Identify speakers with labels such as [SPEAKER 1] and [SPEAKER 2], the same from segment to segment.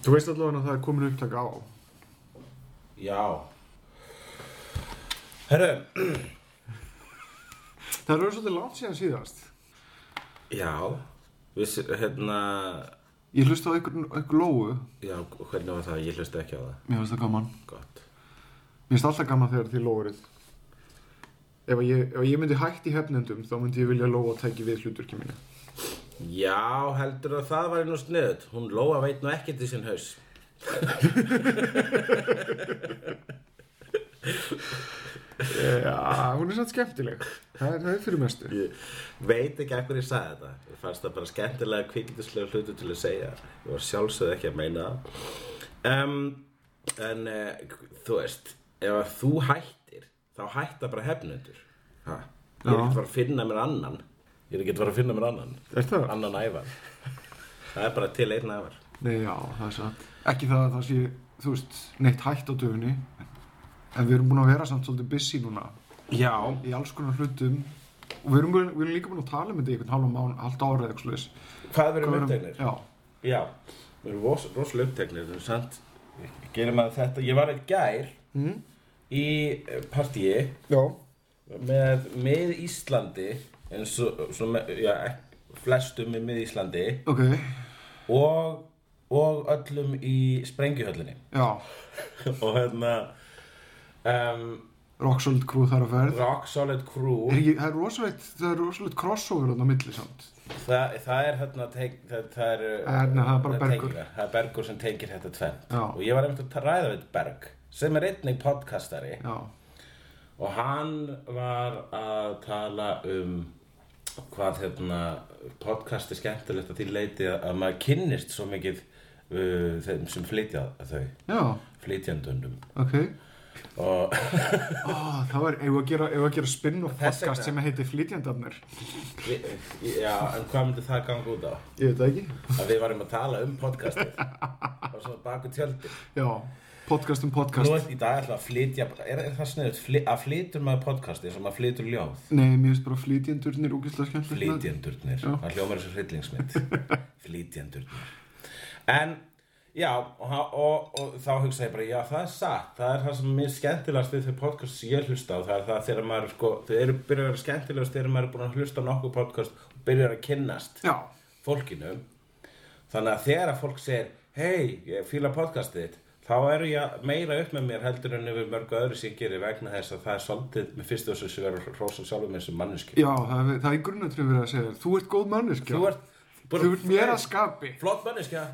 [SPEAKER 1] Þú veist allavega að það er komin upptak á
[SPEAKER 2] Já Herru
[SPEAKER 1] Það eru svolítið langt síðan síðast
[SPEAKER 2] Já Við, s- hérna
[SPEAKER 1] Ég hlusta á einhvern einhver lóu Mér
[SPEAKER 2] Já, hvernig var það? Ég hlusti ekki á það
[SPEAKER 1] finnst það gaman
[SPEAKER 2] Gott
[SPEAKER 1] Mér finnst alltaf gaman þegar því lóurið ef, að ég- ef ég myndi hætt í hefnendum þá myndi ég vilja lóa að tæki við hluturki mínu
[SPEAKER 2] Já, heldur að það var nú sniðut Hún Lóa veit nú ekkert í sinn haus
[SPEAKER 1] Já, hún er samt skemmtileg Það er það fyrir mestu
[SPEAKER 2] Ég veit ekki að hverju ég sagði þetta Ég fannst það bara skemmtilega kvikindislega hlutu til að segja Ég var sjálfsögð ekki að meina það um, En uh, þú veist Ef að þú hættir Þá hætta bara hefnundur ha. Ég er
[SPEAKER 1] Já.
[SPEAKER 2] ekki bara að finna mér annan Ég er ekki bara að finna mér annan
[SPEAKER 1] Er það?
[SPEAKER 2] annan ævar það er bara til einn ævar
[SPEAKER 1] Nei, já, það er satt Ekki það að það sé, þú veist, neitt hætt á döfunni En við erum búin að vera samt svolítið busy núna
[SPEAKER 2] já,
[SPEAKER 1] Í alls konar hlutum Og við erum, búin- við erum líka búin að tala um þetta í einhvern halvan mán, halvt ára eða eitthvað slags
[SPEAKER 2] hvað verður upptegnir?
[SPEAKER 1] Já,
[SPEAKER 2] já, við erum ros, rosalega upptegnir þú sant, gerir maður þetta ég var eitt gær
[SPEAKER 1] Mm.
[SPEAKER 2] í eh, partíi
[SPEAKER 1] já,
[SPEAKER 2] með mið Íslandi eins og svo með, já, flestum í mið Íslandi
[SPEAKER 1] ok
[SPEAKER 2] og, og öllum í sprengjuhöllinni
[SPEAKER 1] Já,
[SPEAKER 2] og hérna um,
[SPEAKER 1] rock solid crew þar að ferð
[SPEAKER 2] rock solid crew
[SPEAKER 1] Er ekki, það er rosalegt, það er rosalegt crossover þarna á milli samt
[SPEAKER 2] Þa, það er hérna teik, það, það er,
[SPEAKER 1] Hérna, það er bara Bergur.
[SPEAKER 2] tengir það. Það er Bergur sem tengir þetta tvennt
[SPEAKER 1] Já.
[SPEAKER 2] og ég var einmitt að ta- ræða við Berg sem er einnig podcastari
[SPEAKER 1] Já,
[SPEAKER 2] og hann var að tala um hvað hérna podcast er skemmtilegt að því leiti að, að maður kynnist svo mikið uh, þeim sem flytja þau
[SPEAKER 1] já,
[SPEAKER 2] flytjandundum
[SPEAKER 1] ok
[SPEAKER 2] og
[SPEAKER 1] Ó, Það var, ef að gera, ef að gera spin-off
[SPEAKER 2] Þess vegna.
[SPEAKER 1] podcast sem heitir Flytjandarnir
[SPEAKER 2] já, en hvað myndi það ganga út á?
[SPEAKER 1] Ég veit það ekki
[SPEAKER 2] að við varum að tala um podcastið og svo baku tjöldi
[SPEAKER 1] Já, podcast um podcast
[SPEAKER 2] Nú er í dag ætla að flytja, er, er það sniðut, fly, að flytur maður podcasti sem að flytur ljóð?
[SPEAKER 1] Nei, mér finnst bara flytjendurnir úkislega skemmtilegt
[SPEAKER 2] Flytjendurnir,
[SPEAKER 1] Já.
[SPEAKER 2] það hljómar þessu hryllingsmynd, flytjendurnir. En, já, og, og, og, þá hugsa ég bara, já, það er satt, það er það sem er mér skemmtilegast við þau podcast sem ég hlusta á, það er það þegar maður, sko, þau eru byrjar að vera skemmtilegast þegar maður er búin að hlusta á nokkuð podcast og byrjar að kynnast
[SPEAKER 1] Já,
[SPEAKER 2] fólkinu þannig að þegar að fólk segir hei, ég fíla podcastið þitt þá er ég meira upp með mér heldur en yfir mörgu öðru sem ég gerir vegna þess að það er svolítið með fyrstu þessu sem verður rosa sjálfum eins og manneski
[SPEAKER 1] já, það er, það er grunnatrið verið að segja þér. Þú ert góð manneskja
[SPEAKER 2] þú ert, bara,
[SPEAKER 1] Þú ert mér að skapi
[SPEAKER 2] flott manneskja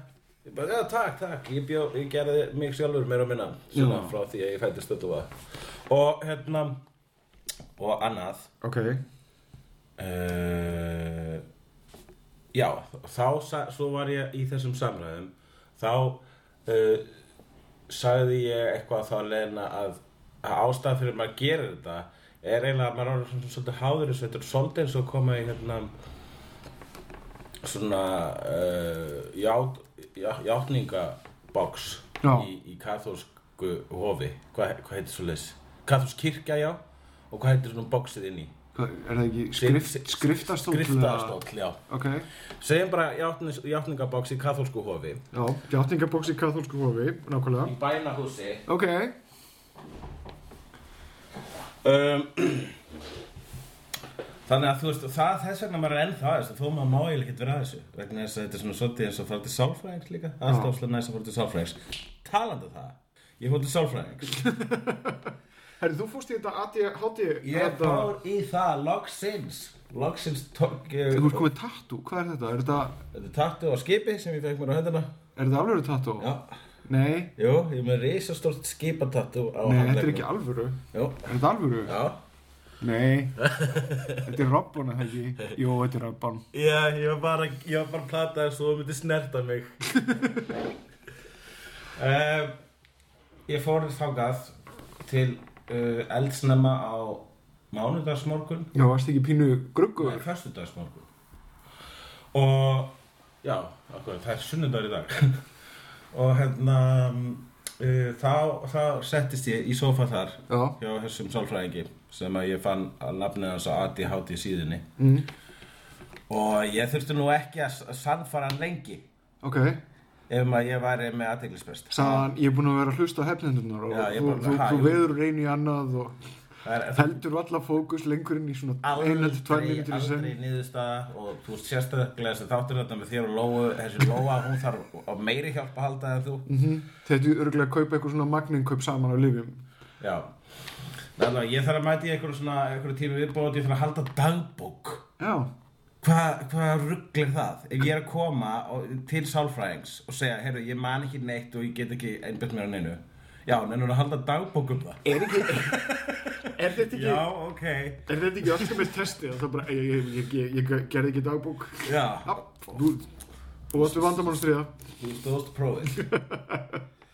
[SPEAKER 2] Ég bara, Já, takk, takk, ég, bjó, ég gerði mig sjálfur meira og minna svona
[SPEAKER 1] Já.
[SPEAKER 2] frá því að ég fættist þetta og hérna og annað
[SPEAKER 1] Ok,
[SPEAKER 2] uh, já, þá sa- svo var ég í þessum samræðum þá uh, sagði ég eitthvað þá leina að, að ástæðan fyrir maður gerir þetta er eiginlega að maður er orðinn svona svolítið háður þessu þetta er svolítið eins og koma í hérna svona uh, ját, já, játningaboks
[SPEAKER 1] Já.
[SPEAKER 2] í, í kathósku hofi hvað hva heitir svo leis? Kathósk kirkja, já og hvað heitir svona boksið inn í?
[SPEAKER 1] Hvað, er það ekki skrift, skriftastóll?
[SPEAKER 2] Skriftastóll, já
[SPEAKER 1] Ok,
[SPEAKER 2] Segjum bara játnis, játningaboks í katholsku hofi
[SPEAKER 1] já, gjátningaboks í katholsku hofi, nákvæmlega
[SPEAKER 2] Í bænahúsi
[SPEAKER 1] Ok,
[SPEAKER 2] um, Þannig að þú veist, það, þess vegna maður er ennþá að þessu Þó maður má eiginlega ekkert vera að þessu Vegna þess að þetta er svona svolítið eins og fara til sálfræðings líka Alltaf svolítið næst að fara til sálfræðings Talandi um það, ég fór til sálfræðings
[SPEAKER 1] herri, þú fórst í þetta ADHD
[SPEAKER 2] Ég
[SPEAKER 1] þetta-
[SPEAKER 2] fór í það loksins Loksins tók ég
[SPEAKER 1] Þú ert komið tattoo, hvað er þetta? Er þetta,
[SPEAKER 2] Þetta er tattu á skipi sem ég fekk mér á hendina
[SPEAKER 1] er þetta alvöru tattoo?
[SPEAKER 2] Já,
[SPEAKER 1] Nei,
[SPEAKER 2] jú, ég er með reisastórt skipatattu á
[SPEAKER 1] nei, þetta er ekki alvöru
[SPEAKER 2] Jú,
[SPEAKER 1] Er þetta alvöru?
[SPEAKER 2] já
[SPEAKER 1] Nei, þetta er Robban eða ekki? Jó, þetta er Robban
[SPEAKER 2] Já, ég var bara, ég var bara að plata þess og þú myndir snerta mig um, Ég fór þangað til uh, eldsnemma á mánudagsmorgun
[SPEAKER 1] Já, varst ekki pínu
[SPEAKER 2] Nei,
[SPEAKER 1] gruggur?
[SPEAKER 2] föstudagsmorgun Og Já, okkur, það er sunnudagur í dag Og hérna uh, þá, þá settist ég í sófa þar
[SPEAKER 1] Já,
[SPEAKER 2] Hjá þessum sálfræðingi Sem að ég fann að nafnið hans á ADHD síðunni
[SPEAKER 1] mm.
[SPEAKER 2] Og ég þurfti nú ekki að s- sannfara hann lengi
[SPEAKER 1] ok
[SPEAKER 2] Ef maður ég væri með aðteglisbrest
[SPEAKER 1] Sagan, ég er búin að vera að hlusta á hefnendunar og
[SPEAKER 2] Já, ég er
[SPEAKER 1] þú,
[SPEAKER 2] bara-
[SPEAKER 1] þú,
[SPEAKER 2] ha,
[SPEAKER 1] þú
[SPEAKER 2] jú.
[SPEAKER 1] veður úr einu í annað og
[SPEAKER 2] Það er það
[SPEAKER 1] heldur alla fókus lengur inn í svona eina til tvær
[SPEAKER 2] aldrei,
[SPEAKER 1] mínútur í senn
[SPEAKER 2] aldrei niðurstaða og þú veist sérstaklega þessi þáttur þetta með þér og Lóu, þessi Lóa hún þarf á meiri hjálp að halda en þú
[SPEAKER 1] Mhm. Þetta er örgulega að kaupa eitthvað svona magninkaup saman á lifjum
[SPEAKER 2] Já Næla, ég þarf að mæti einhverjum svona einhverjum tími viðbót, ég þarf að halda dagbók
[SPEAKER 1] Já,
[SPEAKER 2] Hvað hva rugglir það? Ef ég er að koma og, til sálfræðings og segja, heyrðu, ég man ekki neitt og ég get ekki einbjörn mér á neinu Já, nennur að halda dagbók um það
[SPEAKER 1] er, ekki, er þetta
[SPEAKER 2] Já, ok
[SPEAKER 1] Er þetta ekki alltaf með testi að það bara, ég, ég, ég, ég, ég gerði ekki dagbúk
[SPEAKER 2] Já,
[SPEAKER 1] Þú þú varstu vandamann að stríða
[SPEAKER 2] þú stóðst prófið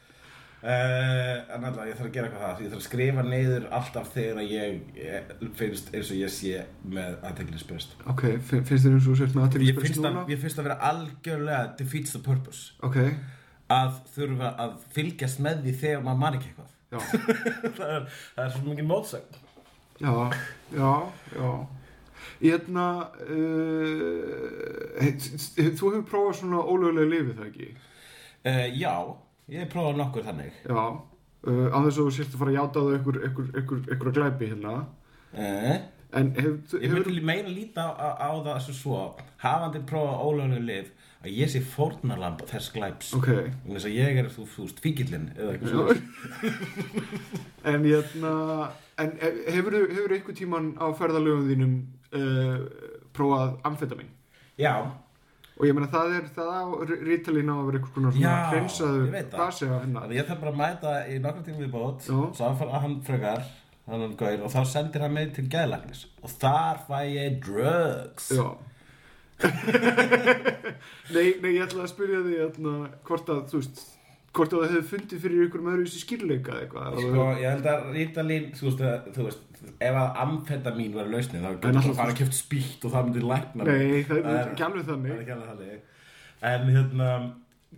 [SPEAKER 2] uh, En alltaf, ég þarf að gera eitthvað það Ég þarf að skrifa neyður alltaf þegar ég eh, finnst eins og ég sé með aðteglisbrest
[SPEAKER 1] Ok, fi- finnst þér eins og þú sért með
[SPEAKER 2] Ég
[SPEAKER 1] aðtilsprest
[SPEAKER 2] finnst,
[SPEAKER 1] núna?
[SPEAKER 2] að, ég finnst að vera algjörlega defeats the purpose
[SPEAKER 1] Ok,
[SPEAKER 2] að þurfa að fylgjast með því þegar maður man ekki eitthvað
[SPEAKER 1] já,
[SPEAKER 2] það, er, það er svo mikið mótsögn
[SPEAKER 1] já, já, já Hérna, uh, he- s- he- þú hefur prófað svona ólögulega lifið það ekki?
[SPEAKER 2] uh, Já, ég prófaði nokkur þannig
[SPEAKER 1] Já, uh, án þess að þú sért að fara að játa það ykkur, ykkur, ykkur, ykkur glæpi hérna
[SPEAKER 2] uh,
[SPEAKER 1] En hef,
[SPEAKER 2] Ég
[SPEAKER 1] hefur,
[SPEAKER 2] myndi meina líta á, á það sem svo hafandi prófað ólögnu lif að ég sé fórnarlamb þess glæps
[SPEAKER 1] ok
[SPEAKER 2] Þannig þess að ég er, þú þú veist, fíkillinn eða eitthvað svona.
[SPEAKER 1] en hérna en hefur, hefur einhver tíman á ferðalöfum þínum uh, prófað amfetamin
[SPEAKER 2] Já,
[SPEAKER 1] og ég meina það er það á rítalín á að vera einhvers konar svona
[SPEAKER 2] Já, ég
[SPEAKER 1] hreinsaður
[SPEAKER 2] veit það.
[SPEAKER 1] basi á hennar
[SPEAKER 2] þannig ég þarf bara að mæta í nokkra tíma við bót,
[SPEAKER 1] Jú.
[SPEAKER 2] samfara að hann frekar, hann gaur, og þá sendir hann mig til gæðlagnis. Og þar fæ ég drugs.
[SPEAKER 1] já nei, nei, ég ætla að spyrja því hérna, hvort að þú veist hvort að það hefur fundið fyrir ykkur með öðruvísi skýrleika eða eitthvað
[SPEAKER 2] Sko, ég held að Rítalín, þú veist, að, þú veist, ef að amfetamín verið lausnið, þá getur
[SPEAKER 1] náttúrulega-
[SPEAKER 2] það bara kæft spýtt og það myndi lækna mig.
[SPEAKER 1] nei, það er ekki alveg
[SPEAKER 2] Það er
[SPEAKER 1] þannig
[SPEAKER 2] ekki alveg þannig. En hérna,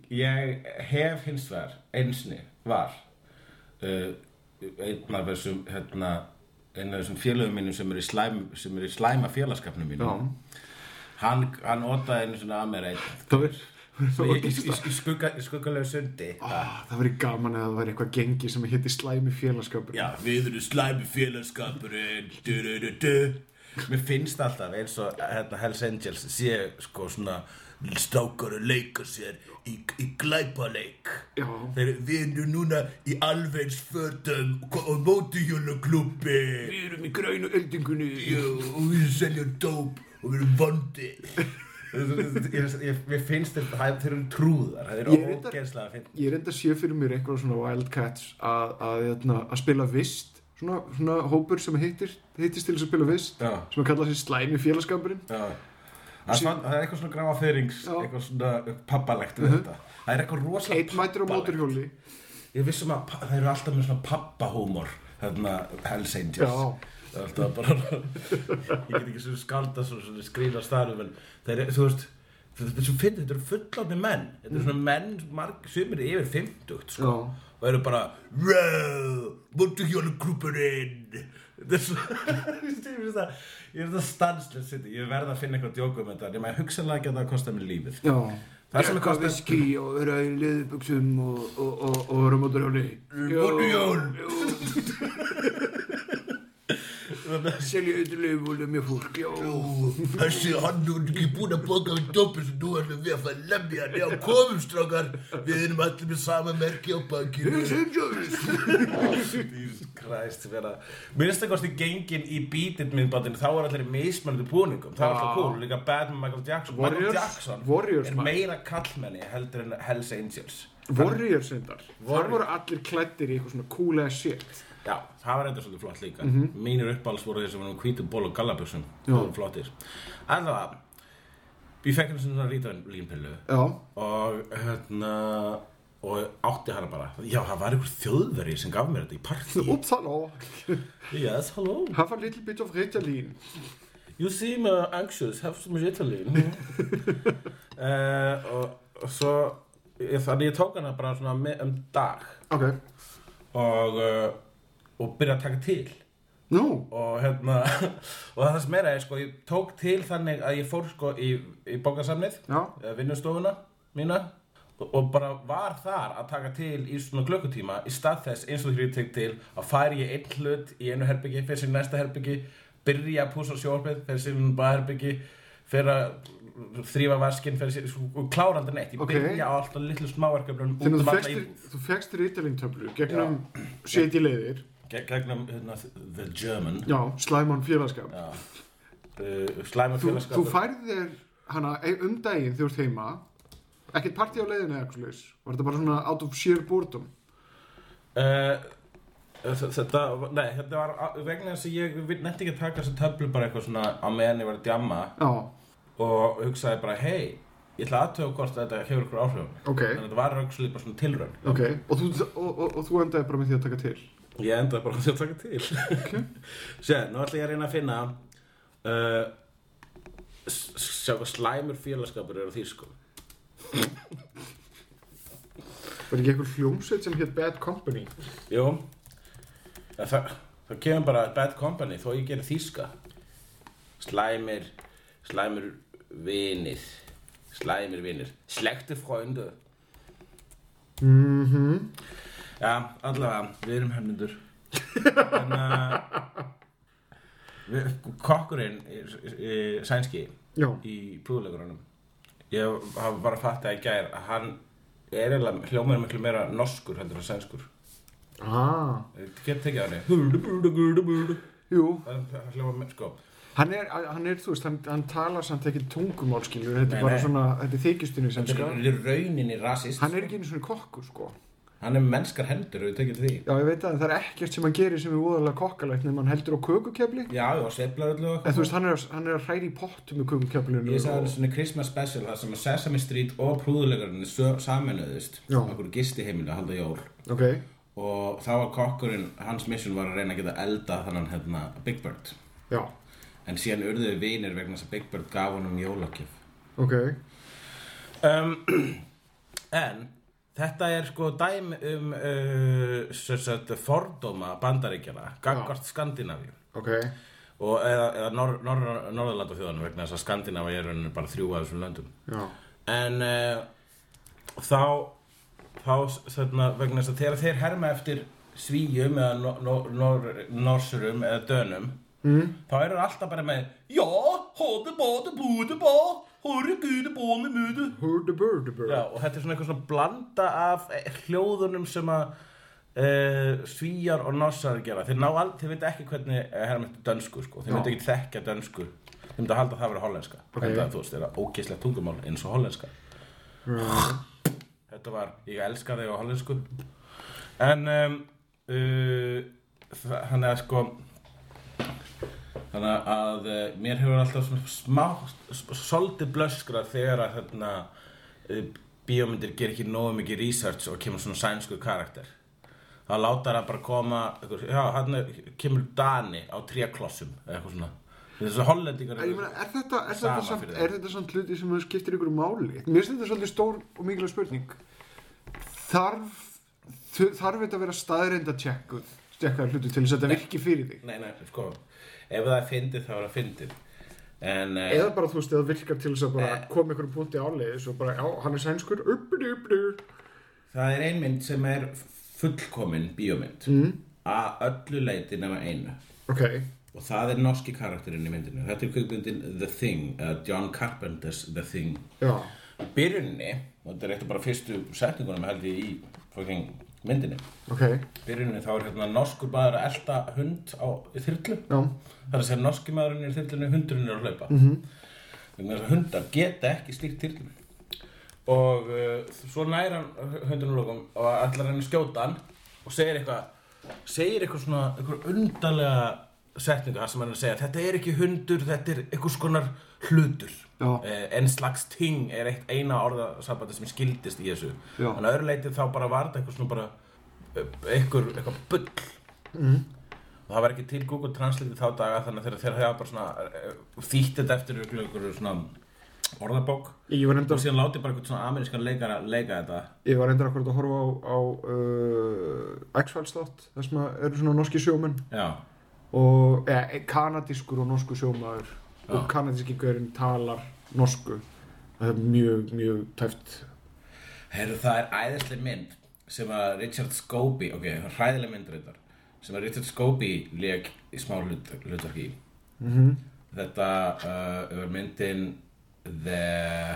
[SPEAKER 2] ég hef hins vegar, einsni, var uh, einn af þessum, hérna, einn af þessum félögum mínum sem er í, slæm, sem er í slæma
[SPEAKER 1] já,
[SPEAKER 2] félagskapnum mínum. Hann, hann otaði einu svona að mér einn.
[SPEAKER 1] það er
[SPEAKER 2] Í, í, í, í, skugga, í skuggalegu sundi.
[SPEAKER 1] Ah, það verið gaman að það væri eitthvað gengi sem hitti slæmi félagskapur
[SPEAKER 2] Já, við erum slæmi félagskapurinn du, du, du, du. Mér finnst alltaf eins og hérna, Hells Angels sé sko svona stákar að leika sér í, í glæpaleik
[SPEAKER 1] Já.
[SPEAKER 2] Þeir, Við erum núna í alveins fötum og, og hérna mótuhjólaklubbi
[SPEAKER 1] Við erum í grænu eldingunni
[SPEAKER 2] og við seljum dóp og við erum vondi ég, ég, Mér finnst þetta, það- þeir eru trúðar Það
[SPEAKER 1] Ég
[SPEAKER 2] eru
[SPEAKER 1] reyndar-
[SPEAKER 2] ógeðslega að finna
[SPEAKER 1] Ég reynda að sé fyrir mér eitthvað svona wildcats að, að, að, að spila vist svona, svona hópur sem hittir hittist til þess að spila vist
[SPEAKER 2] Já.
[SPEAKER 1] sem að kalla sér slæmi félagskapurinn
[SPEAKER 2] Já. Það er, svona, það er eitthvað svona grafa fyrings,
[SPEAKER 1] Já.
[SPEAKER 2] eitthvað svona papbalegt við þetta. Það er eitthvað rosalega
[SPEAKER 1] Eitt mætir á móturhjóli
[SPEAKER 2] Ég vissum að pa- þeir eru alltaf með svona pappahúmor, þarna Hells Angels.
[SPEAKER 1] Já.
[SPEAKER 2] Það er alltaf bara, ég get ekki svona skaldast og svona skrýna starum, en þeir eru, þú veist, þetta er svo fyndið, þetta eru fullandi menn. Þetta eru svona menn, marg, sumir yfir 50, sko.
[SPEAKER 1] Já.
[SPEAKER 2] Og eru bara, Rau, mótuhjólugrúpurinn. Þetta er svona, ég finnst það, ég finnst það stanslega sitt. Ég verð að finna eitthvað
[SPEAKER 3] um
[SPEAKER 2] djókum þetta, nema ég hugsanlega ekki að það kosta mér lífið.
[SPEAKER 1] Já
[SPEAKER 2] Það er sem er
[SPEAKER 1] Drekka
[SPEAKER 2] kostar-
[SPEAKER 1] viskí og vera í liðbuxum og, og, og, og vera á móturhjóli
[SPEAKER 2] Mótuhjól!
[SPEAKER 1] Selja auðvitað volum ég fólk, já.
[SPEAKER 3] Þessi hann er ekki búinn að bóka á doppið sem nú erum við að fara að lemja hann. Já, komum strákar, við erum allir með sama merki á bakinu.
[SPEAKER 2] Jesus Christ vera minnstakosti gengin í bítið myndbandinu þá er allir í mismöndu búningum það er alltaf cool, líka Batman Michael Jackson
[SPEAKER 1] Warriors-
[SPEAKER 2] Michael Jackson
[SPEAKER 1] Warriors,
[SPEAKER 2] er
[SPEAKER 1] maður.
[SPEAKER 2] meira kallmenni heldur en Hells Angels
[SPEAKER 1] Warriors endar. Þar
[SPEAKER 2] Warriors.
[SPEAKER 1] voru allir klættir í eitthvað svona cool ass shit.
[SPEAKER 2] já, það var eitthvað svolítið flott líka
[SPEAKER 1] Mhm.
[SPEAKER 2] mínir uppáhalds voru þeir sem varum hvítum ból og gallabjössum það voru flottir en það, ég fekk henni svona rítan línpillu
[SPEAKER 1] Já.
[SPEAKER 2] og hérna og átti hana bara já, það var einhver þjóðveri sem gaf mér þetta í partí
[SPEAKER 1] Ups, halló.
[SPEAKER 2] yes, hello
[SPEAKER 1] Have a little bit of Ritalin.
[SPEAKER 2] You seem uh, anxious, have some Ritalin uh, og, og svo ég, þannig ég tók hana bara svona me, um dag
[SPEAKER 1] Ok.
[SPEAKER 2] og, uh, og byrja að taka til
[SPEAKER 1] Nú.
[SPEAKER 2] og hérna og það sem meira er sko, ég tók til þannig að ég fór sko í, í bókasamnið
[SPEAKER 1] Já.
[SPEAKER 2] eða vinnustofuna mína og, og bara var þar að taka til í svona klukkutíma í stað þess eins og þegar ég tek til að færi ég einn hlut í einu herbyggi fyrir sér næsta herbyggi, byrja að púsa sjórfið fyrir sér baðherbyggi fyrir að þrýfa vaskinn fyrir sér, sko, og klára aldrei neitt ég
[SPEAKER 1] Ok.
[SPEAKER 2] byrja á alltaf litlu smáverkefnum út
[SPEAKER 1] Þannig
[SPEAKER 2] um
[SPEAKER 1] að þú
[SPEAKER 2] alla
[SPEAKER 1] fékkst-
[SPEAKER 2] íbúð
[SPEAKER 1] þú fegst Ritalin-töflu gegnum shit í leiðir.
[SPEAKER 2] Gegn- gegnum hérna, The German
[SPEAKER 1] Já, slæman félagskap.
[SPEAKER 2] Já. uh, slæma
[SPEAKER 1] Þú, þú
[SPEAKER 2] félagskapur
[SPEAKER 1] færði þér hana e- um daginn þegar þú ert heima ekkert partí á leiðinu eða eitthvað slags var þetta bara svona out of sheer boredom
[SPEAKER 2] Eh, þ- Þetta, nei, þetta var a- vegna þess að ég nefndi ekki að taka þessa töflu bara eitthvað svona á meðan ég var að djamma
[SPEAKER 1] já,
[SPEAKER 2] og hugsaði bara, hei, ég ætla aðtöga hvort þetta hefur ykkur áhrifum.
[SPEAKER 1] ok,
[SPEAKER 2] Þannig að þetta var raukslega bara svona tilraun.
[SPEAKER 1] ok og þú, og, og, og þú endaði bara með því að taka til
[SPEAKER 2] Ég endaði bara á því að taka til.
[SPEAKER 1] Ok.
[SPEAKER 2] Sér, nú ætla ég að reyna að finna, uh, s- sjá hvað slæmur félagskapur er á því, sko.
[SPEAKER 1] var ekki eitthvað hljómsveit sem hétt Bad Company
[SPEAKER 2] Jú, það, það, það kemur bara bad company þó ég gerir þýska. Slæmir, slæmir vinir, slæmir vinir, slekti fröndu.
[SPEAKER 1] mhm,
[SPEAKER 2] Já, allavega, við erum hefnundur. en uh, við, kokkurinn í, í, sænski
[SPEAKER 1] já,
[SPEAKER 2] í púðuleikurunum, ég hafa bara fattið að í gær að hann er eiginlega hljómaður miklu meira norskur heldur en sænskur.
[SPEAKER 1] ah
[SPEAKER 2] Ég Get tekið á henni.
[SPEAKER 1] jú,
[SPEAKER 2] Það það hljómar með, sko.
[SPEAKER 1] hann er, hann er þú veist, hann, hann talar samt ekki tungumál skilur, þetta
[SPEAKER 2] Nei,
[SPEAKER 1] er bara
[SPEAKER 2] nei.
[SPEAKER 1] svona þetta er þykistunni sem
[SPEAKER 2] Þetta
[SPEAKER 1] sko
[SPEAKER 2] er- er rauninni rasist.
[SPEAKER 1] hann er ekki einu svona kokkur sko
[SPEAKER 2] Hann er með mennskar hendur, við tekjum því.
[SPEAKER 1] já, ég veit að það er ekkert sem hann gerir sem er úðalega kokkalegt nefn hann heldur á kökukefli
[SPEAKER 2] Já, og sveiflar öllu og
[SPEAKER 1] En þú
[SPEAKER 2] eitthvað.
[SPEAKER 1] veist, hann er, hann er að hræri í pottu með kumkjöflinu
[SPEAKER 2] Ég sagði svona Christmas special, það sem að Sesame Street og prúðuleikarinn saminuðist.
[SPEAKER 1] Já.
[SPEAKER 2] Okkur gisti heimilu að halda jól.
[SPEAKER 1] Ok,
[SPEAKER 2] Og þá var kokkurinn, hans mission var að reyna að geta elda þannan hérna Big Bird.
[SPEAKER 1] já,
[SPEAKER 2] En síðan urðuðu vinir vegna þess að Big Bird gaf honum jólakjöf.
[SPEAKER 1] ok
[SPEAKER 2] um, en þetta er sko dæmi um uh, sem sagt, fordóma bandaríkjana gangvart Skandinavíu
[SPEAKER 1] Ok,
[SPEAKER 2] og eða, eða nor, nor, norðurlanda þjóðanum vegna þess að Skandinavíu er rauninni bara þrjú af þessum löndum
[SPEAKER 1] já,
[SPEAKER 2] en uh, þá þá þarna, vegna þess að þegar þeir herma eftir svíjum eða no, no, nor, norsurum eða dönum mm. þá eru þeir alltaf bara með já, hóðu bóðu búðu bó hóru guðu bóðu múðu
[SPEAKER 1] Hurdy Burdy Burdy
[SPEAKER 2] Já, og þetta er svona eitthvað svona blanda af eh, hljóðunum sem að e, svíjar og norsar gera. Þeir ná aldrei, þeir veit ekki hvernig eh, hermættu dönsku, sko. Þeir
[SPEAKER 1] Já.
[SPEAKER 2] veit ekki þekkja dönsku. Þeir myndi að halda að það verið hollenska.
[SPEAKER 1] Ok.
[SPEAKER 2] Okay. Þetta, þú veist, þeirra ógislegt tungumál eins og hollenska. Þetta var, ég elska þig á hollensku. En, um, uh, þannig að sko, þannig að uh, mér hefur alltaf svona smá, s- svolítið blöskra þegar að þarna uh, bíómyndir ger ekki nógu mikið research og kemur svona sænsku karakter. Það látar að bara koma, einhver, já, hann er, kemur Dani á tréklossum, eða eitthvað svona. Þessi hollendingar
[SPEAKER 1] En ég meina, er þetta, er
[SPEAKER 2] Sama
[SPEAKER 1] þetta, samt,
[SPEAKER 2] fyrir þig.
[SPEAKER 1] er þetta samt hluti sem skiptir ykkur máli? Mér finnst þetta svolítið stór og mikilvæg spurning Þarf, þu- þarf þetta að vera staðreinda tjekkuð tjekkaðar hluti til þess að þetta virki fyrir þig?
[SPEAKER 2] Nei, nei, sko, ef það er fyndið þá er það fyndið. En, eh,
[SPEAKER 1] Eða bara, þú veist, eða virkar til þess að bara koma ykkur punkti áleiðis og bara, já, hann er sænskur, uppur, uppur,
[SPEAKER 2] Það er ein mynd sem er fullkomin bíómynd mm. að öllu leiti nema einu
[SPEAKER 1] ok,
[SPEAKER 2] og það er norski karakterinn í myndinu þetta er kvikmyndin The Thing uh, John Carpenter's The Thing
[SPEAKER 1] Já,
[SPEAKER 2] byrjunni, og þetta er eitt af bara fyrstu setningunum held ég í fucking myndinni
[SPEAKER 1] ok,
[SPEAKER 2] byrjunni þá er hérna norskur maður að elta hund á í þyrlu
[SPEAKER 1] já,
[SPEAKER 2] það er að segja norski maðurinn er í þyrlunni hundurinn er að hlaupa mm
[SPEAKER 1] Mhm.
[SPEAKER 2] -hmm. þannig að hundar geta ekki slíkt þyrlunni og uh, svo næra hundurinn lókum og allar henni skjóta hann og segir eitthvað segir eitthvað svona eitthvað undarlega setningu það sem hann er að segja þetta er ekki hundur, þetta er eitthvað skonar hlutur
[SPEAKER 1] Já.
[SPEAKER 2] Eh, en slags ting er eitt eina orðasambandi sem skildist í þessu
[SPEAKER 1] Já.
[SPEAKER 2] en að öðru leiti þá bara var þetta eitthvað svona bara eh, eitthvað, eitthvað bull og það var ekki til Google Translate í þá daga þannig að þeir þeir hafa bara svona þýtti þetta eftir ykkur- ykkur svona orðabók
[SPEAKER 1] ég var
[SPEAKER 2] og
[SPEAKER 1] reyndar
[SPEAKER 2] síðan láti bara einhvern svona amerískan leikara leika þetta
[SPEAKER 1] ég var reyndar akkurat að horfa á, á uh, X-Files þátt þar sem að eru svona norski sjómenn
[SPEAKER 2] já,
[SPEAKER 1] og eða, kanadískur og norsku sjómaður
[SPEAKER 2] Já.
[SPEAKER 1] og kanadíski gaurinn talar norsku það er mjög, mjög tæft
[SPEAKER 2] heyrðu það er æðislega mynd sem að Richard Scobie ok, hræðileg mynd reyndar sem að Richard Scobie leik í smá hlut, hlutverki í þetta uh, er myndin The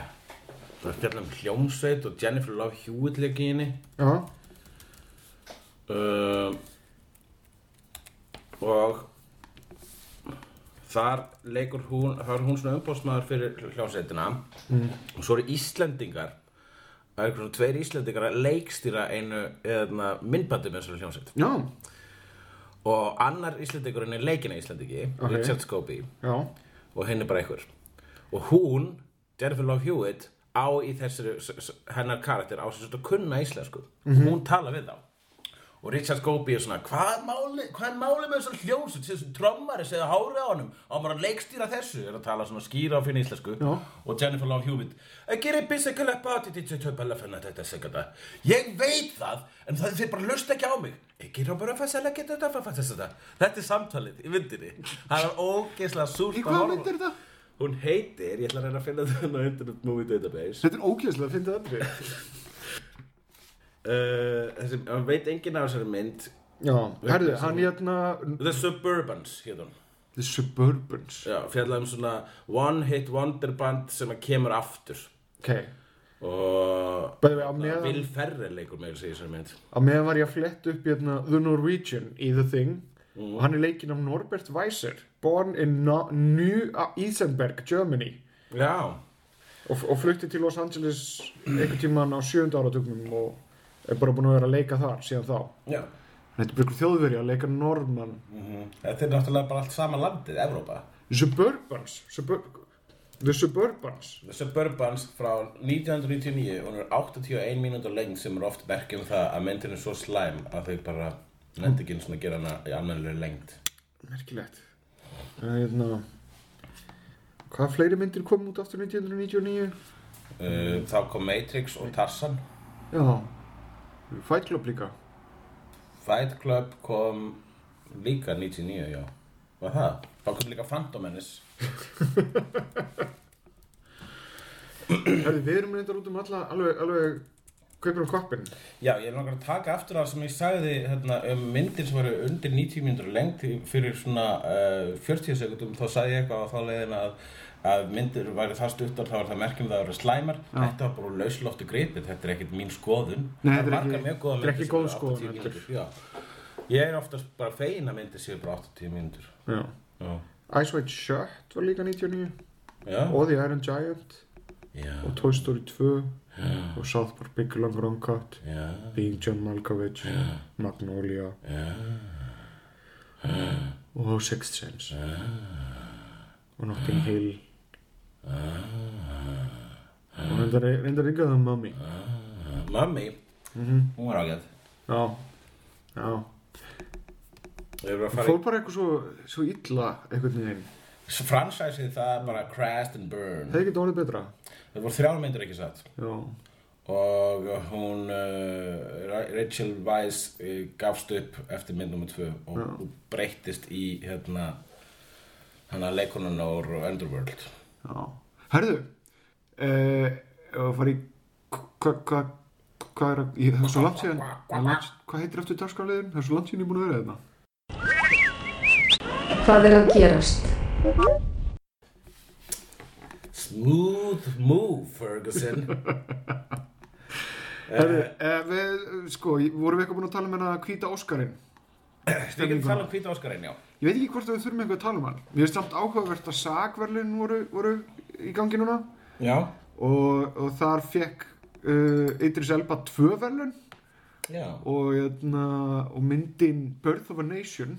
[SPEAKER 2] það er fjallum hljómsveit og Jennifer Love Hewitt leik í henni
[SPEAKER 1] já,
[SPEAKER 2] uh, og þar leikur hún þar er hún svona umbóðsmaður fyrir hljómsveitina og svo eru Íslendingar það eru svona tveir Íslendingar að leikstýra einu eðna, myndbandi með þessari hljómsveit
[SPEAKER 1] já,
[SPEAKER 2] og annar Íslendingurinn er leikina Íslendingi
[SPEAKER 1] Ok.
[SPEAKER 2] Richard Scobie
[SPEAKER 1] já
[SPEAKER 2] og henni bara einhver og hún, Jennifer Love Hewitt á í þessari, s- s- hennar karakter á sér svona kunna íslensku hún tala við þá og Richard Scobie er svona hvað er máli, hvað er máli með þessar hljós þessu trommari segja hárið á honum á maður að leikstýra þessu er að tala svona skýra og finna íslensku
[SPEAKER 1] Já.
[SPEAKER 2] og Jennifer Love Hewitt að gera bísa kalla báti til þetta bara finna þetta segja ég veit það en það þeir bara lusta ekki á mig ekki rábara fæsala geta þetta fæsala þetta þetta er samtalið í myndinni það er ógeðslega súrt
[SPEAKER 1] í
[SPEAKER 2] að
[SPEAKER 1] hvaða
[SPEAKER 2] horfa.
[SPEAKER 1] mynd er þetta?
[SPEAKER 2] Hún heitir, ég ætla að reyna að finna þetta á Internet Movie Database uh,
[SPEAKER 1] Þetta er ókjæslega að finna þetta
[SPEAKER 2] Uh, þessi, Hann veit enginn af þessari mynd
[SPEAKER 1] Já, herðu, hann hérna
[SPEAKER 2] The Suburbans, hétt hún
[SPEAKER 1] The Suburbans
[SPEAKER 2] Já, fjallaði um svona One Hit Wonder Band sem að kemur aftur
[SPEAKER 1] Ok,
[SPEAKER 2] og
[SPEAKER 1] bæði við á meðan
[SPEAKER 2] Vil Ferrell leikur með þessi þessari mynd
[SPEAKER 1] á meðan var ég að fletta upp hérna The Norwegian í The Thing og hann er leikinn af Norbert Weiser born in no New Isenberg, Germany
[SPEAKER 2] Já,
[SPEAKER 1] og, og flutti til Los Angeles einhvern tíman á sjönda áratugnum og er bara búin að vera að leika þar síðan þá
[SPEAKER 2] já Mhm.
[SPEAKER 1] Þetta er bara ykkur þjóðveri að leika Norman
[SPEAKER 2] Þetta er náttúrulega bara allt sama landið, Evrópa
[SPEAKER 1] Suburbans Subur The Suburbans
[SPEAKER 2] The Suburbans frá 1999 og hún er 81 mínútur lengd sem er oft merkjum það að myndin er svo slæm að þau bara nefndi ekki einu sinni að gera hana í almennilega lengd
[SPEAKER 1] Merkilegt Það er hérna Hvaða fleiri myndir kom út aftur 1999?
[SPEAKER 2] Uh, þá kom Matrix og Tarzan
[SPEAKER 1] Já Fight Club líka
[SPEAKER 2] Fight Club kom líka 99, já Var það? Þá kom líka Phantom Menace
[SPEAKER 1] Herði, við erum reyndar út um alla alveg, alveg kaupir um koppin
[SPEAKER 2] Já, ég er langar að taka aftur það sem ég sagði hérna, um myndir sem eru undir 90 mínútur lengt fyrir svona uh, 40 sekundum þá sagði ég eitthvað á þá leiðina að, að myndir væri það stuttar þá er það merkjum það eru slæmar Þetta var bara lausloftu gripið, þetta er ekkit mín skoðun
[SPEAKER 1] Nei,
[SPEAKER 2] Það
[SPEAKER 1] þetta er
[SPEAKER 2] margar
[SPEAKER 1] ekki-
[SPEAKER 2] mjög góðar
[SPEAKER 1] þetta er ekki
[SPEAKER 2] myndir sem eru
[SPEAKER 1] góð skoðun,
[SPEAKER 2] 80
[SPEAKER 1] heldur.
[SPEAKER 2] mínútur, já. Ég er oftast bara fegin að myndir séu bara 80 mínútur
[SPEAKER 1] Já
[SPEAKER 2] Já,
[SPEAKER 1] Ice White Shirt var líka 99
[SPEAKER 2] já.
[SPEAKER 1] Og The Iron Giant
[SPEAKER 2] já.
[SPEAKER 1] Og Toy Story 2 Og South Park Big Long Wrong Cut
[SPEAKER 2] Já,
[SPEAKER 1] Being John Malkovich Magnolia
[SPEAKER 2] já,
[SPEAKER 1] Og Sixth Sense Og Notting Hill Og reyndar, reyndar ykkar það Mummy
[SPEAKER 2] Mami,
[SPEAKER 1] Mhm.
[SPEAKER 2] hún var ágæð
[SPEAKER 1] Já, já.
[SPEAKER 2] Við erum að
[SPEAKER 1] Það
[SPEAKER 2] fara
[SPEAKER 1] fór bara eitthvað svo, svo illa einhvern veginn.
[SPEAKER 2] í Fransæsið það er bara crashed and burned
[SPEAKER 1] Það er ekki orðið betra.
[SPEAKER 2] Það voru þrjár myndir ekki satt
[SPEAKER 1] Já,
[SPEAKER 2] Og hún, uh, Ra- Rachel Weisz uh, gafst upp eftir mynd nummer tvö Og hún breyttist í hérna Hanna leikonan úr Underworld
[SPEAKER 1] já. Herðu, uh, ef að fara í, hvað, hvað, hvað er að, ég, það er svo langt síðan, hérna. það er langt- hvað heitir eftir dagskáliðin? Það er svo langt síðan ég er búin að vera þetta.
[SPEAKER 4] Hvað er að gerast?
[SPEAKER 2] Smooth move, Ferguson
[SPEAKER 1] Herru, eh, við, sko, vorum við eitthvað búin að tala um hennar hvíta Óskarinn
[SPEAKER 2] Við getum talað um hvita Óskarinn, já
[SPEAKER 1] Ég veit ekki hvort að við þurfum eitthvað að tala um hann Mér finnst samt áhugavert að sagverlun voru, voru í gangi núna
[SPEAKER 2] Já,
[SPEAKER 1] og, og þar fekk uh, Idris Elba tvö verlun
[SPEAKER 2] já
[SPEAKER 1] og, jötna, og myndin Birth of a Nation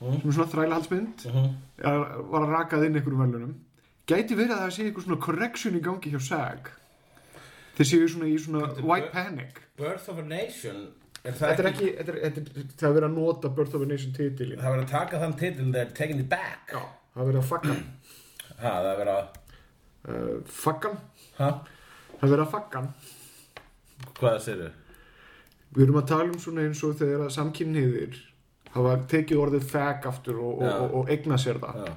[SPEAKER 1] sem er svona þrælahaldsmynd
[SPEAKER 2] Mhm.
[SPEAKER 1] er- var að rakað inn einhverjum verlunum gæti verið að það sé eitthvað svona correction í gangi hjá SAG þeir séu svona í svona white panic
[SPEAKER 2] Birth of a Nation er það
[SPEAKER 1] þetta er
[SPEAKER 2] ekki,
[SPEAKER 1] ekki, þetta er, þetta er, það er verið að nota Birth of a Nation titilin
[SPEAKER 2] Það verður að taka þann titil They're taking it back
[SPEAKER 1] Já, það er verið að faggan
[SPEAKER 2] ha, Það verður að
[SPEAKER 1] uh, faggan,
[SPEAKER 2] ha?
[SPEAKER 1] það er verið að faggan
[SPEAKER 2] Hvað sérðu?
[SPEAKER 1] Við erum að tala um svona eins og þegar að samkynniðir hafa tekið orðið fag aftur og,
[SPEAKER 2] Já.
[SPEAKER 1] og, og, og egna sér það
[SPEAKER 2] Já.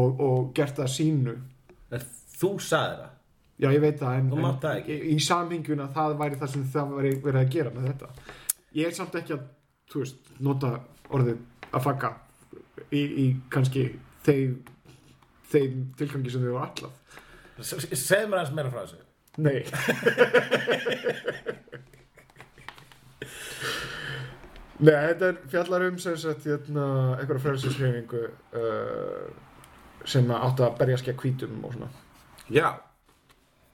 [SPEAKER 1] og, og gert það sínu.
[SPEAKER 2] En Þú sagði það
[SPEAKER 1] Já, ég veit það, en,
[SPEAKER 2] Þú mátt það
[SPEAKER 1] en
[SPEAKER 2] ekki.
[SPEAKER 1] í, í samhinguna það væri það sem það væri verið að gera með þetta. Ég er samt ekki að, þú veist, nota orðið að fagga í, í kannski þeim, þeim tilgangi sem þau var allaf.
[SPEAKER 2] S- s- Segðu mér aðeins meira frá þessu
[SPEAKER 1] Nei. Nei, þetta er fjallar um sem sagt hérna, einhverja frelsisreifingu uh, sem að átti að berjast gegn hvítum og svona.
[SPEAKER 2] Já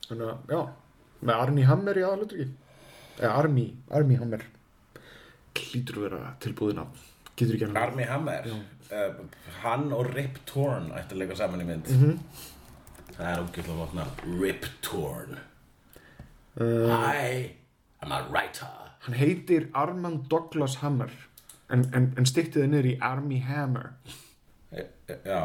[SPEAKER 1] Þannig að, já, með Armi Hammer í aðalutryggi. Eða Armi, Armi Hammer. Klítur að vera tilbúðin af. Getur ekki hann.
[SPEAKER 2] Armie Hammer uh, Hann og Rip Torn ætti að leika saman í mynd
[SPEAKER 1] Mhm.
[SPEAKER 2] Það er ógætla vopna Rip Torn
[SPEAKER 1] Eh.
[SPEAKER 2] Hi, I'm a writer
[SPEAKER 1] Hann heitir Arman Douglas Hammer. En, en, en styrtiði niður í Armi Hammer.
[SPEAKER 2] E- e- Já,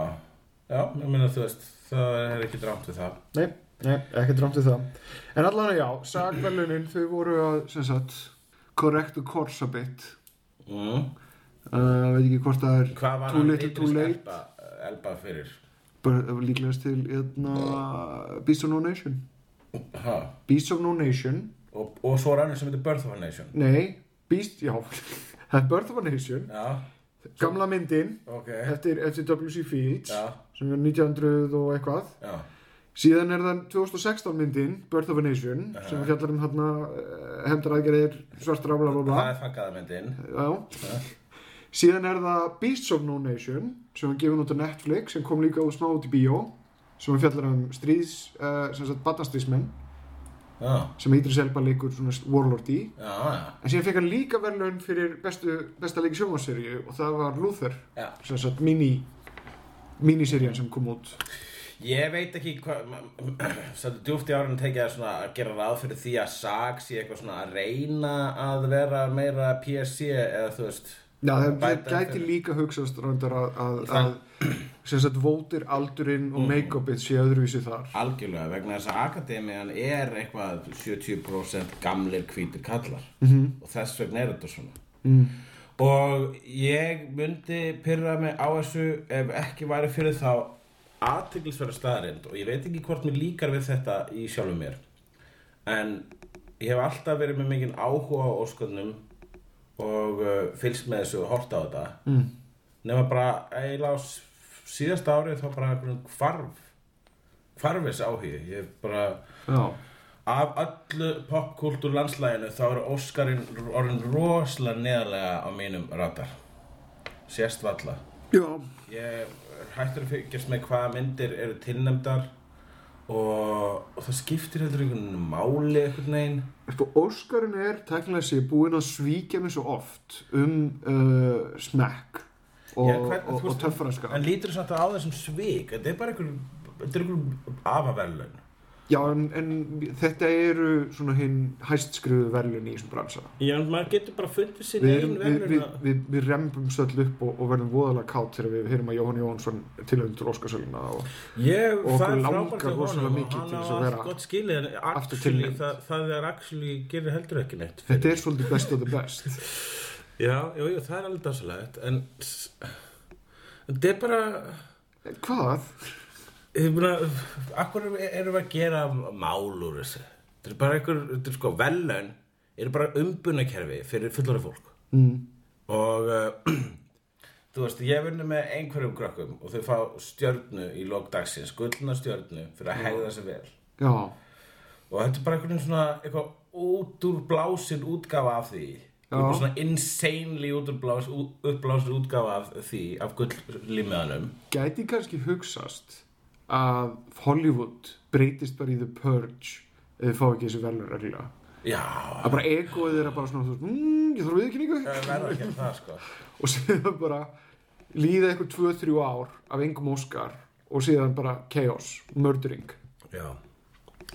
[SPEAKER 2] já, ég meina þú veist Það er ekki drámt við það
[SPEAKER 1] Nei, nei, ekki drámt við það. En allavega já, sagvelunin þau voru að, sem sagt, correct the course a bit.
[SPEAKER 2] mm.
[SPEAKER 1] Uh, veit ekki hvort það er
[SPEAKER 2] Hvað var
[SPEAKER 1] too
[SPEAKER 2] hann
[SPEAKER 1] little too
[SPEAKER 2] Idris
[SPEAKER 1] late.
[SPEAKER 2] Elba, eh, Elba fyrir?
[SPEAKER 1] Bara líklegast til, hérna, Beast of No Nation.
[SPEAKER 2] Ha.
[SPEAKER 1] Beast of No Nation.
[SPEAKER 2] Og, og svo er annars sem heitir Birth of a Nation
[SPEAKER 1] Nei, Beast, já, það er Birth of a Nation.
[SPEAKER 2] Já,
[SPEAKER 1] Gamla myndin,
[SPEAKER 2] ok
[SPEAKER 1] eftir, eftir W.C. Fields,
[SPEAKER 2] Já,
[SPEAKER 1] sem er 1900 og eitthvað.
[SPEAKER 2] já,
[SPEAKER 1] Síðan er það 2016 myndin, Birth of a Nation, sem fjallar um hérna, hefndaraðgerðir, svartra, bla, bla, bla.
[SPEAKER 2] það er faggaða myndin
[SPEAKER 1] Já. Síðan er það Beasts of No Nation sem var gefin út á Netflix sem kom líka út smá út í bíó sem við fjallar um stríðs, uh, sem sagt batnastríðsmenn Eh.
[SPEAKER 2] Já,
[SPEAKER 1] sem Idris Elba leikur svona warlord í
[SPEAKER 2] já, já,
[SPEAKER 1] en síðan fekk hann líka verðlaun fyrir bestu, besta leik sjónvarseríu og það var Luther
[SPEAKER 2] já
[SPEAKER 1] sem sagt mini miniserían sem kom út
[SPEAKER 2] Ég veit ekki hvað, sættu djúft í árinu tekið að svona að gera ráð fyrir því að SAG sé eitthvað svona að reyna að vera meira PSC eða þú veist
[SPEAKER 1] Já, það, það
[SPEAKER 2] Bæta
[SPEAKER 1] gæti
[SPEAKER 2] fyrir.
[SPEAKER 1] líka hugsaðast röndar að, að, að sem sagt vótir aldurinn
[SPEAKER 2] Mm.
[SPEAKER 1] og make-upið sé öðruvísi þar
[SPEAKER 2] Algjörlega, vegna þess að Akademian er eitthvað 70% gamlir hvítir kallar og þess vegna er þetta svona mm. og ég myndi pyrra mig á þessu ef ekki væri fyrir þá aðteglisverða staðarind og ég veit ekki hvort mér líkar við þetta í sjálfu mér en ég hef alltaf verið með mikinn áhuga á ósköldnum og uh, fylgst með þessu og horta á þetta mm. nema bara eiginlega á s- síðasta árið þá bara einhvern hvarf hvarfis áhugi ég hef bara
[SPEAKER 1] Já,
[SPEAKER 2] af öllu popkultúr landslæginu þá eru Óskarinn orðin rosalega neðarlega á mínum radar sérst valla
[SPEAKER 1] Já.
[SPEAKER 2] ég er hættur að fyrkjast með hvaða myndir eru tilnæmdar og, og það skiptir heldur einhvern máli einhvern veginn
[SPEAKER 1] Sko, Óskarinn er teknilega sér búinn að svíkja mig svo oft um uh, smekk og,
[SPEAKER 2] Ég- hvernig,
[SPEAKER 1] og,
[SPEAKER 2] þú
[SPEAKER 1] og
[SPEAKER 2] veist,
[SPEAKER 1] töffaraska.
[SPEAKER 2] en lítur samt á þessum svik þetta er bara einhver, þetta er einhver afaverlun
[SPEAKER 1] Já, en, en þetta eru svona hinn hæstskriðu verðlun í þessum bransa.
[SPEAKER 2] já, maður getur bara fundið sér
[SPEAKER 1] Við, erum, við, við, við, við rembum söll upp og, og verðum voðalega kátt þegar við heyrum að Jóhann Jóhansson tilöndur Óskarsöluna og
[SPEAKER 2] Ég,
[SPEAKER 1] Og
[SPEAKER 2] það
[SPEAKER 1] okkur
[SPEAKER 2] er
[SPEAKER 1] langar
[SPEAKER 2] frábært hjá
[SPEAKER 1] rosalega
[SPEAKER 2] honum og
[SPEAKER 1] mikið til
[SPEAKER 2] hann
[SPEAKER 1] þess
[SPEAKER 2] á
[SPEAKER 1] að
[SPEAKER 2] allt
[SPEAKER 1] vera
[SPEAKER 2] gott skilið en
[SPEAKER 1] aftur
[SPEAKER 2] actually,
[SPEAKER 1] tilnefnd.
[SPEAKER 2] það, það er actually gerir heldur ekki neitt
[SPEAKER 1] þetta er svolítið best of the best.
[SPEAKER 2] já, jú, jú, það er alveg dásalegt en s- en þetta er bara
[SPEAKER 1] En Hvað?
[SPEAKER 2] ég meina, akkur erum við að gera mál úr þessu þetta er bara einhver, þetta er sko velun eru bara umbunarkerfi fyrir fullari fólk mm. og uh, eh, þú veist, ég vunni með einhverjum krökkum og þau fá stjörnu í lok dagsins, gullna stjörnu fyrir að hegða sér vel
[SPEAKER 1] já,
[SPEAKER 2] og þetta er bara einhvern veginn svona eitthvað út úr blásin útgáfa af því
[SPEAKER 1] Já.
[SPEAKER 2] Einhver svona insanely út úr blás, ú- uppblásin útgáfa af því af gulllímiðanum
[SPEAKER 1] gæti kannski hugsast að Hollywood breytist bara í The Purge ef þið fá ekki þessu velur reglulega
[SPEAKER 2] já,
[SPEAKER 1] að bara egoið þeirra bara svona þú veist, mmm, ég þarf viðkynningu
[SPEAKER 2] það verður ekki að það sko
[SPEAKER 1] og síðan bara líða eitthvað 2-3 ár af engum Óskar og síðan bara chaos, murdering
[SPEAKER 2] já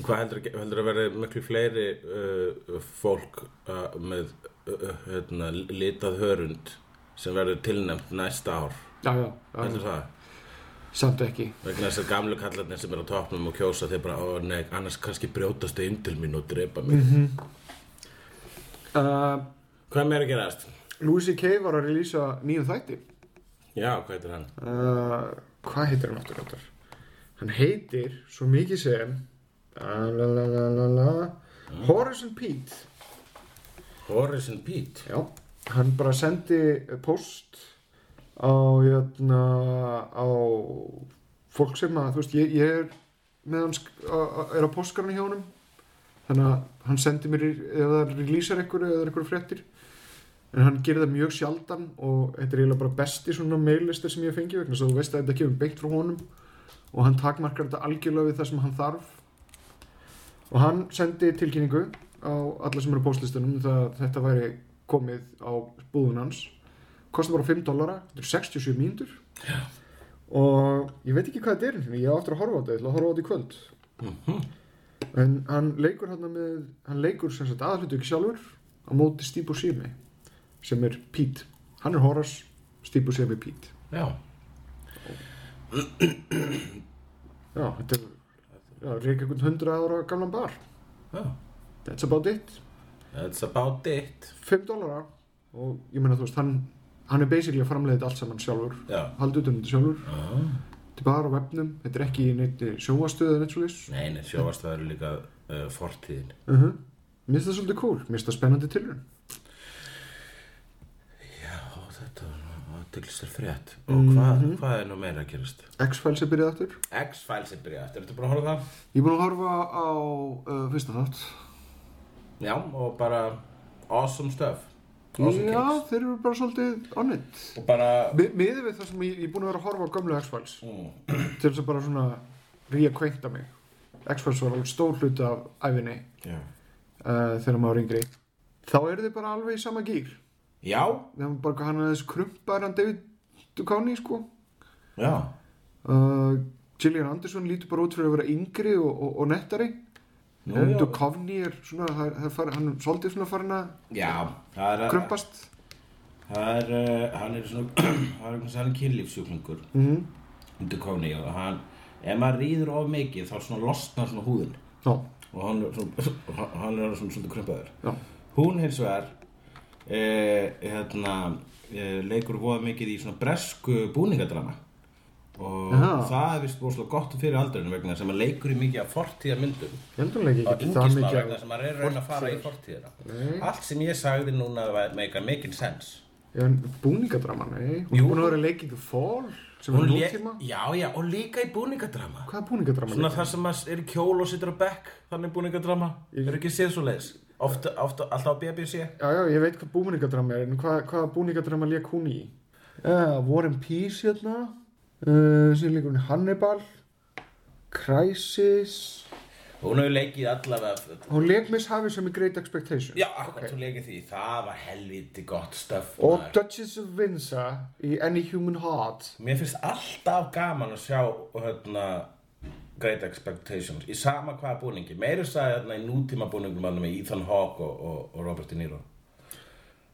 [SPEAKER 2] hvað heldur, heldur að verði miklu fleiri uh, fólk uh, með uh, uh, hérna, litað hörund sem verður tilnæmt næsta ár
[SPEAKER 1] já, já, já, já.
[SPEAKER 2] heldur það?
[SPEAKER 1] samt ekki
[SPEAKER 2] vegna þessar gamlu kallarnir sem er á topnum og kjósa þeir bara, ó nei, annars kannski brjótast þau inn til mín og drepa mig
[SPEAKER 1] Mhm. uh,
[SPEAKER 2] hvað er meira að gerast?
[SPEAKER 1] Louis C.K. var að relýsa nýjum þætti
[SPEAKER 2] já, hvað heitir hann?
[SPEAKER 1] uh, hvað heitir hann aftur reyndar? hann heitir svo mikið sem ah, la, la, la, la, la, Horizon Pete
[SPEAKER 2] Horizon Pete
[SPEAKER 1] já, hann bara sendi post á jötna, á fólk sem að, þú veist, ég, ég er með hann, sk- á- á- er á postkarnu hjá honum þannig að hann sendi mér í- ef það releasar einhverju eða einhverju fréttir en hann gerir það mjög sjaldan og þetta er eiginlega bara besti svona maillistir sem ég hef fengið vegna þess að þú veist að þetta kemur beint frá honum og hann takmarkar þetta algjörlega við það sem hann þarf og hann sendi tilkynningu á alla sem eru á postlistunum það að þetta væri komið á búðun hans kostar bara 5 dollara, þetta er 67 mínútur og ég veit ekki hvað þetta er en ég á aftur að horfa á þetta, ég ætla að horfa á þetta í kvöld en hann leikur hann með, hann leikur sem sagt aðhlutu ekki sjálfur á móti Steve Buscemi sem er Pete hann er Horace, Steve Buscemi er Pete
[SPEAKER 2] já,
[SPEAKER 1] já, þetta er já, reik einhvern 100 ára gamlan bar
[SPEAKER 2] já
[SPEAKER 1] that's about it,
[SPEAKER 2] that's about it
[SPEAKER 1] 5 dollara og ég meina þú veist, hann hann er basically að framleiða þetta allt saman sjálfur
[SPEAKER 2] já,
[SPEAKER 1] haldið utan um þetta sjálfur
[SPEAKER 2] ah.
[SPEAKER 1] Þetta er bara á vefnum, þetta er ekki í neitt sjóastöðu eða neitt svo lís.
[SPEAKER 2] nei, nei, sjóast það eru líka uh, fortíðin
[SPEAKER 1] Uh -huh. Mér finnst það svolítið cool, mér finnst það spennandi tilrun.
[SPEAKER 2] já, þetta var aðteglistar frétt og hvað, hvað er nú meira að gerast?
[SPEAKER 1] X-Files er byrjað aftur.
[SPEAKER 2] X-Files er byrjað, ertu búin að horfa á það?
[SPEAKER 1] Ég er búin að horfa á uh, fyrsta þátt.
[SPEAKER 2] já, og bara awesome stuff awesome
[SPEAKER 1] Já,
[SPEAKER 2] kicks.
[SPEAKER 1] þeir eru bara svolítið on it.
[SPEAKER 2] og bara
[SPEAKER 1] Mi- Miðið við það sem ég, ég er búin að vera að horfa á gamlu X-Files
[SPEAKER 2] mm,
[SPEAKER 1] til þess að bara svona reacquainta mig. X-Files var alveg stór hluti af æfinni
[SPEAKER 2] já.
[SPEAKER 1] uh, þegar maður var yngri. Þá eru þið bara alveg í sama gýr.
[SPEAKER 2] já,
[SPEAKER 1] Þegar maður bara hann er þessi krumpaður hann David Duchovny sko.
[SPEAKER 2] já
[SPEAKER 1] uh, Gillian Anderson lítur bara út fyrir að vera yngri og, og, og nettari
[SPEAKER 2] Nú,
[SPEAKER 1] en
[SPEAKER 2] já.
[SPEAKER 1] Duchovny er svona það, það far, hann er svolítið svona farin að
[SPEAKER 2] Já, það er
[SPEAKER 1] krumpast
[SPEAKER 2] Það er, uh, hann er svona, það er einhvern sann kynlífsjúklingur
[SPEAKER 1] mm
[SPEAKER 2] undir kofni og hann, ef maður rýður of mikið þá svona losnar svona húðin
[SPEAKER 1] já,
[SPEAKER 2] og hann, er svona, hann er svona svona krumpaður.
[SPEAKER 1] já,
[SPEAKER 2] Hún hins vegar, uh, hérna, uh, leikur voða mikið í svona bresku búningadrama og
[SPEAKER 1] Aha.
[SPEAKER 2] það er vist búið svona gott fyrir aldurinn vegna sem að leikur í mikið af fortíða myndum
[SPEAKER 1] ég heldur hann ekki
[SPEAKER 2] á
[SPEAKER 1] ekki það
[SPEAKER 2] yngismá
[SPEAKER 1] mikið
[SPEAKER 2] vegna
[SPEAKER 1] að-
[SPEAKER 2] sem maður er að reyna að fara í fortíðina.
[SPEAKER 1] Nei.
[SPEAKER 2] Allt sem ég sagði núna var- meikar mikinn sens.
[SPEAKER 1] Já, en búningadrama, nei hún
[SPEAKER 2] Jú.
[SPEAKER 1] er búin að vera leikið The Fall sem
[SPEAKER 2] Hún
[SPEAKER 1] er
[SPEAKER 2] le-
[SPEAKER 1] nútíma
[SPEAKER 2] Já, já, og líka í búningadrama
[SPEAKER 1] hvað er búningadrama?
[SPEAKER 2] Svona
[SPEAKER 1] leikið?
[SPEAKER 2] það sem maður er í kjól og situr á bekk Þannig búningadrama Er ekki séð svo leiðis Ofta, ofta, alltaf á BBC
[SPEAKER 1] já, já, ég veit hvað búningadrama er en hvað, hvað búningadrama leik hún í? Uh, War and Peace hérna uh, sem leikur hún í Hannibal Crisis
[SPEAKER 2] Hún hefur leikið allavega
[SPEAKER 1] hún leik Miss Havis sem í Great Expectations
[SPEAKER 2] Já, akkurat hún leikið því Það var helviti gott stöf
[SPEAKER 1] Og Duchess of Windsor í Any Human Heart
[SPEAKER 2] Mér finnst alltaf gaman að sjá hérna, Great Expectations Í sama hvaða búningi Meira sagði hérna í nútíma búningum Þannig með Ethan Hawke og, og, og Robert De Niro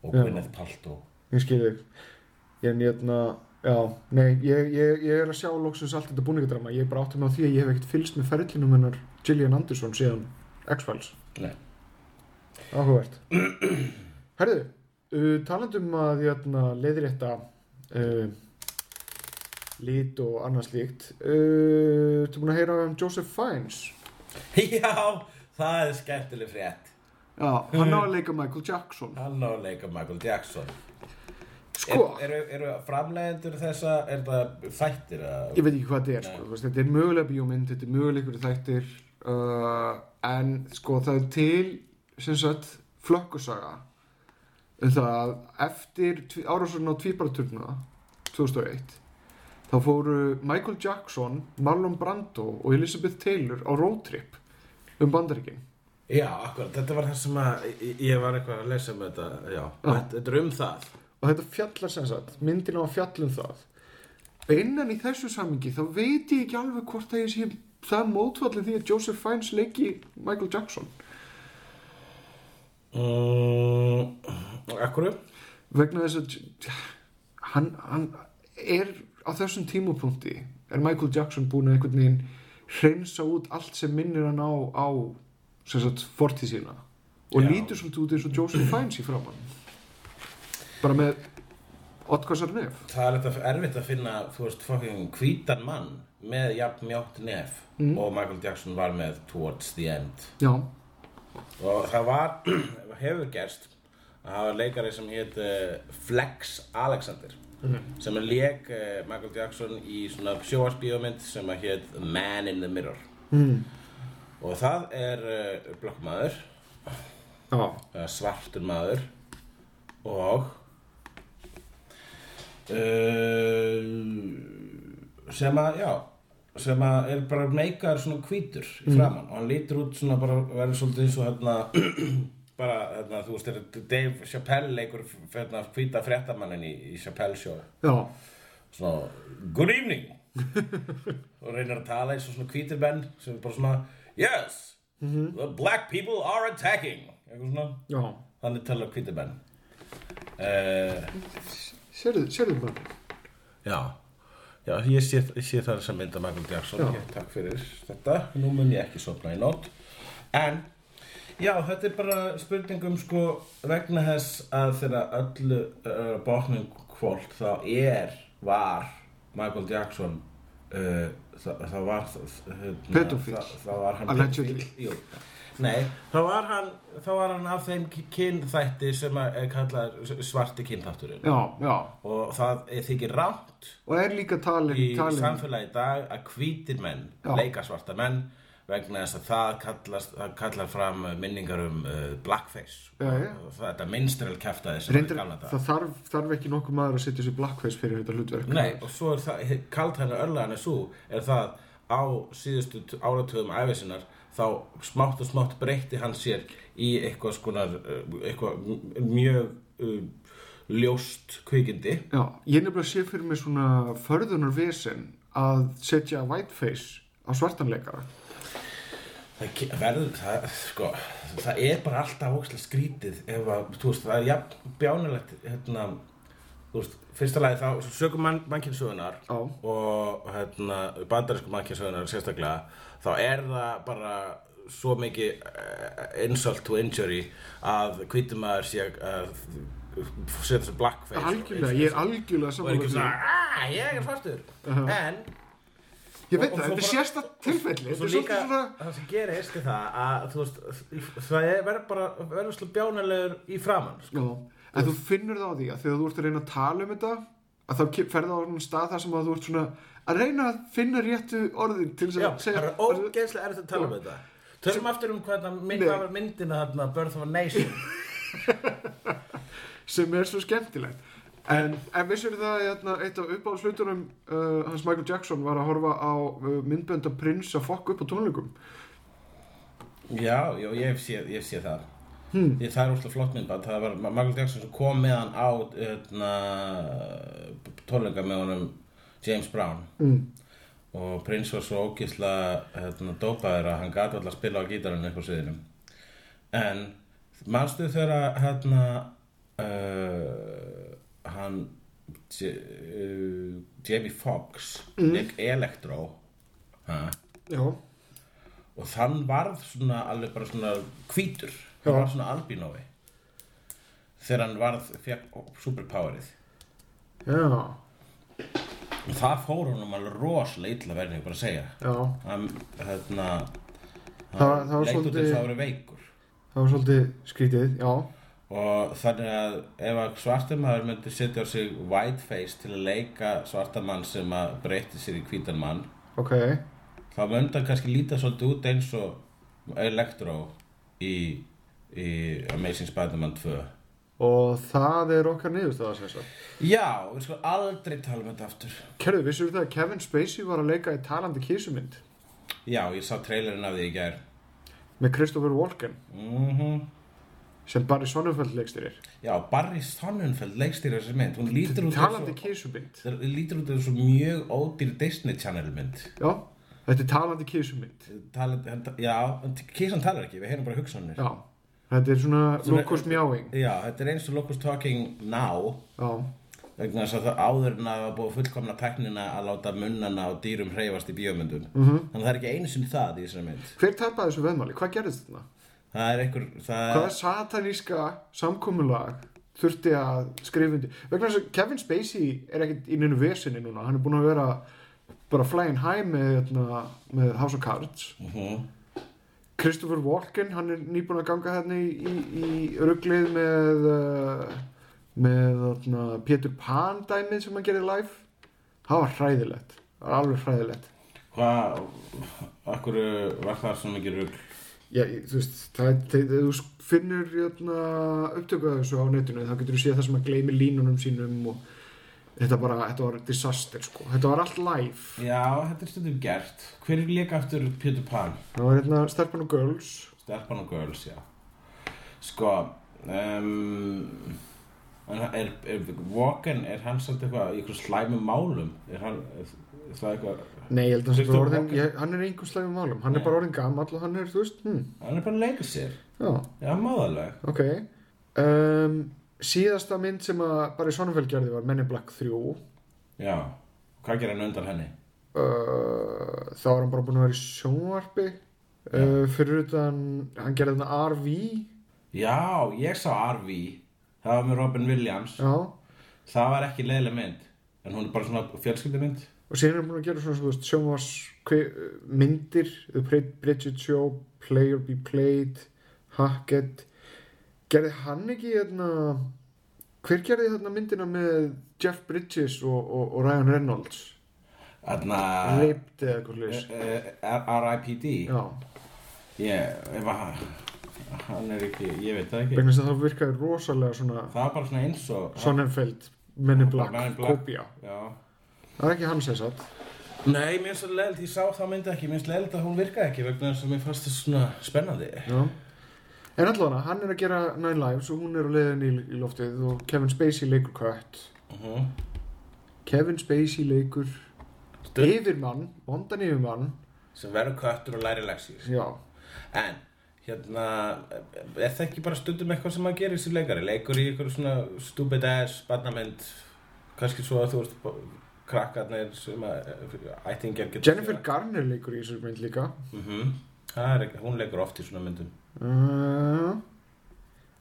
[SPEAKER 2] Og Gwyneth Paltrow
[SPEAKER 1] Ég skil þig Ég er nýðna Já, nei, ég, ég, ég er að sjá loksins allt þetta búningadrama Ég er bara átti með á því að ég hef ekkert fylgst með ferðlinum hennar Gillian Anderson síðan X-Files
[SPEAKER 2] Nei
[SPEAKER 1] Áhugavert Herðu, uh, talandum að jötna, leiðrétta uh, lit og annað slíkt uh, Þú búin að heyra um Joseph Fiennes
[SPEAKER 2] Já, það er skemmtileg frétt
[SPEAKER 1] Já, hann á að leika Michael Jackson
[SPEAKER 2] Hann á að leika Michael Jackson
[SPEAKER 1] Sko.
[SPEAKER 2] Er- Eru er, framleiðendur þessa, er það þættir að...
[SPEAKER 1] ég veit ekki hvað þetta er sko. þú veist, þetta er mögulega bíómynd, þetta er mögulega ykkur þættir uh, en sko það er til sem sagt flökkusaga um það að eftir árásurinn á tvíbaraturna 2001 þá fóru Michael Jackson, Marlon Brando og Elizabeth Taylor á roadtrip um bandaríkin
[SPEAKER 2] Já, akkurat, þetta var það sem að ég- ég var eitthvað að lesa um þetta, já, Þetta, þetta er um það.
[SPEAKER 1] og þetta fjallar sem sagt, myndin á að fjalla um það innan í þessu samingi þá veit ég ekki alveg hvort það ég sé það mótfallið því að Joseph Fiennes leiki Michael Jackson
[SPEAKER 2] Mm, akkurat,
[SPEAKER 1] vegna þess að j- hann, hann er á þessum tímupunkti er Michael Jackson búin að einhvern veginn hreinsa út allt sem minnir hann á, á sem sagt, fortíð sína og
[SPEAKER 2] Já.
[SPEAKER 1] lítur svolítið út eins og Joseph Fiennes í framann bara með Otkvassar nef
[SPEAKER 2] það er þetta erfitt að finna, þú veist, fucking hvítan mann með jafn mjótt nef og Michael Jackson var með Towards the End.
[SPEAKER 1] já,
[SPEAKER 2] og það var hefur gerst að það var leikari sem hétt uh, Flex Alexander sem er leik uh, Michael Jackson í svona sjóarsbíómynd sem að hétt Man in the Mirror mm. og það er uh, blokkmaður
[SPEAKER 1] já,
[SPEAKER 2] uh, svartur maður og uh, eh, sem að, já sem að er bara meikaður svona hvítur í framann og hann lítur út svona bara verður svolítið eins og hérna bara, hérna, þú veist, er Dave Chappelle leikur hérna, hvíta fréttamannin í, í Chappelle sjóðu
[SPEAKER 1] já,
[SPEAKER 2] svona good evening og reynir að tala eins og svona hvítir menn sem er bara svona yes, the black people are attacking eitthvað svona
[SPEAKER 1] já
[SPEAKER 2] þannig tala hvítir menn uh,
[SPEAKER 1] sérðu, sérðu bara
[SPEAKER 2] já já, ég sé, ég sé það sem mynda Michael Jackson
[SPEAKER 1] Já.
[SPEAKER 2] ég, takk fyrir þetta, nú mun ég ekki sopna í nótt en Já, þetta er bara spurningum sko vegna þess að þegar öllu uh, bóknum hvort þá er, var Michael Jackson uh, það, það var hérna,
[SPEAKER 1] Pedófíll.
[SPEAKER 2] það, það var hann
[SPEAKER 1] Allegedly.
[SPEAKER 2] pedófíll, jú. Nei, þá var, hann, þá var hann af þeim kynþætti sem að er kallar svarti kynþátturinn
[SPEAKER 1] já, já,
[SPEAKER 2] og það er þykir rámt
[SPEAKER 1] og er líka talin,
[SPEAKER 2] í
[SPEAKER 1] talin
[SPEAKER 2] samfélagi í dag að hvítir menn
[SPEAKER 1] Já.
[SPEAKER 2] leika svarta menn vegna þess að það, kallast, það kallar fram uh, minningar um uh, blackface
[SPEAKER 1] Já, já.
[SPEAKER 2] Og það- þetta minnstrel kæftaði sem
[SPEAKER 1] reyndar,
[SPEAKER 2] var í gamla daga.
[SPEAKER 1] það þarf, þarf ekki nokkuð maður að setja sér blackface fyrir þetta hlutverk
[SPEAKER 2] Nei, og svo er það, kalt hennar örlaðan er svo, er það á síðustu t- áratugum æfisinnar þá smátt og smátt breytti hann sér í eitthvað skonar, uh, eitthvað m- mjög uh, ljóst kvikindi.
[SPEAKER 1] Já, ég nefnilega sé fyrir mig svona förðunar vesen að setja whiteface á svartanleikara.
[SPEAKER 2] Það ke- verður, það, sko, það er bara alltaf ókslega skrítið ef að, þú veist, það er jafn bjánulegt, hérna, þú veist, fyrsta lagi þá, sögum mann, mannkynsögunar
[SPEAKER 1] Já.
[SPEAKER 2] og, hérna, bandarísku mannkynsögunar sérstaklega, þá er það bara svo mikið uh, insult to injury að hvítum maður sé að setja þessu blackface. og-
[SPEAKER 1] Algjörlega, ég Uh-huh. er algjörlega
[SPEAKER 2] Og er
[SPEAKER 1] samanlega.
[SPEAKER 2] ekki svona, aaa, ég er svartur, en...
[SPEAKER 1] Ég veit
[SPEAKER 2] Og- og
[SPEAKER 1] það, þetta
[SPEAKER 2] svo
[SPEAKER 1] er
[SPEAKER 2] bara-
[SPEAKER 1] sérstætt tilfelli.
[SPEAKER 2] Svo
[SPEAKER 1] Þetta er
[SPEAKER 2] líka
[SPEAKER 1] svolítið svona,
[SPEAKER 2] það sem gerist er það að þú veist, það er- verður bara verður slá bjánulegur í framann sko.
[SPEAKER 1] já, en þú finnur það á því að þegar þú ert að reyna að tala um þetta, að þá ke- ferðu á svona stað þar sem að þú ert svona að reyna að finna réttu orðin til þess
[SPEAKER 2] Já,
[SPEAKER 1] að
[SPEAKER 2] það er ógeðslega erfitt að tala um þetta Tölum aftur um hvað það mynd,
[SPEAKER 1] Nei.
[SPEAKER 2] hvað var myndina þarna Birth of a Nation
[SPEAKER 1] sem er svo skemmtilegt en, en vissur það að hérna, eitt af uppáðslutunum uh, hans Michael Jackson var að horfa á uh, myndbönda prins að fokk upp á tónleikum
[SPEAKER 2] Já, já, ég sé, ég sé það hmm. ég, Það er úrslega flott mynd bara, það var Michael Jackson sem kom með hann á hérna, öðna, tónleika með honum James Brown mm. og Prince var svo ógislega öðna, dópaður að hann gat alltaf að spila á gítarinn upp á sviðinum en manstu þegar að, hérna uh, hann J uh, Jamie Foxx mm. leik Electro ha?
[SPEAKER 1] já
[SPEAKER 2] og þann varð svona alveg bara svona hvítur hann var svona albinói þegar hann varð fekk superpowerið
[SPEAKER 1] Já,
[SPEAKER 2] og það fór honum alveg rosalega illa verðin ég bara að segja
[SPEAKER 1] já,
[SPEAKER 2] hann, hérna,
[SPEAKER 1] það, það var
[SPEAKER 2] leit út
[SPEAKER 1] svolítið
[SPEAKER 2] eins og það voru veikur
[SPEAKER 1] það var svolítið skrítið, já
[SPEAKER 2] og og þannig að ef að svartamæður myndi setja á sig whiteface til að leika svartamann sem að breyti sér í hvítan mann
[SPEAKER 1] ok,
[SPEAKER 2] þá myndi hann kannski líta svolítið út eins og Electro í, í Amazing Spider-Man 2
[SPEAKER 1] og það er okkar niðurstaða sem sagt.
[SPEAKER 2] Já, við sko aldrei tala um þetta aftur
[SPEAKER 1] Kerðu, vissur það að Kevin Spacey var að leika í talandi kísumynd
[SPEAKER 2] Já, ég sá trailerinn af því í gær
[SPEAKER 1] með Christopher Walken
[SPEAKER 2] mhm
[SPEAKER 1] sem Barry Sonnenfeld leikstyrir
[SPEAKER 2] Já, Barry Sonnenfeld leikstýra þessi mynd hún lítur út
[SPEAKER 1] talandi kísumynd
[SPEAKER 2] svo, lítur út þessu mjög ódýr Disney Channel mynd
[SPEAKER 1] já, þetta er talandi kísumynd
[SPEAKER 2] talandi, hann, Já, en kísan talar ekki, við heyrum bara hugsanir
[SPEAKER 1] já, þetta er svona Lucas Mjáing
[SPEAKER 2] Já, þetta er eins og Locust Talking Now
[SPEAKER 1] já,
[SPEAKER 2] vegna þess að það áður en að það var búið fullkomna tæknina að láta munnana og dýrum hreyfast í bíómyndum -hmm.
[SPEAKER 1] Mhm.
[SPEAKER 2] þannig að það er ekki einu sinni það í þessari mynd
[SPEAKER 1] hver tapaði þessu veðmáli, hvað gerðist þarna?
[SPEAKER 2] það er einhver, það
[SPEAKER 1] hvaða sataníska samkomulag þurfti að skrifundi vegna þess að Kevin Spacey er ekkert í neinu vesinni núna, hann er búin að vera bara flying high með, hérna, með House of Cards
[SPEAKER 2] Mhm.
[SPEAKER 1] Christopher Walken, hann er nýbúin að ganga hérna í, í, í ruglið með uh, með þarna, Peter Pan dæmið sem hann gerði live það var hræðilegt, það var alveg hræðilegt
[SPEAKER 2] hvað akkur var það svona mikið rugl
[SPEAKER 1] Já, ég- þú veist, það er, þegar þú finnur jötna, upptöku af þessu á netinu þá getur þú séð það sem að gleymi línunum sínum og þetta bara, þetta var disaster sko, þetta var allt live
[SPEAKER 2] já, þetta er stundum gert hver er líka aftur Peter Pan?
[SPEAKER 1] það var hérna Stelpan og Girls
[SPEAKER 2] Stelpan og Girls, já sko um, en hann- er, er Walken, er hann samt eitthvað í eitthvað slæmi málum er hann, er, er það eitthvað
[SPEAKER 1] Nei, ég held að hann sé bara
[SPEAKER 2] Christopher
[SPEAKER 1] orðin,
[SPEAKER 2] Walken.
[SPEAKER 1] ég, hann er í einhver slæmi málum hann
[SPEAKER 2] Já.
[SPEAKER 1] er bara orðin gamall og hann er, þú veist, hm,
[SPEAKER 2] hann er bara að leika sér
[SPEAKER 1] já,
[SPEAKER 2] já, máðalega
[SPEAKER 1] ok um, Síðasta mynd sem að bara í Sonnenfell gerði var Men in Black 3 uh,
[SPEAKER 2] já, hvað gerir hann undan henni?
[SPEAKER 1] þá var hann bara búin að vera í sjónvarpi uh, fyrir utan, hann gerði þarna RV
[SPEAKER 2] já, ég sá RV það var með Robin Williams
[SPEAKER 1] Já,
[SPEAKER 2] það var ekki leiðileg mynd en hún er bara svona fjölskyldumynd
[SPEAKER 1] og síðan er búin að gera svona, svona sjónvars kve- myndir The Brid- Bridget Show, Player Be Played Hackett gerði hann ekki hérna hver gerði þarna myndina með Jeff Bridges og, og, og Ryan Reynolds
[SPEAKER 2] þarna
[SPEAKER 1] Ripped eða eitthvað hlust
[SPEAKER 2] Ah. eh, eh, R.I.P.D.
[SPEAKER 1] Já,
[SPEAKER 2] ég, ef að hann er ekki, ég veit það ekki
[SPEAKER 1] vegna þess að það virkaði rosalega svona
[SPEAKER 2] Það var bara svona eins og
[SPEAKER 1] Sonnenfeld, Men in Black,
[SPEAKER 2] Men in Black.
[SPEAKER 1] Kópía
[SPEAKER 2] Já
[SPEAKER 1] Það er ekki hann sem sagt
[SPEAKER 2] Nei, mér finnst það leiðilegt, ég sá það myndi ekki, mér finnst leiðilegt að hún virkaði ekki vegna þess að mér fannst það svona spennandi
[SPEAKER 1] Já. En allavega, hann er að gera Nine Lives og hún er á leiðin í, í loftið og Kevin Spacey leikur kött
[SPEAKER 2] uh -huh.
[SPEAKER 1] Kevin Spacey leikur
[SPEAKER 2] Stund.
[SPEAKER 1] yfirmann, vondan yfirmann
[SPEAKER 2] sem verður köttur og læri leksir
[SPEAKER 1] já,
[SPEAKER 2] En, hérna, er það ekki bara stundum eitthvað sem að gera þessi leikari? Leikur í eitthvað svona stupid ass, barnamynd, kannski svo að þú ert bó- krakkarnir sem að ættingjar getur
[SPEAKER 1] Jennifer Garner leikur í þessari mynd líka
[SPEAKER 2] mm Það er ekki, hún leikur oft í svona myndum
[SPEAKER 1] uh,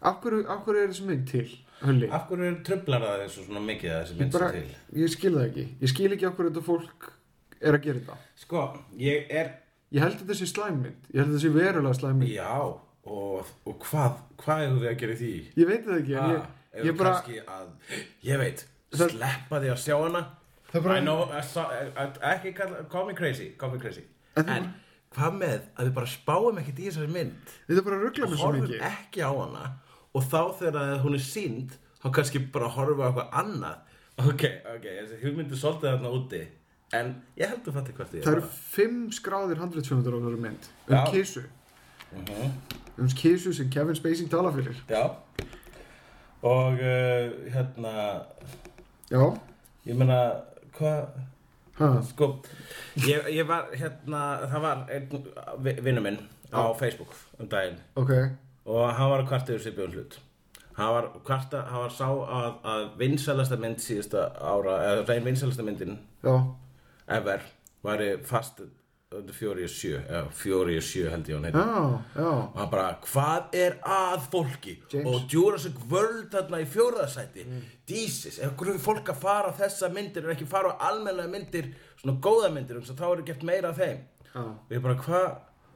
[SPEAKER 1] af, hverju, af hverju er þessi mynd til Hulli,
[SPEAKER 2] Af hverju er tröflar það þessu svona mikið að þessi
[SPEAKER 1] ég,
[SPEAKER 2] mynd
[SPEAKER 1] bara,
[SPEAKER 2] sem til?
[SPEAKER 1] ég skil það ekki ég skil ekki af hverju þetta fólk er að gera þetta
[SPEAKER 2] Sko, ég er
[SPEAKER 1] ég held að þetta sé slæmmynd, ég held að þetta sé verulega slæmmynd
[SPEAKER 2] Já, og, og hvað, hvað hefur við að gera í því?
[SPEAKER 1] ég veit það ekki,
[SPEAKER 2] Ah,
[SPEAKER 1] en ég,
[SPEAKER 2] ef
[SPEAKER 1] ég bara
[SPEAKER 2] kannski að, ég veit,
[SPEAKER 1] Það-
[SPEAKER 2] sleppa því að sjá hana
[SPEAKER 1] Það bara-
[SPEAKER 2] I know, I saw, I, ekki kalla, call me crazy, call me crazy
[SPEAKER 1] En
[SPEAKER 2] En,
[SPEAKER 1] þú-
[SPEAKER 2] hvað með að við bara spáum ekkert í þessari mynd
[SPEAKER 1] þetta er bara að ruggla
[SPEAKER 2] og
[SPEAKER 1] mig svo
[SPEAKER 2] horfum
[SPEAKER 1] mikið
[SPEAKER 2] ekki á hana og þá þegar að hún er sínd þá kannski bara horfum við á eitthvað annað Ok, ok, þessi hugmyndu svolítið þarna úti En ég held að fatta hvert ég
[SPEAKER 1] það eru fimm skráðir handritsfjöndar á þessari mynd um
[SPEAKER 2] Já.
[SPEAKER 1] kísu,
[SPEAKER 2] Mhm.
[SPEAKER 1] um kísu sem Kevin Spacey tala fyrir
[SPEAKER 2] Já Og uh, hérna
[SPEAKER 1] já,
[SPEAKER 2] Ég meina Hvað
[SPEAKER 1] hæ
[SPEAKER 2] Sko ég, ég var hérna Það var einn vi- vinur minn Á Facebook um daginn
[SPEAKER 1] Ok,
[SPEAKER 2] Og hann var að kvarta yfir Sibjón hlut Hann var að kvarta, hann var að sá að, að vinsælasta mynd síðasta ára eða reyn vinsælasta myndin
[SPEAKER 1] já,
[SPEAKER 2] ever væri fast fjóri og sjö, eða fjóri og sjö held ég hún heiti
[SPEAKER 1] já, já,
[SPEAKER 2] og hann bara, hvað er að fólki
[SPEAKER 1] James.
[SPEAKER 2] og Jurassic World þarna í fjóraðasæti mm. Jesus, ef hverju fólk að fara á þessa myndir en ekki fara á almennlega myndir svona góða myndir, um, þá eru gert meira af þeim
[SPEAKER 1] já,
[SPEAKER 2] og ég bara, hvað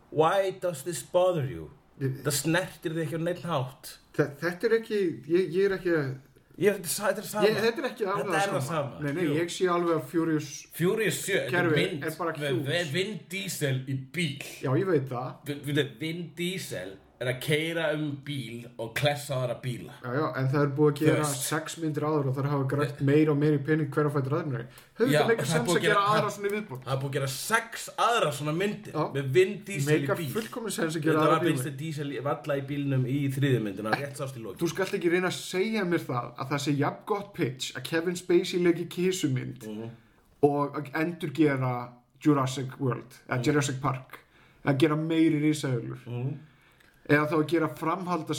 [SPEAKER 2] why does this bother you það snertir þig ekki á neitt hátt
[SPEAKER 1] Þe- Þetta er ekki, ég, ég er ekki að-
[SPEAKER 2] ég, þetta er sama
[SPEAKER 1] ég, Þetta er ekki alveg
[SPEAKER 2] Þetta er það sama.
[SPEAKER 1] Nei, nei,
[SPEAKER 2] Jú.
[SPEAKER 1] ég sé alveg að Furious
[SPEAKER 2] Furious 7 þetta er
[SPEAKER 1] Kerfið
[SPEAKER 2] vind,
[SPEAKER 1] er bara
[SPEAKER 2] með-
[SPEAKER 1] huge.
[SPEAKER 2] með Vin Diesel í bíl
[SPEAKER 1] Já, ég veit það
[SPEAKER 2] Vi- við- Vin Diesel er að keira um bíl og klessa aðra bíla
[SPEAKER 1] Já, já, en það er búið að gera
[SPEAKER 2] veist.
[SPEAKER 1] sex myndir áður og það er að hafa grætt meira og meira í pening hver að fæta ræðinari. Hefur
[SPEAKER 2] Já,
[SPEAKER 1] þetta leikar
[SPEAKER 2] það er
[SPEAKER 1] sens
[SPEAKER 2] búið
[SPEAKER 1] að
[SPEAKER 2] að
[SPEAKER 1] gera
[SPEAKER 2] gera-
[SPEAKER 1] aðra svona í viðbúin?
[SPEAKER 2] það er búið að gera sex aðra svona myndir
[SPEAKER 1] Já.
[SPEAKER 2] með Vin Diesel
[SPEAKER 1] Meikar
[SPEAKER 2] í bíl
[SPEAKER 1] fullkomin sens að gera
[SPEAKER 2] þetta
[SPEAKER 1] aðra
[SPEAKER 2] var
[SPEAKER 1] bílum.
[SPEAKER 2] Vin Diesel í- valla í bílnum í þriðjumyndina rétt sást í lóki
[SPEAKER 1] Þú skalt ekki reyna að segja mér það að það sé jafn gott pitch að Kevin Spacey leiki kísumynd og að endur gera Jurassic World, eða Jurassic Park að gera meiri rísauglur eða þá að gera framhalda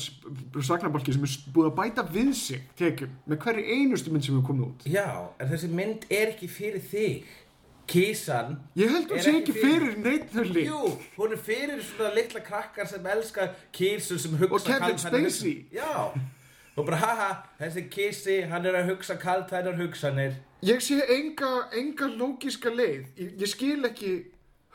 [SPEAKER 1] saknabalki sem er s- búið að bæta við sig tekjum með hverju einustu mynd sem er komið út
[SPEAKER 2] já, en þessi mynd er ekki fyrir þig kísan
[SPEAKER 1] ég held
[SPEAKER 2] Er
[SPEAKER 1] að sé
[SPEAKER 2] ekki
[SPEAKER 1] ekki
[SPEAKER 2] fyrir-
[SPEAKER 1] fyrir neitt þau lík
[SPEAKER 2] Jú, hún er fyrir svona litla krakkar sem elska kísu sem hugsa
[SPEAKER 1] Og Kevin
[SPEAKER 2] kaldhæðnar hugsanir.
[SPEAKER 1] Spacey.
[SPEAKER 2] Já, og bara haha, þessi kísi, hann er að hugsa kaltænar hugsanir
[SPEAKER 1] Ég sé enga, enga lógiska leið. Ég, ég skil ekki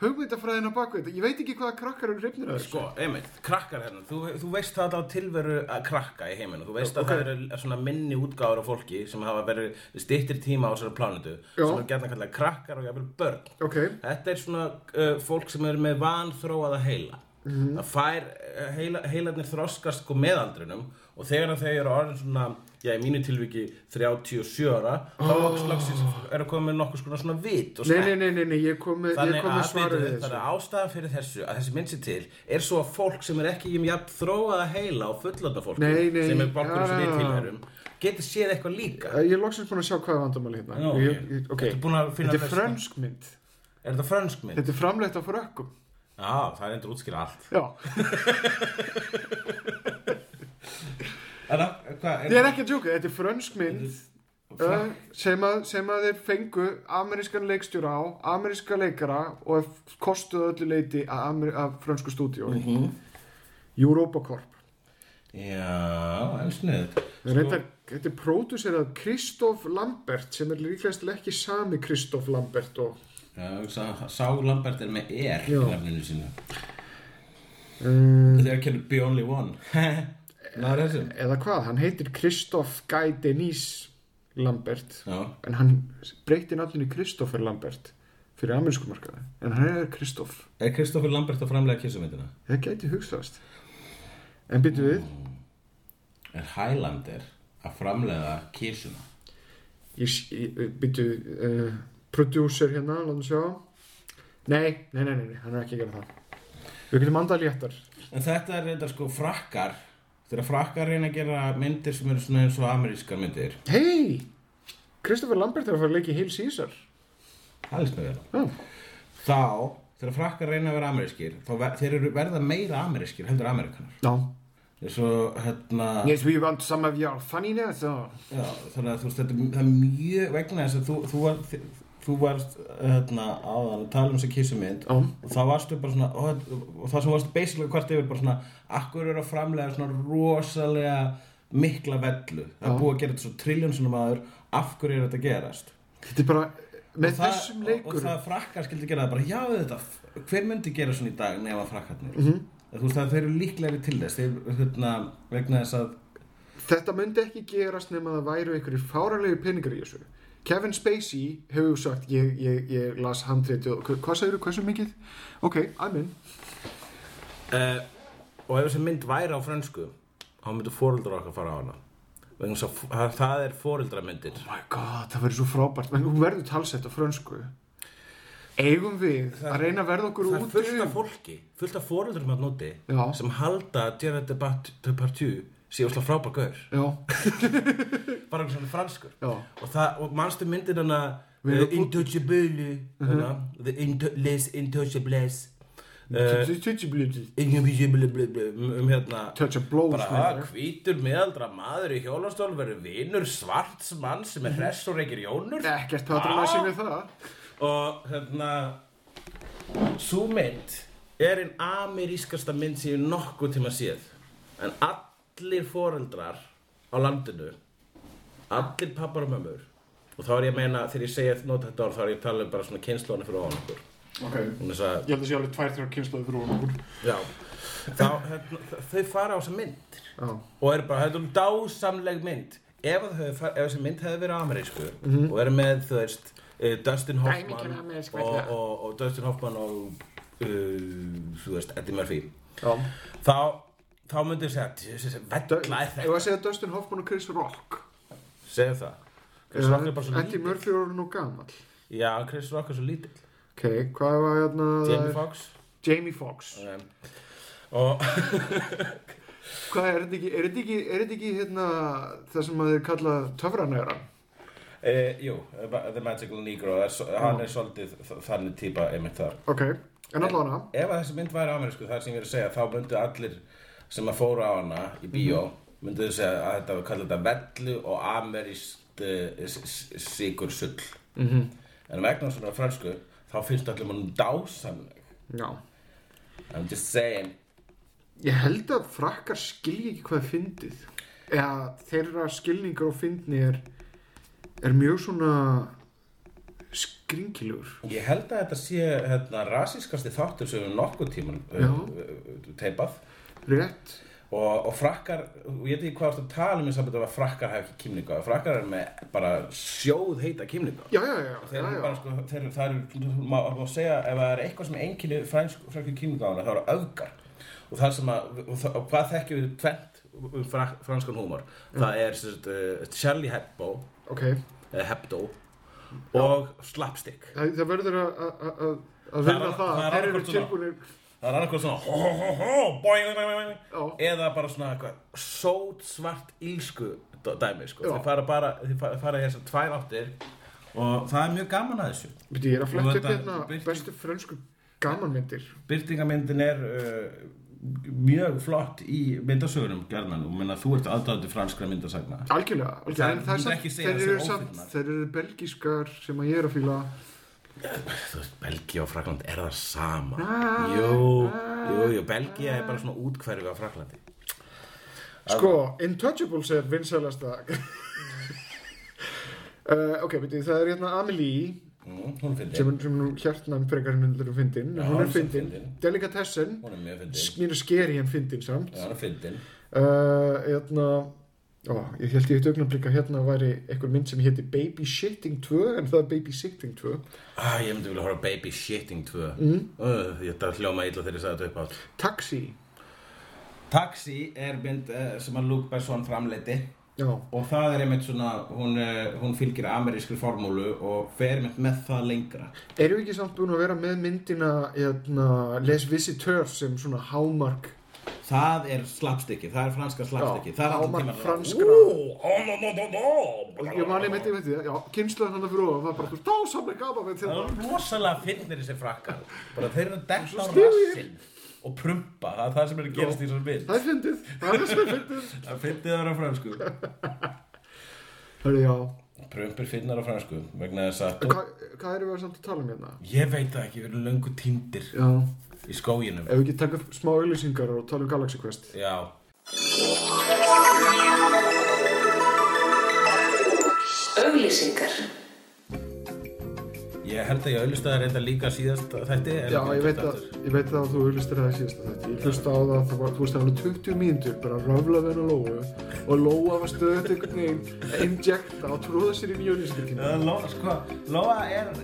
[SPEAKER 1] hugmyndafræðina baku þetta. Ég veit ekki hvaða krakkar eru hrifnir að þessu.
[SPEAKER 2] Sko, einmitt, krakkar hérna, þú, þú veist það á tilveru að krakka í heiminu Þú veist að
[SPEAKER 1] Ok.
[SPEAKER 2] það eru svona minni útgáður á fólki sem hafa verið styttir tíma á þessari plánutu
[SPEAKER 1] Já.
[SPEAKER 2] Sem er gætna kallar krakkar og jafnvel börn
[SPEAKER 1] Ok,
[SPEAKER 2] Þetta er svona uh, fólk sem er með vanþróaða heila.
[SPEAKER 1] Mhm.
[SPEAKER 2] Það fær, uh, heila, heilarnir þroskast sko meðaldrinum og þegar þau eru orðin svona, já í mínu tilviki 37 ára, þá loks loksins eru komið með nokkuð skona svona vit og
[SPEAKER 1] Ah. nei,
[SPEAKER 2] smekk.
[SPEAKER 1] nei, nei, nei, nei, ég kom með, ég
[SPEAKER 2] Þannig
[SPEAKER 1] kom með
[SPEAKER 2] að,
[SPEAKER 1] svarið við
[SPEAKER 2] við, þannig
[SPEAKER 1] þessu.
[SPEAKER 2] að ástæðan fyrir þessu, að þessi mynd sér til, er svo að fólk sem er ekki í mjög þróaða heila og fullanda fólki,
[SPEAKER 1] Nei, nei,
[SPEAKER 2] sem er bálkunum sem
[SPEAKER 1] já.
[SPEAKER 2] við tilhörum, getur séð eitthvað líka.
[SPEAKER 1] Ég er loksins búin að sjá hvaða vandamáli hérna.
[SPEAKER 2] Nú,
[SPEAKER 1] ég, ég,
[SPEAKER 2] Þetta er búin
[SPEAKER 1] ok,
[SPEAKER 2] að finna
[SPEAKER 1] þetta er
[SPEAKER 2] lausn.
[SPEAKER 1] frönsk mynd.
[SPEAKER 2] Er þetta frönsk mynd?
[SPEAKER 1] Þetta er framleitt á frökkum.
[SPEAKER 2] Já, það er endur útskýra allt.
[SPEAKER 1] Já,
[SPEAKER 2] Er það, hvað,
[SPEAKER 1] ég er ekki að djóka, þetta er frönsk mynd. Uh, sem, að, sem að þeir fengu amerískan leikstjóra á, ameríska leikara og kostuðu öllu leiti af, amer- af frönsku stúdíói
[SPEAKER 2] Mhm.
[SPEAKER 1] Europacorp
[SPEAKER 2] Já, en sniðut
[SPEAKER 1] Sko, reyndar, þetta er pródúserað Kristóf Lambert sem er líklegast ekki sami Kristóf Lambert og
[SPEAKER 2] Sá Lambert er með er í
[SPEAKER 1] Já.
[SPEAKER 2] nafninu sínu Þetta er kennur Be Only One Ná er þessum
[SPEAKER 1] eða hvað, hann heitir Kristóf Guy Denis Lambert
[SPEAKER 2] Já,
[SPEAKER 1] en hann breyti nafninu Kristófer Lambert fyrir amerísku markaði en hann er Kristóf,
[SPEAKER 2] er Kristoffer Lambert að framlega kissumindina?
[SPEAKER 1] það gæti hugsaðast en byttu við
[SPEAKER 2] Er Highlander að framlega kissuna?
[SPEAKER 1] ég, ég byttu uh, producer hérna, látum sjá nei, nei, nei, nei, nei, hann er ekki að gera það við getum andað léttar
[SPEAKER 2] En þetta er þetta sko frakkar Þegar frakkar reyna að gera myndir sem eru svona eins og amerískar myndir
[SPEAKER 1] hei, Kristófer Lambert er að fara að leika í Heil Caesar
[SPEAKER 2] Það líst mér vel á.
[SPEAKER 1] Já.
[SPEAKER 2] Þá, þegar frakkar reyna að vera amerískir þá ver, þeir eru verða meira amerískir heldur ameríkanar
[SPEAKER 1] Já.
[SPEAKER 2] Svo, hérna
[SPEAKER 1] Yes, we want some of your funniness. oh. or-
[SPEAKER 2] Já, þannig að þú veist, þetta er- það er mjög vegna þess að þú, þú, var, þi- þú varst hérna, áðan að tala um þess að kísumynd
[SPEAKER 1] Já.
[SPEAKER 2] og þá varstu bara svona og, og það sem varstu basically hvort yfir bara svona akkur eru að framlega svona rosalega mikla vellu það er búið að gera þetta svo trilljón svona maður af hverju er þetta að gerast
[SPEAKER 1] Þetta er bara, eh, með
[SPEAKER 2] Og það-
[SPEAKER 1] þessum
[SPEAKER 2] og, og
[SPEAKER 1] leikur,
[SPEAKER 2] það frakkar skildi gera það bara já þetta, hver myndi gera svona í dag nema frakkarnir mm
[SPEAKER 1] Mhm.
[SPEAKER 2] -hmm. þú veist það þeir eru líklegri til þess þeir, hérna, vegna þess að
[SPEAKER 1] þetta myndi ekki gerast nema það væru einhverjir fáranlegu peningar í þessu. Kevin Spacey hefur sagt, ég, ég, ég las handrétti og hva- hvað sagður, hversu mikið? Ok, I'm in.
[SPEAKER 2] Uh, og ef þessi mynd væri á frönsku þá myndu fóreldrar okkar fara á hana vegna þess að f- það er fóreldramyndir
[SPEAKER 1] Oh my god, það verður svo frábært, menn hún verður talsett á frönsku. Eigum við að reyna að verða okkur
[SPEAKER 2] það er
[SPEAKER 1] út
[SPEAKER 2] fullt af
[SPEAKER 1] um?
[SPEAKER 2] fólki, fullt af fóreldrum að noti
[SPEAKER 1] Já.
[SPEAKER 2] sem halda að Gerard Depart- Depardieu sé ósla frábær gaur
[SPEAKER 1] Já,
[SPEAKER 2] bara eins og hann er franskur
[SPEAKER 1] já.
[SPEAKER 2] og, það, og manstu myndir hana
[SPEAKER 1] Við erum Mhm.
[SPEAKER 2] uh, Intouchable hana, The into, Les Intouchables uh,
[SPEAKER 1] Touch
[SPEAKER 2] Intouchable blah, blah, um um hérna
[SPEAKER 1] a blow.
[SPEAKER 2] bara að
[SPEAKER 1] smiður.
[SPEAKER 2] hvítur meðaldra maður í hjólastól verður vinur svarts mann sem
[SPEAKER 1] Mhm.
[SPEAKER 2] er hress og reykir jónur
[SPEAKER 1] Ekkert patronæsi með það.
[SPEAKER 2] og hérna svo mynd er einn amerískasta mynd sem ég nokkuð tíma séð en allir foreldrar á landinu allir pappar og mömmur og þá er ég að meina þegar ég segja nota þetta orð þá er ég að tala um bara svona kynnslónu fyrir ofan okkur
[SPEAKER 1] Ok.
[SPEAKER 2] Hún er þess að
[SPEAKER 1] Ég held að sé alveg tvær, þrjár kynnslóði fyrir hún.
[SPEAKER 2] Já, þá, hérna, þau fara á þessa myndir
[SPEAKER 1] Já,
[SPEAKER 2] og eru bara, þetta er um dásamleg mynd ef, að þau hefðu far- ef þessi mynd hefði verið amerísku
[SPEAKER 1] Mhm.
[SPEAKER 2] og eru með, þú veist eh, Dustin Hoffman
[SPEAKER 1] Dæmigerð amerísk
[SPEAKER 2] og,
[SPEAKER 1] vella.
[SPEAKER 2] og, og Dustin Hoffman og uh, þú veist, Eddie Murphy
[SPEAKER 1] já.
[SPEAKER 2] þá, þá myndi ég segja "Djöfusis,
[SPEAKER 1] Dö-
[SPEAKER 2] vella er
[SPEAKER 1] Ef
[SPEAKER 2] þetta,
[SPEAKER 1] að segja Dustin Hoffman og Chris Rock
[SPEAKER 2] segja það Chris Rock er bara svo
[SPEAKER 1] Eh, Eddie
[SPEAKER 2] lítill
[SPEAKER 1] Murphy er nú gammal
[SPEAKER 2] Já, Chris Rock er svo lítill
[SPEAKER 1] Ok, hvað var hérna
[SPEAKER 2] Jamie Foxx
[SPEAKER 1] Jamie Foxx
[SPEAKER 2] um, og
[SPEAKER 1] Hvað er þetta ekki, er þetta ekki, er þetta ekki hérna það sem að þeir kalla töfranæran?
[SPEAKER 2] e, jú, The Magical Negro er, svo- hann er svolítið þ- þannig típa einmitt þar
[SPEAKER 1] Ok, en allavega
[SPEAKER 2] ef að þessi mynd væri amerísku þar sem ég er að segja þá myndu allir sem að fóra á hana í bíó myndu þau segja að þetta var kallað þetta vellu og amerískt eh, sigur sull mm -hmm. en vegna svona fransku þá finnst allir mannum dásamleg
[SPEAKER 1] Já
[SPEAKER 2] I'm just saying
[SPEAKER 1] Ég held að frakkar skilji ekki hvað er fyndið. Eða þeirra skilningar og fyndni er, er mjög svona skringilugur.
[SPEAKER 2] ég held að þetta sé hérna, rasískasti þáttur sem við nokkuð tíman
[SPEAKER 1] Já.
[SPEAKER 2] eh, teipað
[SPEAKER 1] Rétt.
[SPEAKER 2] og, og frakkar, og ég veit ekki hvað þú ert að tala um í sambandi um að frakkar hafa ekki kýmninga frakkar er með bara sjóð heita kýmninga
[SPEAKER 1] Já, já, já.
[SPEAKER 2] þeir
[SPEAKER 1] já,
[SPEAKER 2] eru
[SPEAKER 1] já.
[SPEAKER 2] bara sko, þeir eru, það eru, má, má segja ef það er eitthvað sem enginni fransku kýmingáðuna, það eru öfgar og það sem að, og, það, og hvað þekkjum við tvent um frak, franskan húmor
[SPEAKER 1] Mm.
[SPEAKER 2] það er sem sagt, uh, Charlie Hebdo
[SPEAKER 1] Ok,
[SPEAKER 2] eða Hebdo og Slapstick
[SPEAKER 1] það, það verður að- að að- að- að
[SPEAKER 2] Það
[SPEAKER 1] vinna
[SPEAKER 2] er-
[SPEAKER 1] það.
[SPEAKER 2] það er
[SPEAKER 1] Þeir eru
[SPEAKER 2] annað hvort svona.
[SPEAKER 1] tilbúinir.
[SPEAKER 2] það er annarkoð svona ho ho ho ho boing, boing, boing, boing.
[SPEAKER 1] Já.
[SPEAKER 2] eða bara svona eitthvað sót svart ílsku d- dæmi sko.
[SPEAKER 1] Já.
[SPEAKER 2] þeir fara bara, þeir fara, fara í þessar tvær áttir og það er mjög gaman að þessu
[SPEAKER 1] Býtti, ég er að fletta upp
[SPEAKER 2] þetta-
[SPEAKER 1] hérna
[SPEAKER 2] birting-
[SPEAKER 1] bestu frönsku gamanmyndir.
[SPEAKER 2] byrtingamyndin er uh, mjög flott í myndasögurum gerðan og menna þú ert aðdáðandi franskra myndasagna
[SPEAKER 1] Algjörlega. algjörlega. En það er
[SPEAKER 2] Það- ég myndi
[SPEAKER 1] samt,
[SPEAKER 2] ekki segja
[SPEAKER 1] þeir
[SPEAKER 2] að
[SPEAKER 1] eru
[SPEAKER 2] þessar
[SPEAKER 1] samt,
[SPEAKER 2] ófyllnar.
[SPEAKER 1] þeir eru belgískar sem að ég er að fýla.
[SPEAKER 2] Þú veist, Belgia og Frakland er það sama Jú, jú, jú, Belgia er bara svona útkverfi á Fraklandi
[SPEAKER 1] Sko, Intouchables er vinsælasta uh, Ok, veitir, það er hérna Amelie
[SPEAKER 2] mm, Hún finnir
[SPEAKER 1] sem, sem nú hjartnæm frekar en hundur um fyndin
[SPEAKER 2] Já,
[SPEAKER 1] hún
[SPEAKER 2] hún
[SPEAKER 1] er
[SPEAKER 2] er
[SPEAKER 1] fyndin,
[SPEAKER 2] fyndin.
[SPEAKER 1] delikatessen
[SPEAKER 2] Hún er mjög fyndin
[SPEAKER 1] mér er skeri en fyndin samt
[SPEAKER 2] Já, hún er fyndin
[SPEAKER 1] uh, hérna ó, ég held ég eitt augnablik að hérna væri einhver mynd sem héti Baby Shitting 2 en það er Baby Sitting 2
[SPEAKER 2] Ah, ég myndi vilja horfa á Baby Shitting 2 mm. uh, Þetta hljóma illa þegar ég sagði þetta upp átt
[SPEAKER 1] Taxi,
[SPEAKER 2] Taxi er mynd uh, sem að Luke Besson framleiti
[SPEAKER 1] já,
[SPEAKER 2] og það er einmitt svona hún, eh, hún fylgir amerískri formúlu og fer einmitt með það lengra
[SPEAKER 1] erum við ekki samt búin að vera með myndina hérna, Les Visiteurs sem svona hámark
[SPEAKER 2] það er slapstikki, það er franska slapstikki
[SPEAKER 1] Já,
[SPEAKER 2] það er
[SPEAKER 1] hámark
[SPEAKER 2] alltaf tíma
[SPEAKER 1] franskra. Ég
[SPEAKER 2] franskra
[SPEAKER 1] mani, veit, ég veit, ég, já, kynsluðan hann fyrir ofan var bara, þú dásamlega gaman með
[SPEAKER 2] það
[SPEAKER 1] þetta.
[SPEAKER 2] er rosalega fyndnir þessi frakkar bara þeir eru að detta á
[SPEAKER 1] stífir.
[SPEAKER 2] rassinn og prumpa, það er það sem er að gerast í þessar mynd
[SPEAKER 1] Það er fyndið, það er sem er fyndið.
[SPEAKER 2] það fyndið það á fransku
[SPEAKER 1] Hörru, já,
[SPEAKER 2] prumpir finnar á fransku vegna þess
[SPEAKER 1] En
[SPEAKER 2] að
[SPEAKER 1] hvað hva erum við samt að tala um hérna?
[SPEAKER 2] ég veit það ekki, við erum löngu týndir
[SPEAKER 1] Já,
[SPEAKER 2] í skóginum
[SPEAKER 1] ef við ekki taka upp smá auðlýsingar og tala um Galaxy Quest.
[SPEAKER 2] já
[SPEAKER 4] Auglýsingar.
[SPEAKER 2] Ég held að ég auðvist að reynda líka síðast þetta
[SPEAKER 1] Já, ég veit að, ég veit að þú auðlýstir það í síðasta þetta. Ég hlusta á það, það var, þú veist, það var 20 mínútur, bara röflað við hennar Lóu og Lóa var stöðut einhvern veginn að injecta og tróða sér í mjölýsingina.
[SPEAKER 2] Lóa, sko, Lóa er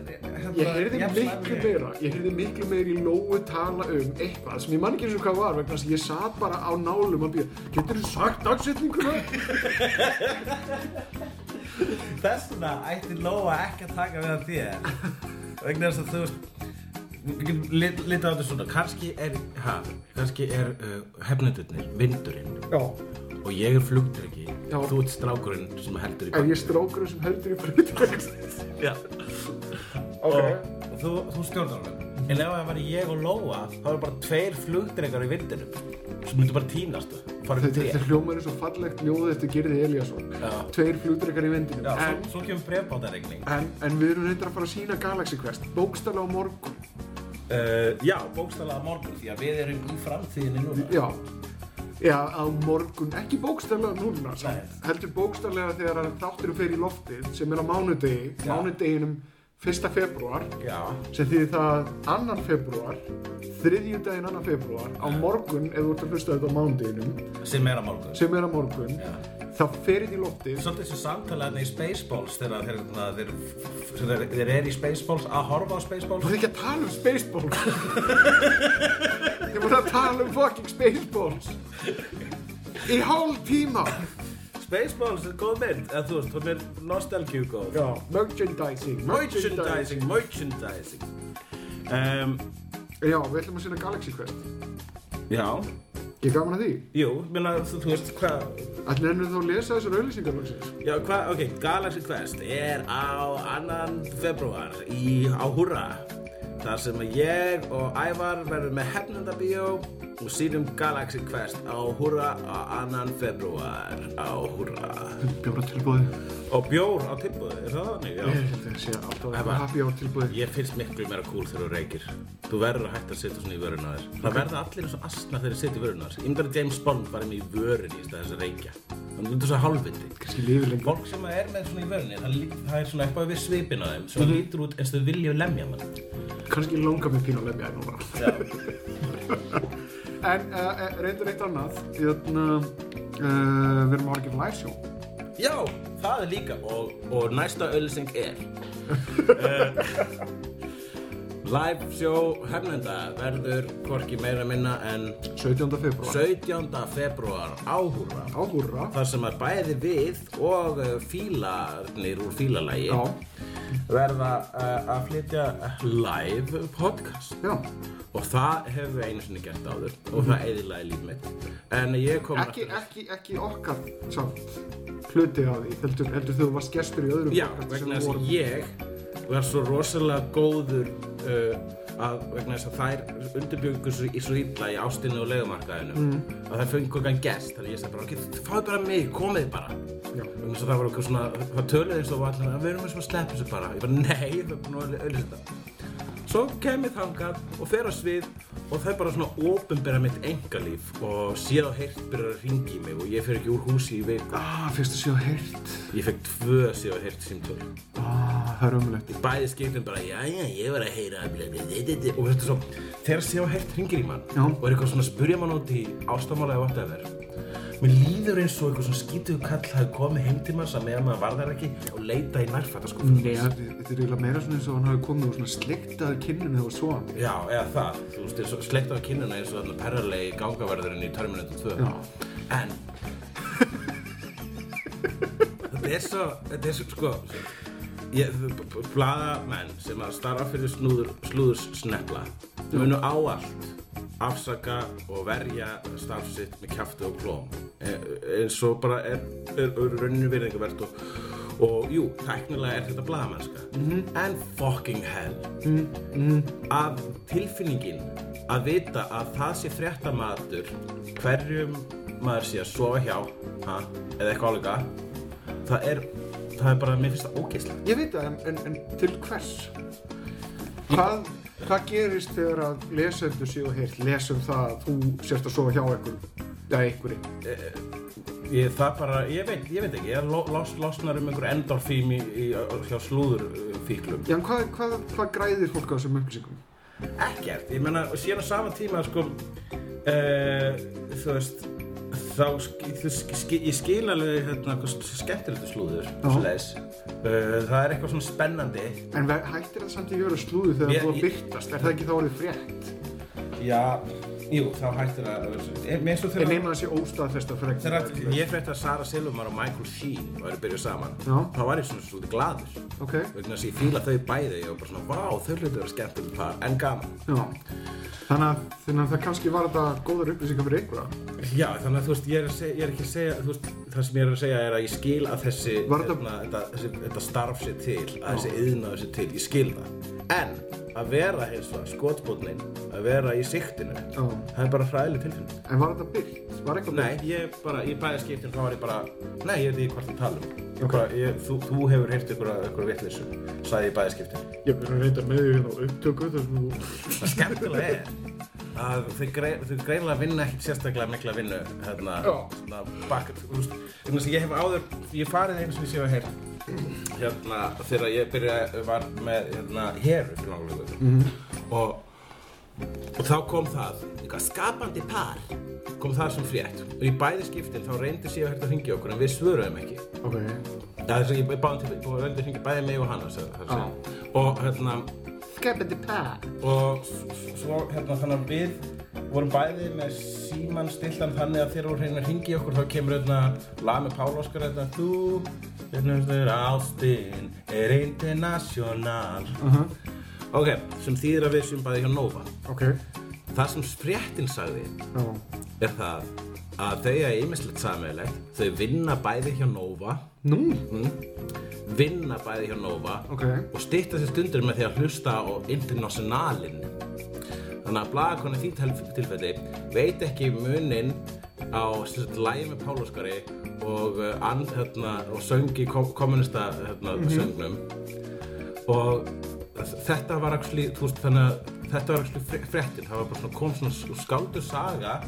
[SPEAKER 1] Ég heyrði miklu meira, ég heyrði miklu meira í Lóu tala um eitthvað sem ég man ekki eins og hvað var vegna þess að ég satt bara á nálum að býja Getur þú sagt dagsetninguna?
[SPEAKER 2] Þess vegna ætti Lóa ekki að taka við að þér vegna þess að þú veist við getum lit- litið á þetta svona kannski er, ha, kannski er uh, hefnendurnir, vindurinn
[SPEAKER 1] Já,
[SPEAKER 2] og ég er flugdryggi
[SPEAKER 1] Já.
[SPEAKER 2] þú ert strákurinn sem heldur í
[SPEAKER 1] ef ég er strókurinn sem heldur í breytið
[SPEAKER 2] Já.
[SPEAKER 1] Ok,
[SPEAKER 2] og þú, þú stjórnar hann en ef það væri ég og Lóa þá eru bara tveir flugdryggar í vindinum sem myndu bara týnast og fara um
[SPEAKER 1] þetta,
[SPEAKER 2] tré
[SPEAKER 1] þetta hljómar er svo fallegt ljóð þetta gerði Eliasson
[SPEAKER 2] Já.
[SPEAKER 1] Tveir flugdrekar í vindinum
[SPEAKER 2] Já,
[SPEAKER 1] en,
[SPEAKER 2] svo, svo kemur brefbátaregning
[SPEAKER 1] en, en við erum reyndar að fara að sína Galaxy Quest bókstala á morgun
[SPEAKER 2] uh, Já, bókstælega morgun því að við erum í framtíðinni núna
[SPEAKER 1] Já Já, á morgun, ekki bókstælega núna samt.
[SPEAKER 2] Nei.
[SPEAKER 1] heldur bókstælega þegar að þátturum fer í loftið sem er á mánudegi, mánudeginum 1. februar
[SPEAKER 2] Já,
[SPEAKER 1] sem þýðir það að 2. februar þriðju daginn 2. februar á morgun ef þú ert að hlusta þetta á mándeginum
[SPEAKER 2] sem er á morgun
[SPEAKER 1] sem er á morgun
[SPEAKER 2] Já.
[SPEAKER 1] það fer inn í loftið
[SPEAKER 2] Svolítið sem samtalaðin í Spaceballs þegar þeir, hérna, þeir, þeir, þeir, þeir eru í Spaceballs að horfa á Spaceballs
[SPEAKER 1] voru ekki að tala um Spaceballs þið voru að tala um fucking Spaceballs í hálf tíma
[SPEAKER 2] Spaceballs er góð mynd, eða þú veist, hún er nostalgíu góð
[SPEAKER 1] já, merchandising
[SPEAKER 2] Merchandising, merchandising um,
[SPEAKER 1] já, við ætlum að sinna Galaxy Quest
[SPEAKER 2] Já,
[SPEAKER 1] ég gaman að því
[SPEAKER 2] jú, minna, þú, þú veist hvað
[SPEAKER 1] Þannig ennum þá að lesa þessar auðlýsingar loksins.
[SPEAKER 2] Já, hvað, ok, Galaxy Quest er á 2. februar í, á Hurra þar sem að ég og Ævar verðum með hefnendabíó og sínum Galaxy Quest á Hurra á 2. februar á Hurra
[SPEAKER 1] Bjóra tilbúði.
[SPEAKER 2] Og bjór á tilbúði, er það þannig?
[SPEAKER 1] Ég
[SPEAKER 2] Já.
[SPEAKER 1] held að það sé alltaf
[SPEAKER 2] Ævar.
[SPEAKER 1] eitthvað happy hour tilbúði.
[SPEAKER 2] Mm. Ég finnst miklu meira cool þegar þú reykir. Þú verður að hætta að setja svona í vöruna á þér. Það verða allir eins og asna þegar þeir setja í vöruna á þér. Ég myndi að James Bond var með í vörunni í stað þess að reykja. Þannig að þú myndir svo hálfviti.
[SPEAKER 1] Kanski lífið lengur.
[SPEAKER 2] Fólk sem er með svona í vörunni, það, lí- það er svona eitthvað við svipin á þeim sem lítur út eins og þau vilja lemja mann.
[SPEAKER 1] Kanski langar mig pínu að lemja þér núna. en uh, reyndur eitt annað. Þannig að við erum að horfa ekki live show.
[SPEAKER 2] Já, það er líka. Og, og næsta ölsing er... uh, live show hefnenda verður hvorki meira minna en
[SPEAKER 1] 17. februar.
[SPEAKER 2] 17. februar áhúra
[SPEAKER 1] Áhúra.
[SPEAKER 2] þar sem að bæði við og eh, fílarnir úr fílalagi
[SPEAKER 1] Já.
[SPEAKER 2] verða eh, að flytja live podcast
[SPEAKER 1] Já.
[SPEAKER 2] og það hefur við einu sinni gert áður og það eðilaði líf mitt en ég kom
[SPEAKER 1] Ekki, ekki, ekki okkar samt hluti á því. Heldur, heldur þú varst gestur í öðrum
[SPEAKER 2] já,
[SPEAKER 1] podcasti sem
[SPEAKER 2] vegna
[SPEAKER 1] við
[SPEAKER 2] þess
[SPEAKER 1] vorum-
[SPEAKER 2] að ég var svo rosalega góður uh, að vegna þess að þær undirbyggur svo, í- svo illa í ástinu og legumarkaðinu að þær fengu okkar gest þannig ég sagði bara, ok, fáðu bara mig, komið bara
[SPEAKER 1] Já.
[SPEAKER 2] Þannig að það var okkur svona, það töluði eins og var allir að við erum eins og að sleppa þessu bara. Ég bara, nei, við erum búin að auðvitað þetta. Svo kem ég þangað og fer á svið og þau bara svona ofinbera mitt engalíf og séð og heyrt byrjar að ringi í mig og ég fer ekki úr húsi í viku.
[SPEAKER 1] Ah, fyrst að sé að heyrt.
[SPEAKER 2] Ég fekk tvö séð og heyrt símtöl.
[SPEAKER 1] Ah, það er umlegt.
[SPEAKER 2] Í bæði skiptum bara, já, já, ég var að heyra að blið, blið, blið, blið. Og þetta er svo, þegar séð og heyrt ringir í mann
[SPEAKER 1] Já.
[SPEAKER 2] og er eitthvað svona að spurja mann út í ástamála eða whatever. Mér líður eins og eitthvað svona skítuðu kall hafi komið heim til mann sem meðan maður varðar ekki og leita í nærfætta sko.
[SPEAKER 1] Nei, þetta er eiginlega meira svona eins og hann hafi komið og svona sliktaði kinninu þegar þú svo hann.
[SPEAKER 2] Já, eða það, þú veist, eins og sleikt á kinnuna eins og þarna perralegi gangaverðurinn í Terminator 2
[SPEAKER 1] Já.
[SPEAKER 2] En Þetta er svo, þetta er svo, sko ég, Blaðamenn sem að starfa fyrir snúður, slúðurs snefla munu áallt afsaka og verja starf sitt með kjafti og klóm E- eins og bara er, er, er rauninu virðingavert og, og jú, tæknilega er þetta blaðamennska en fucking hell að tilfinningin að vita að það sé fréttamaður hverjum maður sé að sofa hjá ha, eða eitthvað álega það er, það er bara, mér finnst það ógeðslega
[SPEAKER 1] Ég veit það, en, en, en til hvers? Hvað, hvað gerist þegar að lesendur séu heilt? Lesum það að þú sérst að sofa hjá einhverjum? Já, einhverjum.
[SPEAKER 2] ég, það bara, ég veit, ég veit ekki ég lo- los, losnar um einhver endorfím í, í, hjá slúður fíklum
[SPEAKER 1] Já, en hvað, hvað, hvað græðir fólk á þessum upplýsingum?
[SPEAKER 2] ekkert, ég menna, og síðan á sama tíma sko, uh, þú veist þá, sk- þú sk- sk- ég skil alveg hérna, hvað skemmtilegt er slúður
[SPEAKER 1] Já.
[SPEAKER 2] svoleiðis. uh, það er eitthvað svona spennandi
[SPEAKER 1] En ve- hættir það samt í jöru slúðu
[SPEAKER 2] Ég-
[SPEAKER 1] þegar þú að
[SPEAKER 2] ég-
[SPEAKER 1] byrtast? Er það ekki þá orðið frétt?
[SPEAKER 2] já, jú, þá hættir að vera svo- Eh, mér er svo
[SPEAKER 1] Ég
[SPEAKER 2] þegar
[SPEAKER 1] neina þessi óstaðfesta frétt.
[SPEAKER 2] Þegar að- ég frétti að Sara Silvumar og Michael Sheen væri byrjuð saman,
[SPEAKER 1] Já.
[SPEAKER 2] þá var ég svona svolítið gladur.
[SPEAKER 1] Ok,
[SPEAKER 2] Vegna þess að ég fíla þau bæði og bara svona, vá, þau hlutu að vera skemmtileg par, en gaman.
[SPEAKER 1] já. Þannig að, þannig að það kannski var þetta góðar upplýsingar fyrir einhverja.
[SPEAKER 2] Já, þannig að þú veist, ég er, að segja, ég er ekki að segja, þú veist, það sem ég er að segja er að ég skil að þessi, hérna,
[SPEAKER 1] Var þetta-
[SPEAKER 2] þetta, þessi, þetta starf sér til, að þessi yðnaður sér til, ég skil það. En að vera hins vegar skotbótnin, að vera í siktinu,
[SPEAKER 1] Já.
[SPEAKER 2] það er bara hræðileg tilfinning.
[SPEAKER 1] En var þetta byrt? Var eitthvað
[SPEAKER 2] Nei, ég bara, ég bæði skiptin, þá var ég bara, nei, ég veit ekki hvort það tala um. Ég bara, ég, þú, þú hefur heyrt ykkur að ykkur vitlissu, sagði ég bæði skiptin.
[SPEAKER 1] Ég verður að reynda með því hérna á upptöku þar sem þú...
[SPEAKER 2] Það skemmtilega er að þau, grei, þau greinlega vinna ekkert sérstaklega mikla vinnu hérna,
[SPEAKER 1] Já.
[SPEAKER 2] svona bak, þú veist, vegna þess að ég hef áður, ég hef farið einu sem ég sé að heyra hérna, þegar ég byrjaði var með hérna, heru fyrir náttúrulega
[SPEAKER 1] Mhm.
[SPEAKER 2] -hmm. og, og þá kom það eitthvað skapandi par kom það sem frétt og í bæði skiptin þá reyndi síðan hægt að hringja í okkur en við svöruðum ekki
[SPEAKER 1] Ok,
[SPEAKER 2] það er þess að ég báði til og reyndi að hringja bæði mig og hana sem, sem,
[SPEAKER 1] Já.
[SPEAKER 2] og hérna
[SPEAKER 1] skapandi pæ
[SPEAKER 2] og s- s- svo hérna þannig að við vorum bæði með síman stiltan þannig að þegar voru hérna að ringi okkur þá kemur hérna lag með Pál Óskar hérna þú vinnustur ástinn er international
[SPEAKER 1] Mhm.
[SPEAKER 2] ok, sem þýðir að við séum bæði hjá Nova
[SPEAKER 1] Ok,
[SPEAKER 2] það sem fréttin sagði
[SPEAKER 1] já,
[SPEAKER 2] er það að þau er ýmislegt sammeðilegt þau vinna bæði hjá Nova Mm.
[SPEAKER 1] nú,
[SPEAKER 2] vinna bæði hjá Nova
[SPEAKER 1] ok
[SPEAKER 2] og stýtta sér stundur með því að hlusta á internationalin þannig að blaðakonu þín tel- tilfelli veit ekki munin á sem sagt, lægi með Páloskari og, uh, and, hérna, og söngi kommunista hérna,
[SPEAKER 1] Mhm.
[SPEAKER 2] söngnum og þetta var actually, þú veist, þannig að þetta var actually fre- fréttin, það var bara svona kom svona skáldu saga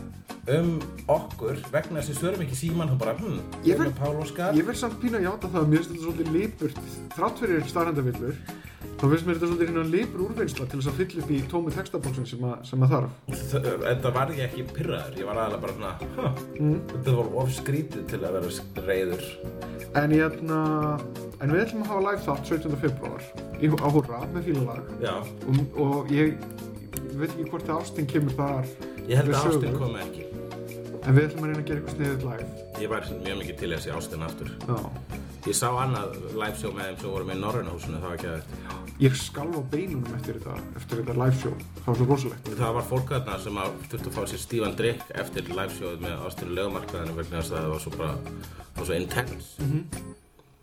[SPEAKER 2] um okkur vegna þess að við svörum ekki síman þá bara, hm,
[SPEAKER 1] Ég
[SPEAKER 2] Pál
[SPEAKER 1] verð-
[SPEAKER 2] Páloskar
[SPEAKER 1] Ég verð samt pínu að játa það að mér finnst þetta svolítið lipurt Þrátt fyrir starrendavillur Þá finnst mér þetta svolítið hérna lipur úrvinnsla til þess að fylla upp í tómi textabóksin sem, að- sem að þarf
[SPEAKER 2] Þ- Þetta var ég ekki pyrraður, ég var aðalega bara svona huh, Þetta var of skrítið til að vera sk- reiður
[SPEAKER 1] En ég hérna En við ætlum að hafa live þátt 17. februar í, á Húrra með fílalag
[SPEAKER 2] Já,
[SPEAKER 1] og, og ég, ég veit ekki hvort að ástin kemur þar
[SPEAKER 2] ég held
[SPEAKER 1] við
[SPEAKER 2] að
[SPEAKER 1] sögu.
[SPEAKER 2] ástin komi ekki
[SPEAKER 1] En við ætlum að reyna að gera eitthvað sniðið live
[SPEAKER 2] Ég var mjög mikið til að sé ástin aftur
[SPEAKER 1] Já
[SPEAKER 2] Ég sá annað live show með þeim sem voru með í Norræna húsinu, það var ekki að
[SPEAKER 1] Ég skalf á beinunum eftir þetta, eftir þetta live show Það var svo rosalegt
[SPEAKER 2] Það var fólk þarna sem að þurfti að fá sér stífan drikk eftir live showið með ástin lögumarkaðinu vegna þess að það var svo bara, það var svo intense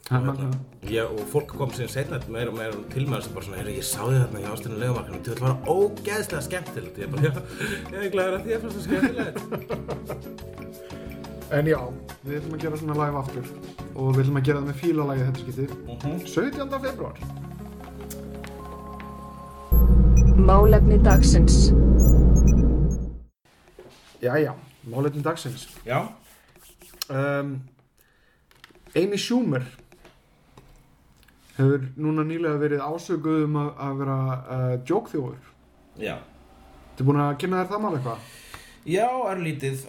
[SPEAKER 1] Það er magnað.
[SPEAKER 2] Já, og fólk kom síðan setna meira og meira til mér sem bara svona, heyrðu, ég sá þið þarna í ástæðinu legumarkanum, þetta var ógeðslega skemmtilegt. Ég bara, já, ég er glæður að því að fannst það skemmtilegt.
[SPEAKER 1] En já, við ætlum að gera svona live aftur og við ætlum að gera það með fílalagið þetta
[SPEAKER 2] Mhm,
[SPEAKER 1] skipti 17. februar
[SPEAKER 5] Málefni dagsins.
[SPEAKER 1] Jæja, málitin dagsins
[SPEAKER 2] já,
[SPEAKER 1] um, Amy Schumer hefur núna nýlega verið ásökuð um að, að vera uh, jókþjóður
[SPEAKER 2] já.
[SPEAKER 1] Þið búin að kynna þér það mál eitthvað?
[SPEAKER 2] Já, örlítið,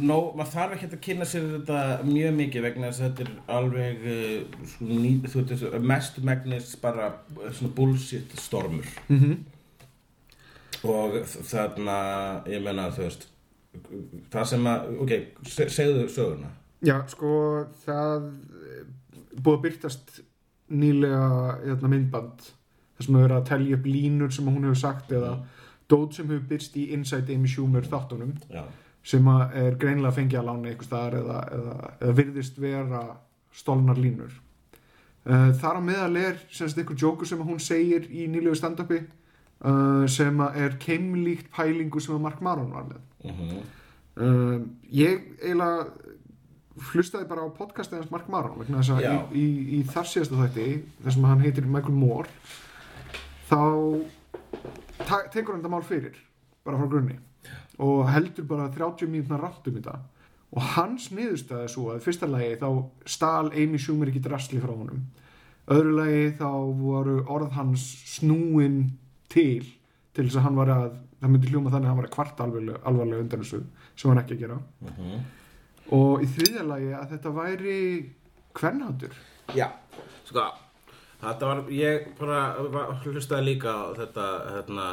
[SPEAKER 2] nó, maður þarf ekki að kynna sér þetta mjög mikið vegna þess að þetta er alveg, uh, svona ný, þú veit, þessu- mest megnis bara uh, svona bullshit stormur. Mm -hmm. Og þ- þarna, ég menna, þú veist, það sem að, ok, se- segðu söguna.
[SPEAKER 1] Já, sko, það eh, búið að byrtast nýlega hérna, myndband þar sem hefur verið að telja upp línur sem hún hefur sagt eða dót sem hefur byrst í Inside Amy Schumer þáttunum
[SPEAKER 2] Já.
[SPEAKER 1] sem að er greinlega fengið að lána einhvers staðar eða, eða, eða virðist vera stolnar línur uh, þar á meðal er semst einhver jókur sem að hún segir í nýlegu standupi uh, sem að er keimlíkt pælingu sem að Mark Maron var með uh, ég eiginlega hlustaði bara á podcastið hans Mark Maron vegna þess að
[SPEAKER 2] Já.
[SPEAKER 1] í, í, í þar síðasta þætti þar sem hann heitir Michael Moore þá ta- tekur hann þetta mál fyrir bara frá grunni og heldur bara 30 mínútna ráttum í það og hans niðurstaði er svo að í fyrsta lagi þá stal Amy Schumer ekki drasli frá honum öðru lagi þá voru orð hans snúin til til þess að hann var að það myndi hljóma þannig að hann var að kvarta alvarlega, alvarlega undan þessu sem hann ekki að gera og í þriðja lagi að þetta væri kvernhátur
[SPEAKER 2] Já, sko Þetta var, ég bara var, hlustaði líka á þetta hérna,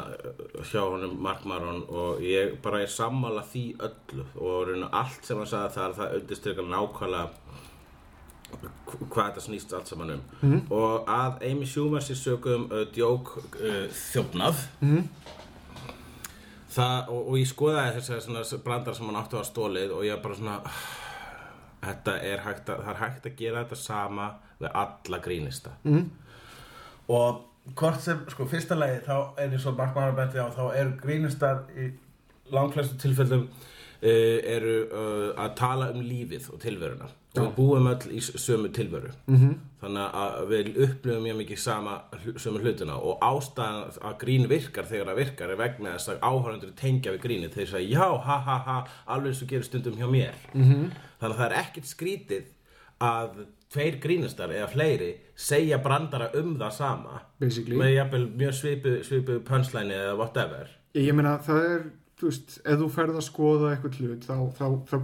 [SPEAKER 2] hjá honum Mark Maron og ég bara er sammála því öllu og raun og allt sem hann sagði þar það undirstrykka nákvæmlega hv- hvað þetta snýst allt saman um og að Amy Schumer sér sögum uh, djók uh, þjófnað það, og, og ég skoðaði þessar svona brandar sem hann átti á stólið og ég bara svona þetta er hægt að, það er hægt að gera þetta sama við alla grínista mm. og hvort sem, sko, fyrsta lagi þá er eins og Mark Maron benti á þá eru grínistar í langflestu tilfellum uh, eru uh, að tala um lífið og tilveruna og við búum öll í s- sömu tilveru -hmm. þannig að við upplifum mjög mikið sama hlu- sömu hlutina og ástæðan að grín virkar þegar það virkar er vegna þess að áhörundur tengja við grínið þeir segja já, ha, ha, ha, alveg eins og gerir stundum hjá mér mm -hmm. þannig að það er ekkert skrítið að tveir grínastar eða fleiri segja brandara um það sama
[SPEAKER 1] Basically.
[SPEAKER 2] með jafnvel mjög svipu, svipu pönslæni eða whatever
[SPEAKER 1] Ég, ég meina það er, þú veist, ef þú ferð að skoða eitthvað hlut þá, þá, þá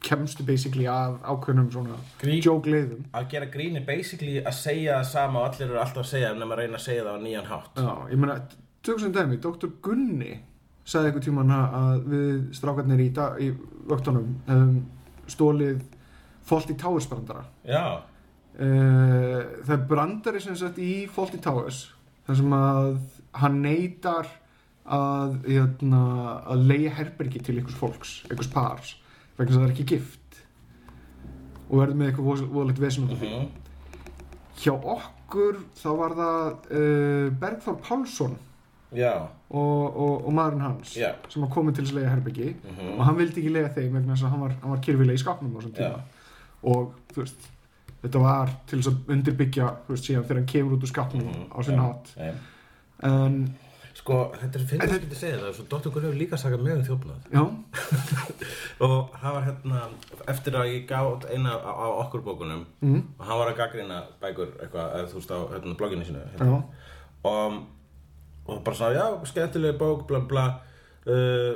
[SPEAKER 1] kemstu basically að ákveðnum svona
[SPEAKER 2] Grí-
[SPEAKER 1] joke leiðum.
[SPEAKER 2] að gera gríni basically að segja það sama og allir eru alltaf að segja nema að reyna að segja það á nýjan hátt
[SPEAKER 1] Já, ég meina, tökum sem dæmi, Dr. Gunni sagði einhvern tímann að við strákarnir í, dag- í vöktunum hefum stólið Fawlty Towers brandara.
[SPEAKER 2] já,
[SPEAKER 1] Uh, það er brandari sem sagt í Fawlty Towers þar sem að hann neytar að, jötna, að leiða herbergi til einhvers fólks, einhvers pars vegna þess að það er ekki gift og verður með eitthvað vos- voðalegt vesen út af því
[SPEAKER 2] Mhm.
[SPEAKER 1] hjá okkur þá var það uh, Bergþór Pálsson
[SPEAKER 2] já,
[SPEAKER 1] og, og, og maðurinn hans
[SPEAKER 2] Já. Mm.
[SPEAKER 1] sem var komin til þess að leiða herbergi
[SPEAKER 2] Mhm.
[SPEAKER 1] og hann vildi ekki leiða þeim vegna þess að hann var, hann var kyrfilega í skapnum á þessum tíma
[SPEAKER 2] Já.
[SPEAKER 1] og þú veist þetta var til þess að undirbyggja þú veist síðan þegar hann kemur út úr skapnum
[SPEAKER 2] Mm.
[SPEAKER 1] á sinna hátt
[SPEAKER 2] Nei.
[SPEAKER 1] en
[SPEAKER 2] sko, þetta er finnst ekki að segja það svo Dr. Gunni hefur líka sagði mjög um þjófnað
[SPEAKER 1] já,
[SPEAKER 2] og það var hérna eftir að ég gaf út eina á, á okkur bókunum mm. og hann var að gaggrina bækur eitthvað, eða þú veist á hérna, blogginu sínu
[SPEAKER 1] já,
[SPEAKER 2] hérna. og, og bara svona, já, skemmtilega bók bla bla uh,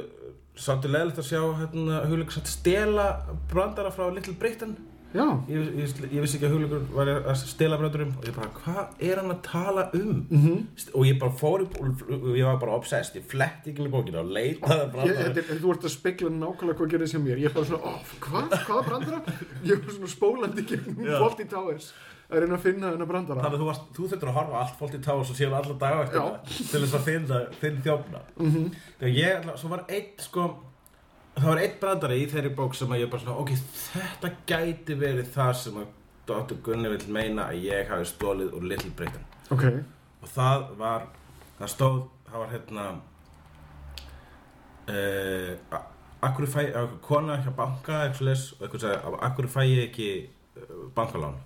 [SPEAKER 2] sáttu leðilegt að sjá hérna, hugleikur satt stela brandara frá Little Britain
[SPEAKER 1] já
[SPEAKER 2] ég, ég, ég vissi ekki að hugleikur var að stela brandurum og ég bara, hvað er hann að tala um
[SPEAKER 1] Mhm.
[SPEAKER 2] -hmm. og ég bara fór upp og ég var bara obsessed, ég fletti ekki með bókina og leitaði að
[SPEAKER 1] Ég,
[SPEAKER 2] brandara
[SPEAKER 1] þetta, er- þú ert að spekla nákvæmlega hvað gerðist hjá mér ég er bara svona, ó, hvað, hvaða brandara? ég er bara svona spólandi gegnum
[SPEAKER 2] Já.
[SPEAKER 1] Fawlty Towers að reyna að finna þennan brandara
[SPEAKER 2] Þannig að þú, varst, þú þurftur að horfa á allt fólk í táa svo séum alla daga eftir
[SPEAKER 1] Já.
[SPEAKER 2] það til þess að finna þinn þjófna mm -hmm. þegar ég, ætla- svo var einn sko það var einn brandari í þeirri bók sem að ég bara svona, ok, þetta gæti verið það sem að Dr. Gunni vill meina að ég hafi stólið úr Little Britain
[SPEAKER 1] ok,
[SPEAKER 2] og það var, það stóð það var hérna uh, akkur fæ, uh, kona hjá banka eitthvað les, og eitthvað sagði, akkur fæ ég ekki uh, bankalán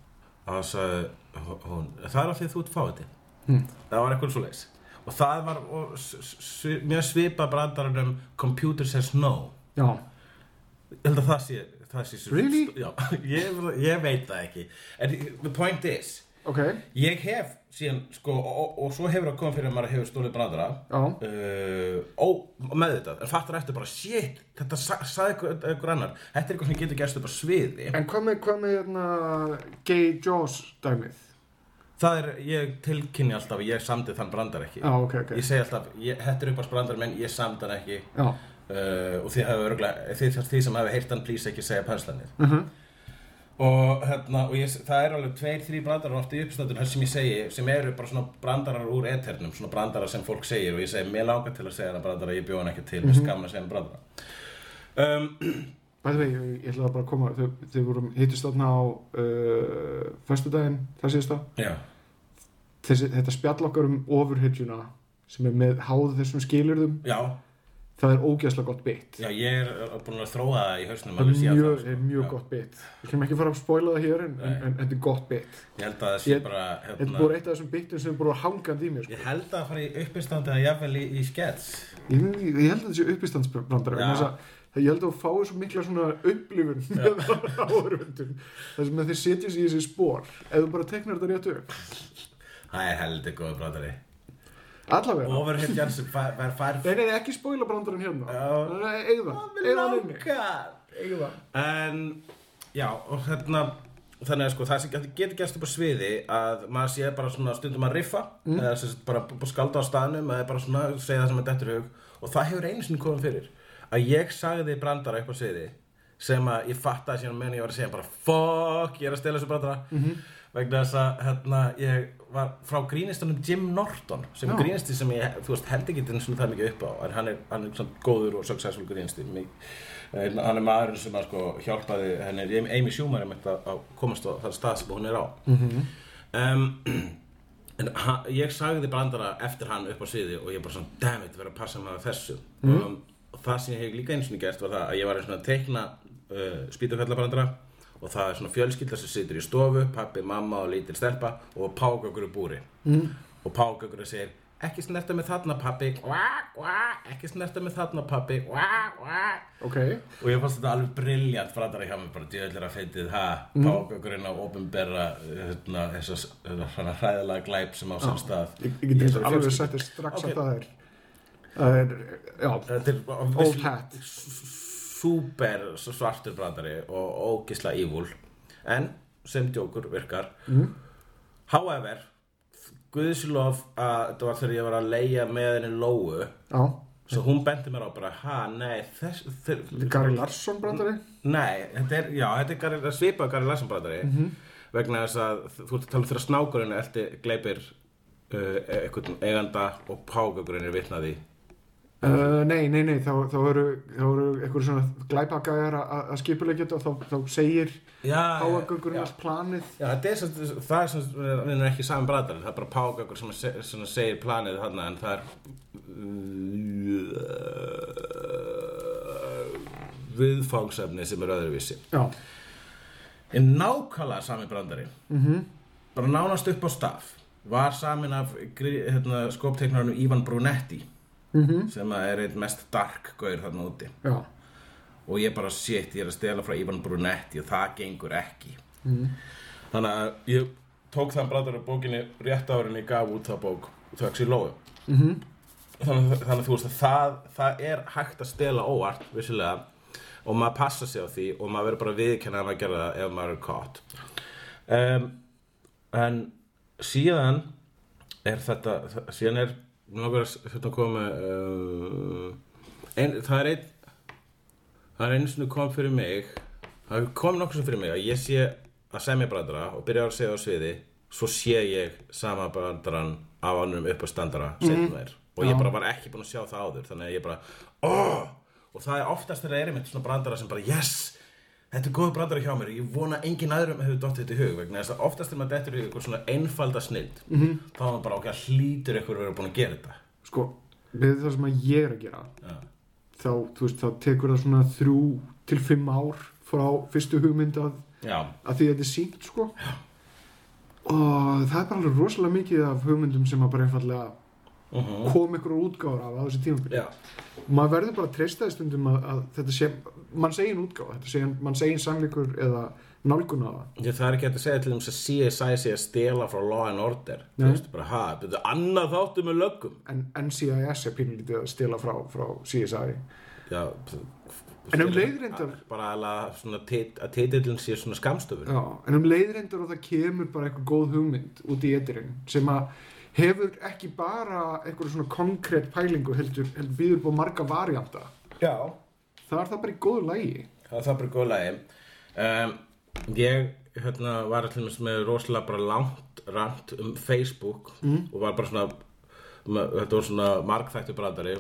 [SPEAKER 2] og það sagði hú- hún, það er af því að þú ert fáið þetta það var eitthvað svo leis og það var og, s- s- svi- mjög svipa brandaranum um computer says no
[SPEAKER 1] já,
[SPEAKER 2] ég held að það sé, það sé svo-
[SPEAKER 1] Really?
[SPEAKER 2] Já, ég, ég veit það ekki en the point is
[SPEAKER 1] ok
[SPEAKER 2] Ég hef síðan, sko, og, og, og svo hefur það komið fyrir að maður hefur stólið brandara
[SPEAKER 1] Já.
[SPEAKER 2] uh, Ó, með þetta, en fattar eftir bara, shit, þetta sa saði einhver, einhver annar Þetta er eitthvað sem getur gerst upp á sviði
[SPEAKER 1] en hvað með, hvað með hérna, gay Jaws dæmið
[SPEAKER 2] Það er, ég tilkynni alltaf, að ég samdi þann brandar ekki
[SPEAKER 1] Já, ok, Ah, ok.
[SPEAKER 2] Ég segi alltaf, ég, þetta er upp á brandar minn, ég samdi hann ekki
[SPEAKER 1] já,
[SPEAKER 2] uh, og þið, hafi örgulega, þið, þið sem hafi heyrt hann please ekki segja penslanir
[SPEAKER 1] Mhm.
[SPEAKER 2] og, hérna, og ég, það eru alveg tveir, þrý brandarar oft í uppstættur sem ég segi, sem eru bara svona brandarar úr eternum, svona brandarar sem fólk segir og ég segi, mér langar til að segja hann brandara ég bjóð hann ekki til, mér
[SPEAKER 1] Mhm.
[SPEAKER 2] skamna að segja hann brandara um,
[SPEAKER 1] Bæði vegi, ég, ég ætlaði bara að koma, þau, þau vorum hittist þarna á uh, föstudaginn, það síðust á.
[SPEAKER 2] já,
[SPEAKER 1] Þessi, þetta spjall okkar um ofurhyggjuna sem er með háð þessum skilurðum,
[SPEAKER 2] já,
[SPEAKER 1] það er ógeðslega gott bit.
[SPEAKER 2] já ég er uh, búin að þróa það í hausnum
[SPEAKER 1] Það
[SPEAKER 2] alveg
[SPEAKER 1] er
[SPEAKER 2] síðan
[SPEAKER 1] mjög,
[SPEAKER 2] þá,
[SPEAKER 1] er
[SPEAKER 2] sko.
[SPEAKER 1] mjög
[SPEAKER 2] Já.
[SPEAKER 1] gott bit. Við kemum ekki fara að spoila það hér en, en,
[SPEAKER 2] Nei.
[SPEAKER 1] en þetta er gott bit.
[SPEAKER 2] ég held að það sé
[SPEAKER 1] Ég-
[SPEAKER 2] bara
[SPEAKER 1] Þetta er
[SPEAKER 2] hérna,
[SPEAKER 1] bara eitt af þessum bitum sem er bara hangandi í mér. Sko.
[SPEAKER 2] ég held að fara í uppistandi að jafnvel í, í skets
[SPEAKER 1] Ég, ég, ég held að þetta sé uppistandsbrandara.
[SPEAKER 2] Já.
[SPEAKER 1] vegna þess að- Ég held að þú fáið svo mikla svona upplifun með áhörfundum. Það sem að þeir setjast í þessi spór ef þú bara teknar þetta rétt upp.
[SPEAKER 2] það er heldur góð brandari
[SPEAKER 1] Allavega.
[SPEAKER 2] Overheadjar sem fær, fær, fær
[SPEAKER 1] Nei, nei, nei, ekki spóila brandarinn hérna
[SPEAKER 2] Já.
[SPEAKER 1] Nei, Eigða, eigða hann inni Eigða
[SPEAKER 2] En já og hérna Þannig að sko það sem getur- getur gerst upp á sviði að maður sé bara svona stundum að riffa eða sem sagt bara b- skálda á staðnum eða bara svona segja það sem er dettur í hug og það hefur einu sinni komið fyrir að ég sagði brandara upp á sviði sem að ég fattaði síðan meðan ég var að segja bara fuck ég er að stela þessu brandara vegna þess að hérna ég var frá grínistunum Jim Norton sem er grínisti sem ég þú veist held ekki einu sinni það mikið upp á en hann er, hann er svona góður og successful grínisti mig, eh, hann er maðurinn sem að sko hjálpaði henni Amy Schumer einmitt að að komast á það stað sem hún er á -hmm. en ha, ég sagði brandara eftir hann upp á sviði og ég bara svona dammit verið að passa maður þessu um, og það sem ég hef líka einu sinni gert var það að ég var einu sinni að teikna uh, spýtufjallabrandara og það er svona fjölskylda sem situr í stofu pappi, mamma og lítil stelpa og págökur er búri mm. og págökur segir ekki snerta með þarna pappi kvá, kvá, ekki snerta með þarna pappi kvá, kvá.
[SPEAKER 1] ok,
[SPEAKER 2] og ég fannst þetta alveg briljant fratara hjá mér bara djöðlir að feitið ha
[SPEAKER 1] Mhm.
[SPEAKER 2] mm. pákagurinn á ofinbera hérna, þessa hérna, hræðalega glæp sem á sem stað
[SPEAKER 1] ég, ég get
[SPEAKER 2] Í þessari
[SPEAKER 1] alveg
[SPEAKER 2] fjölskyldu.
[SPEAKER 1] sett þér strax
[SPEAKER 2] Ok.
[SPEAKER 1] að það er það er, já,
[SPEAKER 2] Þetta er
[SPEAKER 1] old hat
[SPEAKER 2] super svartur brandari og ógisla ívúl en sem djókur virkar
[SPEAKER 1] Mhm.
[SPEAKER 2] mm. however guðslof að þetta var þegar ég var að leia með henni Lóu
[SPEAKER 1] já, Mhm.
[SPEAKER 2] svo hún benti mér á bara ha nei þess, þess,
[SPEAKER 1] Gary Larsson brandari
[SPEAKER 2] Nei, þetta er, já, þetta er Gary, svipað Gary Larson brandari vegna þess að þú ert að tala um þegar snákurinn elti gleipir uh, einhvern eiganda og págagurinn er vitnaði Mm.
[SPEAKER 1] Uh, nei, nei, nei, þá, þá eru, þá eru eitthvað svona glæpagæjar að- að að skipulegja þetta og þá, þá segir
[SPEAKER 2] Já,
[SPEAKER 1] háagöngurinn
[SPEAKER 2] já.
[SPEAKER 1] allt planið
[SPEAKER 2] Já, þetta er sem, það er sem við erum ekki saman brandari það er bara págagur sem, se- sem segir planið þarna en það er viðfangsefni sem er öðruvísi
[SPEAKER 1] Já,
[SPEAKER 2] er nákvæmlega sami brandari -hmm. bara nánast upp á staf var samin af grí- hérna, skopteiknarinu Ivan Brunetti -hmm. sem að er einn mest dark gaur þarna úti
[SPEAKER 1] já,
[SPEAKER 2] og ég bara shit, ég er að stela frá Ivan Brunetti og það gengur ekki mm. þannig að ég tók þann brandari úr bókinni rétt árin ég gaf út það bók þöks í lóðu mm -hmm. þannig, að- þannig að þú veist að það, það er hægt að stela óvart vissilega og maður passa sig á því og maður verður bara að viðkenna að maður gera það ef maður er caught um, en síðan er þetta þa- síðan er nokkar þetta komi uh, ein, það er einn það er einu sinni kom fyrir mig það kom nokkur sem fyrir mig að ég sé að semja brandara og byrja að segja á sviði svo sé ég sama brandaran af annurum upp að standara mm -hmm. og ég bara var ekki búin að sjá það áður þannig að ég bara oh! og það er oftast þegar er einmitt svona brandara sem bara yes Þetta er góð brandari hjá mér, ég vona engin aðrum hefur dottið þetta í hug vegna þess að oftast þegar maður dettur í eitthvað svona einfalda snild -hmm. þá er maður bara okkar hlýtur eitthvað að vera búin að gera þetta
[SPEAKER 1] sko, við það sem að ég er að gera
[SPEAKER 2] Já.
[SPEAKER 1] þá, þú veist, þá tekur það svona þrjú til fimm ár frá fyrstu hugmynd að,
[SPEAKER 2] Já,
[SPEAKER 1] að því þetta er sínt, sko já. og það er bara alveg rosalega mikið af hugmyndum sem að bara einfallega kom ykkur útgáður af á þessi tímabili
[SPEAKER 2] Mhm. já,
[SPEAKER 1] maður verður bara að treysta því stundum að, að þetta sé, mann segir en útgáfa þetta sé, mann segir sannleikur eða nálgun á það
[SPEAKER 2] ég, það er ekki hægt að segja til þeim að CSI sé að stela frá law and order Þú
[SPEAKER 1] Nei.
[SPEAKER 2] veist, bara, ha, þetta er annað þáttu með löggum
[SPEAKER 1] en NCIS er pínlítið að stila frá, frá CSI
[SPEAKER 2] Já,
[SPEAKER 1] En um leið reyndar-
[SPEAKER 2] Bara alveg svona tit, að titillin sé svona skamstöfun
[SPEAKER 1] Já, en um leiðrindar og það kemur bara eitthvað góð hugmynd út í etirinn sem að hefur ekki bara eitthvað svona konkrétt pælingu heldur, heldur býður búið marga varianta
[SPEAKER 2] Já,
[SPEAKER 1] það er það bara í góðu lægi
[SPEAKER 2] Það er það bara góð lagi um, Ég hérna, var allir með, með rosalega bara langt rant um Facebook og var bara svona ma- þetta var svona margþættu bræðari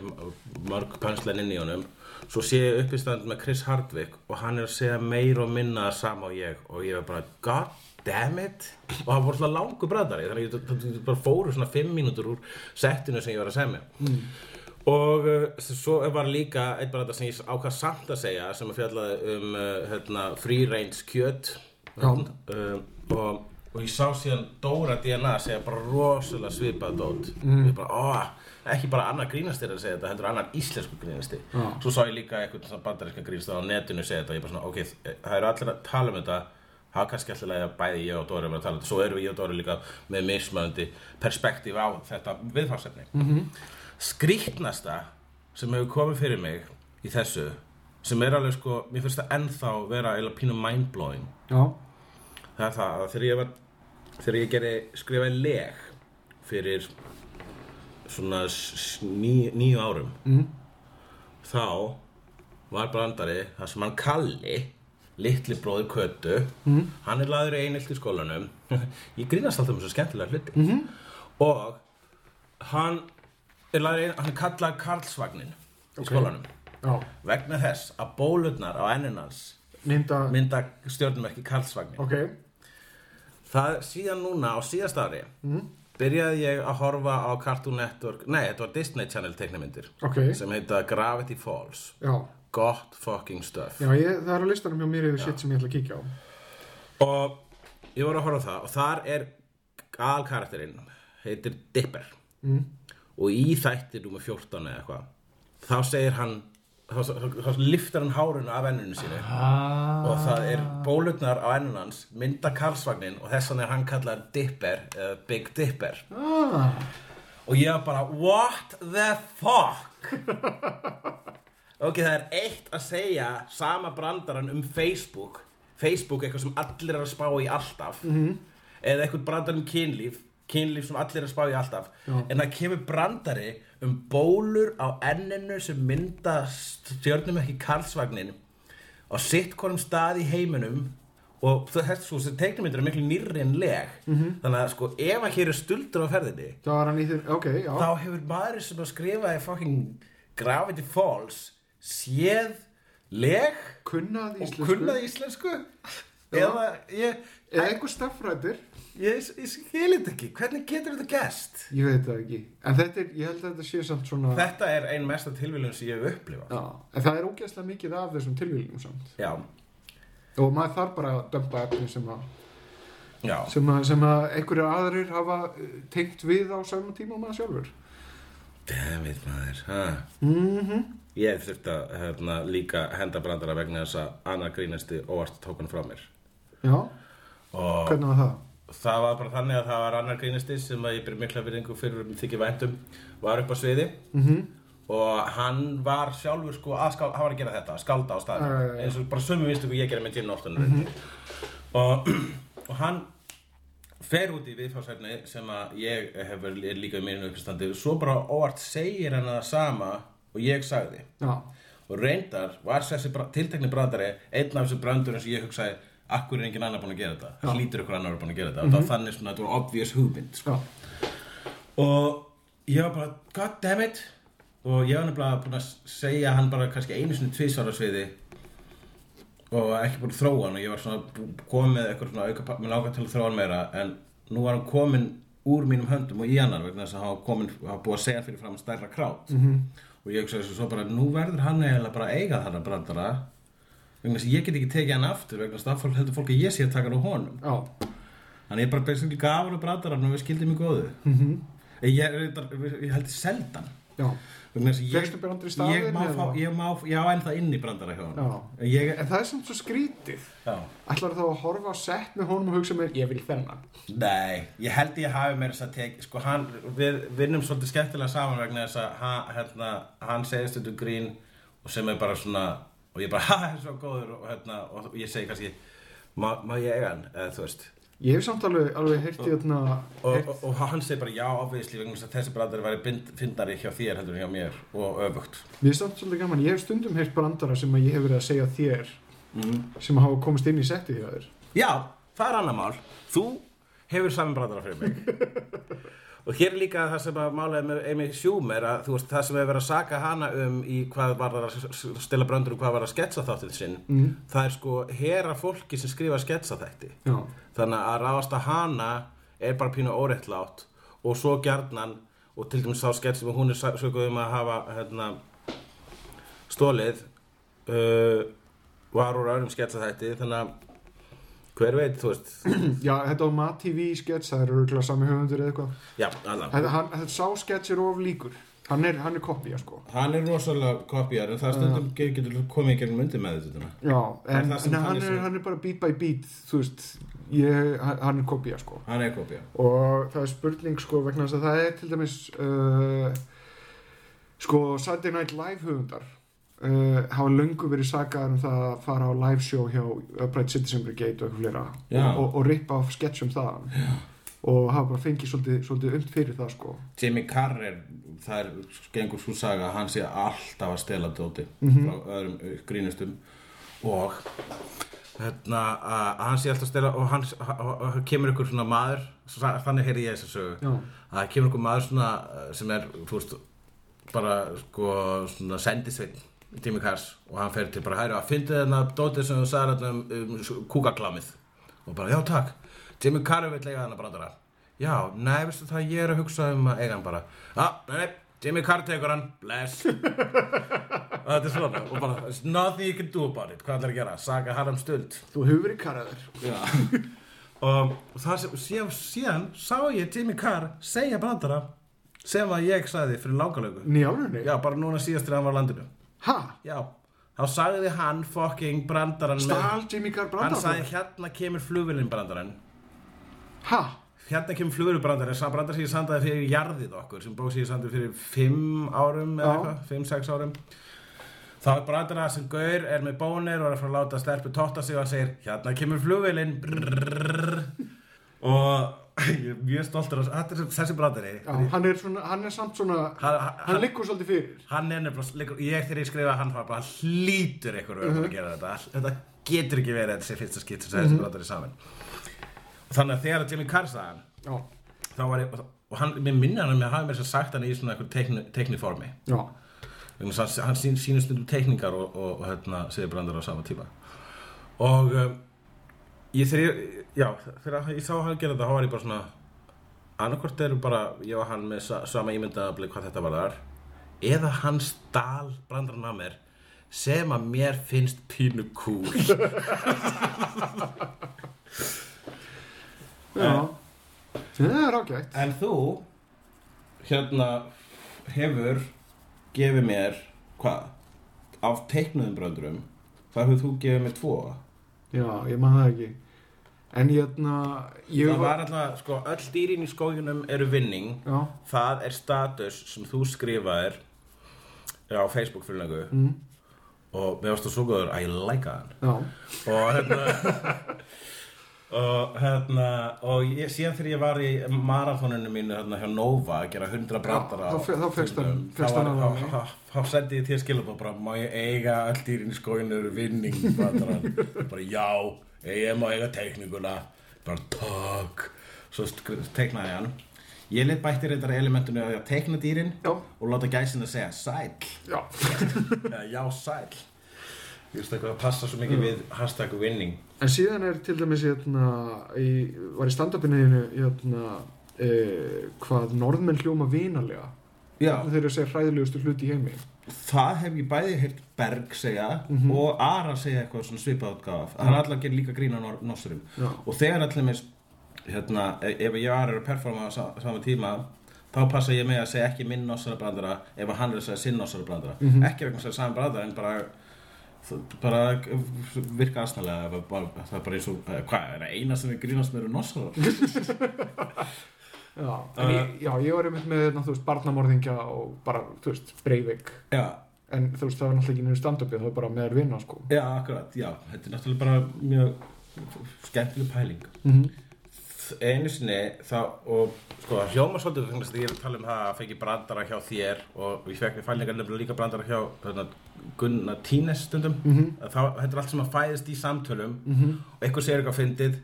[SPEAKER 2] marg penslan inn í honum svo sé ég uppistand með Chris Hardwick og hann er að segja meir og minna það sama og ég og ég var bara god damn it og það voru svona langu bræðari þannig að ég- ég bara fóru svona fimm mínútur úr settinu sem ég var að semja mm. Og uh, svo var líka einn bara þetta sem ég ákvað samt að segja sem að fjallaði um uh, hérna, free range kjöt um, og, og ég sá síðan Dóra DNA segja bara rosalega svipað dót mm. bara, ó, ekki bara annar grínastir að segja þetta heldur annar íslensku grínasti
[SPEAKER 1] Já.
[SPEAKER 2] svo sá ég líka eitthvað svona bandaríska grínasti á netinu segja þetta ég bara svona ok, það eru allir að tala um þetta það er kannski alltaf að bæði ég og Dóri erum að tala um þetta svo erum við ég og Dóri líka með mismöndi perspektíf á þetta viðfangsefni skrýtnasta sem hefur komið fyrir mig í þessu sem er alveg sko, mér finnst það ennþá vera eða pínu mindblowing
[SPEAKER 1] Já,
[SPEAKER 2] það er það að þegar ég var þegar ég gerði skrifaði leg fyrir svona s- s- ní, níu árum mm. þá var brandari það sem hann kalli litli bróður Kötu mm. hann er laður einilt í skólanum ég grínast alltaf um þessu skemmtilega hluti -hmm. og hann er laður einilt hann er kallað Karlsvagnin í skólanum
[SPEAKER 1] já,
[SPEAKER 2] vegna þess að bólurnar á enninans
[SPEAKER 1] mynda
[SPEAKER 2] mynda stjórnmerki Karlsvagnin
[SPEAKER 1] ok,
[SPEAKER 2] Það síðan núna á síðast ári byrjaði ég að horfa á Cartoon Network, nei þetta var Disney Channel teiknimyndir
[SPEAKER 1] ok,
[SPEAKER 2] sem heita Gravity Falls
[SPEAKER 1] já
[SPEAKER 2] gott fucking stuff
[SPEAKER 1] Já, ég, það er á listanum hjá mér yfir shit sem ég ætla að kíkja á
[SPEAKER 2] og ég var að horfa á það og þar er alkarakterinn heitir Dipper mm. og í þætti númer 14 eða eitthvað þá segir hann þá, þá, þá, þá liftar hann hárunu af ennunu sínu ah. og það er bólutnar á ennun hans mynda Karlsvagnin og þess vegna er hann kallar Dipper eða Big Dipper ah. og ég var bara what the fuck ok, það er eitt að segja sama brandaran um Facebook Facebook er eitthvað sem allir er að spá í alltaf -hmm. eða eitthvað brandaran um kynlíf kynlíf sem allir er að spá í alltaf en það kemur brandari um bólur á enninu sem mynda stjörnum ekki Karlsvagnin á sitt konum stað í heiminum og þess sko, þessi teiknumyndur er miklu nýrri en leg -hmm. þannig að sko, ef að hér er stuldur á ferðinni
[SPEAKER 1] þá var hann í þeim, ok, já
[SPEAKER 2] þá hefur maður sem að skrifa í fucking Gravity Falls séð leg
[SPEAKER 1] kunnað
[SPEAKER 2] og
[SPEAKER 1] íslensku
[SPEAKER 2] kunnað íslensku eða ég,
[SPEAKER 1] eða einhver stafrættir
[SPEAKER 2] ég, ég skil þetta ekki hvernig getur þetta gæst
[SPEAKER 1] ég veit það ekki en þetta er, ég held að þetta sé samt svona
[SPEAKER 2] þetta er ein mesta tilvílun sem ég hef upplifað
[SPEAKER 1] já, en það er ógeðslega mikið af þessum tilvílum samt
[SPEAKER 2] já,
[SPEAKER 1] og maður þarf bara að dömpa efni sem að
[SPEAKER 2] já,
[SPEAKER 1] sem að, sem að einhverju aðrir hafa eh, tengt við á saman tíma og maður sjálfur
[SPEAKER 2] dammit maður ha. ég þurfti að hérna, líka henda brandara vegna þess að annar grínasti óvart tók hann frá mér
[SPEAKER 1] já,
[SPEAKER 2] og
[SPEAKER 1] hvernig var það?
[SPEAKER 2] það var bara þannig að það var annar grínisti sem að ég byrði mikla virðingu fyrir um þykir væntum var upp á sviði
[SPEAKER 1] Mhm.
[SPEAKER 2] -hmm. og hann var sjálfur sko að skál, hann var að gera þetta, að skálda á staðin
[SPEAKER 1] Já, Mhm. já, já.
[SPEAKER 2] eins og bara sömu vinstu hvað ég gera með tíðin oftan mm og, og hann fer út í viðfársefni sem að ég hef verið er líka í mínu uppstandi svo bara óvart segir hann það sama og ég sagði
[SPEAKER 1] já,
[SPEAKER 2] og reyndar var þessi bra- tiltekni brandari einn af þessu brandurum sem ég hugsaði akkur er enginn annar búin að gera þetta það hlýtur ykkur annar að vera búin að gera þetta mm -hmm. þá þannig svona að þetta var obvious hugmynd sko.
[SPEAKER 1] já,
[SPEAKER 2] og ég var bara god damn it og ég var nefnilega búin að segja hann bara kannski einu sinni tvísvara sviði og ekki búin að þróa hann og ég var svona bú- kominn með eitthvað svona auka mér langar til að þróa hann meira en nú var hann kominn úr mínum höndum og í annar vegna þess að hann var komin, hann var búið að segja fyrir fram stærra krát -hmm. og ég hugsaði svo bara nú verður hann eiginlega bara að eiga þarna brandara vegna þess að ég get ekki tekið hann aftur vegna þess að það heldur fólk að ég sé að taka hann á honum
[SPEAKER 1] já,
[SPEAKER 2] Þannig ég bara basically gaf hann og brættar hann og við skildum í góðu. Mm
[SPEAKER 1] Mhm.
[SPEAKER 2] -hmm. ég, reyndar- ég held ég seldan.
[SPEAKER 1] já. Fékkstu
[SPEAKER 2] Vegstu
[SPEAKER 1] bara aldrei staðinn
[SPEAKER 2] Ég má
[SPEAKER 1] eða?
[SPEAKER 2] fá, ég má, já en það inn í brandara hjá hann.
[SPEAKER 1] Já.
[SPEAKER 2] Ég,
[SPEAKER 1] en það er samt svo skrítið
[SPEAKER 2] já.
[SPEAKER 1] ætlar þá að horfa á sett með honum og hugsa mér ég vil þennan
[SPEAKER 2] Nei, ég held ég hafi meira þess að teki, sko hann, við vinnum svolítið skemmtilega saman vegna þess að hann, hérna, hann segir stundum grín og sem er bara svona, og ég bara, ha, það er svo góður og hérna, og ég segi kannski, má, má ég eiga hann, eða þú veist.
[SPEAKER 1] ég hef samt alveg, alveg heyrti hérna
[SPEAKER 2] og, og, og hann segir bara já ofviðisli vegna þess að þessi brandari væri bind- fyndari hjá þér heldur en hjá mér og öfugt
[SPEAKER 1] Mér er samt svolítið gaman, ég hef stundum heyrt brandara sem að ég hef verið að segja þér
[SPEAKER 2] Mhm.
[SPEAKER 1] sem hafa komist inn í settið hjá þér
[SPEAKER 2] já, það er annar mál þú hefur saman brandara fyrir mig og hér er líka það sem að málaði með Amy Schumer að þú veist það sem hefur verið að saka hana um í hvað var það að s- s- stela brandur og hvað var að sketsa þáttið sinn mm. það er sko hera fólki sem skrifa sketsa þætti
[SPEAKER 1] Já,
[SPEAKER 2] þannig að ráðast að hana er bara pínu óréttlátt og svo gjarnan og til dæmis þá skett sem hún er sökuð um að hafa hérna, stólið uh, var úr öðrum sketsaþætti þannig að hver veit þú veist
[SPEAKER 1] Já þetta á MatTV skets, það eru örugglega sami höfundur eða eitthvað
[SPEAKER 2] já, allan
[SPEAKER 1] Þetta, hann, þetta sá skets er of líkur Hann er, hann er kopja sko
[SPEAKER 2] hann er rosalega kopjar en það stundum ge- getur komið í gegnum myndi með þetta
[SPEAKER 1] Já, en,
[SPEAKER 2] það sem
[SPEAKER 1] en hann,
[SPEAKER 2] þannig
[SPEAKER 1] er,
[SPEAKER 2] sé.
[SPEAKER 1] hann er bara beat by beat þú veist, ég, hann hann er kopja sko
[SPEAKER 2] hann er kopja
[SPEAKER 1] og það er spurning sko vegna þess að það er til dæmis uh, sko Saturday Night Live höfundar uh, hafa löngu verið sakaðar um það að fara á live show hjá Upright Citizen Brigade og eitthvað fleira
[SPEAKER 2] Já.
[SPEAKER 1] og, og, og rippa af sketchum þaðan Já. og hafa bara fengið svolítið, svolítið umt fyrir það sko
[SPEAKER 2] Jimmy Carr er, það er gengur svo saga að hann sé alltaf að stela dóti frá öðrum uh, grínustum og hérna að að hann sé alltaf að stela og hann og- og kemur ykkur svona maður svo- þannig heyrði ég þess að sögu
[SPEAKER 1] Já.
[SPEAKER 2] að það kemur ykkur maður svona uh, sem er þú veist bara sko svona sendisveinn Jimmy Carrs og hann fer til bara hæru að fyndi þarna hérna, dótið sem þú sagði þarna um, um kúkaklamið og bara já takk Jimmy Carr vil eiga þarna brandara já, nei, veistu það, ég er að hugsa um að eiga hann bara ah, nei, nei, Jimmy Carr tekur hann bless og þetta er svona og bara, "There's nothing you can do about it hvað ætlar að gera, saga hann um stund
[SPEAKER 1] þú hefur verið karaðar
[SPEAKER 2] og, og það sem síðan, síðan sá ég Jimmy Carr segja brandara sem að ég sagði fyrir langalögu
[SPEAKER 1] Njálunni?
[SPEAKER 2] Já, bara núna síðast þegar hann var á landinu
[SPEAKER 1] Ha?
[SPEAKER 2] Já, þá sagði hann fucking brandarann með-
[SPEAKER 1] Stal Jimmy Carr
[SPEAKER 2] Hann sagði
[SPEAKER 1] brandarann?
[SPEAKER 2] hérna kemur flugvillin brandarann
[SPEAKER 1] Ha?
[SPEAKER 2] Hérna kemur flugvillin brandarann Sá brandar sem ég sandaði fyrir jarðið okkur sem bók sem ég sandaði fyrir 5 árum eða
[SPEAKER 1] Já.
[SPEAKER 2] eitthvað, 5-6 árum Þá er brandarann sem gaur er með bónir og er að fara að láta stelpu tóta sig og hann segir hérna kemur flugvillin og ég er mjög stoltur af þetta er þessi brandari
[SPEAKER 1] Já, hann er, svona, hann er samt svona,
[SPEAKER 2] Hann-
[SPEAKER 1] hann,
[SPEAKER 2] hann-
[SPEAKER 1] liggur svolítið fyrir.
[SPEAKER 2] Hann er nefnilega, liggur- ég þegar ég skrifa hann var bara hann hlýtur eitthvað uh
[SPEAKER 1] Mhm.
[SPEAKER 2] að gera þetta Þetta getur ekki verið að þetta sé fyrsta skitt sem þessi brotari saman Og Þannig að þegar að Jimmy Carr sagði hann
[SPEAKER 1] Já,
[SPEAKER 2] þá var ég, og hann, mér minna hann að mér hafi mér sér sagt hann í svona eitthvað teikni, teikniformi
[SPEAKER 1] já,
[SPEAKER 2] Vegna þess að hann sín, sínur stundum teikningar og, og, og hérna, segir brandar á sama tíma og um, ég þegar ég, já, þegar ég sá hann gera þetta þá var ég bara svona annarkvort eru bara, ég og hann með sa, sama ímyndaðabli hvað þetta var þar eða hann stál brandarinn að mér sem að mér finnst pínu kúl
[SPEAKER 1] já. Það er ágætt.
[SPEAKER 2] En þú hérna hefur gefið mér hvað? Af teiknuðum bröndurum þá hefur þú gefið mér tvo
[SPEAKER 1] Já, ég maður það ekki. En hérna, ég
[SPEAKER 2] Það var alltaf, sko, öll dýrin í skóginum eru vinning
[SPEAKER 1] Já,
[SPEAKER 2] Það er status sem þú skrifaðir á Facebook fyrir lengu mm. og mér varst þú svo góður að ég læka hann
[SPEAKER 1] já,
[SPEAKER 2] og hérna og hérna og ég síðan þegar ég var í marathoninu mínu hérna hjá Nova að gera 100 brandara
[SPEAKER 1] Já, þá fe- þá fékkst hann-
[SPEAKER 2] þá,
[SPEAKER 1] fékkst
[SPEAKER 2] var-
[SPEAKER 1] hann
[SPEAKER 2] þá,
[SPEAKER 1] alveg.
[SPEAKER 2] þá, þá, þá sendi ég til skilabóð bara má ég eiga öll dýrin í skóinu eru vinning brandara bara já, ég má eiga teikninguna bara takk svo skr- teiknaði ég hann ég leitt bætti reyndar elementinu að ég teikna dýrin
[SPEAKER 1] Já.
[SPEAKER 2] og láta gæsina segja sæll
[SPEAKER 1] já.
[SPEAKER 2] Eða, já sæl Ég veist eitthvað að passa svo mikið við hashtag winning
[SPEAKER 1] En síðan er til dæmis, hérna, í, var í stand-upinniðinu, hérna, eh, hvað norðmenn hljóma vinalega.
[SPEAKER 2] Já,
[SPEAKER 1] Þeir eru að segja hræðilegustu hluti í heimi.
[SPEAKER 2] það hef ég bæði heyrt Berg segja og Ara segja eitthvað svona svipað átgáf Það er allar að gera líka grína nor norsurum
[SPEAKER 1] Já.
[SPEAKER 2] Og þegar allir með hérna, e- ef ég og Ara eru að performa á sa sama tíma þá passa ég með að segja ekki minn norsarabrandara ef að hann er að segja sinn norsarabrandara mm -hmm. ekki vegna að segja saman brandara en bara það- bara virka aðsnalega ef að bara- það er bara eins og eh, hvað, er það eina sem við grínast með eru norsarar
[SPEAKER 1] Já, en ég, já, ég var einmitt með, hérna, þú veist, barnamorðingja og bara, þú veist, breyveik.
[SPEAKER 2] Já,
[SPEAKER 1] En þú veist, það var náttúrulega ekki niður stand-upið, það var bara með þær vinna, sko.
[SPEAKER 2] Já, akkurat, já, þetta er náttúrulega bara mjög skemmtileg pæling Einu sinni þá, og sko, það hljóma svolítið vegna þess að ég er að tala um það að fengi brandara hjá þér og ég fekk við fælingar nefnilega líka brandara hjá þarna, Gunna Tínes stundum
[SPEAKER 1] Mhm.
[SPEAKER 2] Að þá, þetta er allt sem að fæðist í samtölum og eitthvað segir eitthvað fyndið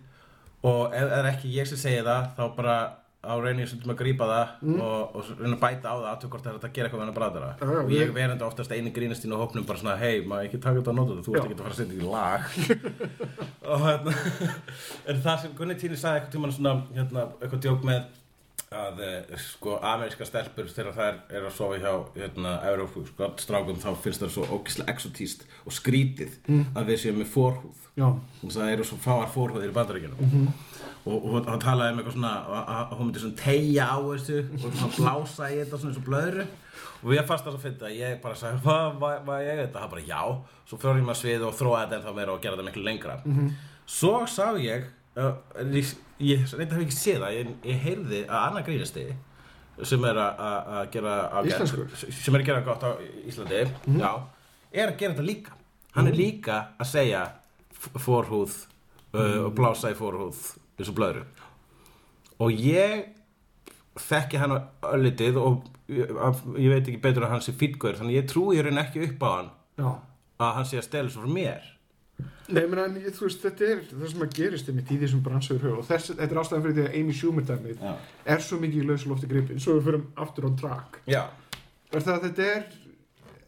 [SPEAKER 2] og ef það er ekki ég sem segi það þá bara á reyni stundum að grípa það
[SPEAKER 1] Mhm.
[SPEAKER 2] og, og svo reyna að bæta á það aðtöku hvort það er hægt að gera eitthvað með hennar brandara
[SPEAKER 1] Ah, Já, já,
[SPEAKER 2] og ég
[SPEAKER 1] ég-
[SPEAKER 2] verandi oftast einu grínast inn á hópnum bara svona, hei, maður ekki taka þetta á nótum þú
[SPEAKER 1] Já.
[SPEAKER 2] ert ekki að fara að setja í lag og hérna en það sem Gunni Tíni sagði eitthvað tímann svona hérna, eitthvað djók með að eh, sko ameríska stelpur þegar þær eru að sofa hjá hérna, Európu sko, strákum þá finnst það svo ókislega exotíst og skrítið að við séum með forhúð
[SPEAKER 1] Já,
[SPEAKER 2] hún sagði það eru svo fáar fórhóðir í bandaríkjunum mm -hmm. og, og hún- hann talaði um eitthvað svona að- að að hún myndi svona tegja á þessu og svona blása í þetta svona eins og blöðru og ég fannst það svo fyndi að ég bara sagði hvað var, var ég þetta? Það bara já svo fór ég maður svið og þróaði þetta ennþá meira og gera þetta miklu lengra svo sá ég uh, en ég, ég reynda hef ekki séð það ég, ég heyrði að annar grínisti sem er að- að að gera að-
[SPEAKER 1] Íslenskur?
[SPEAKER 2] sem er að gera gott á Íslandi já, er að gera þetta líka hann er líka að segja f- forhúð uh, og blása í forhúð eins og blöðru og ég þekki hann öllitið og ég, af- ég veit ekki betur að hann sé fýtgur þannig ég trúi í raun ekki upp á hann
[SPEAKER 1] já.
[SPEAKER 2] að hann sé að stela svo frá mér
[SPEAKER 1] Nei, menn, en, ég- þú veist, þetta er það sem að gerist einmitt í þessum bransuður höfu og þess, þetta er ástæðan fyrir því að Amy Schumer dæmið
[SPEAKER 2] Já.
[SPEAKER 1] er svo mikið í lausulofti gripin svo við förum aftur on track
[SPEAKER 2] já,
[SPEAKER 1] er það að þetta er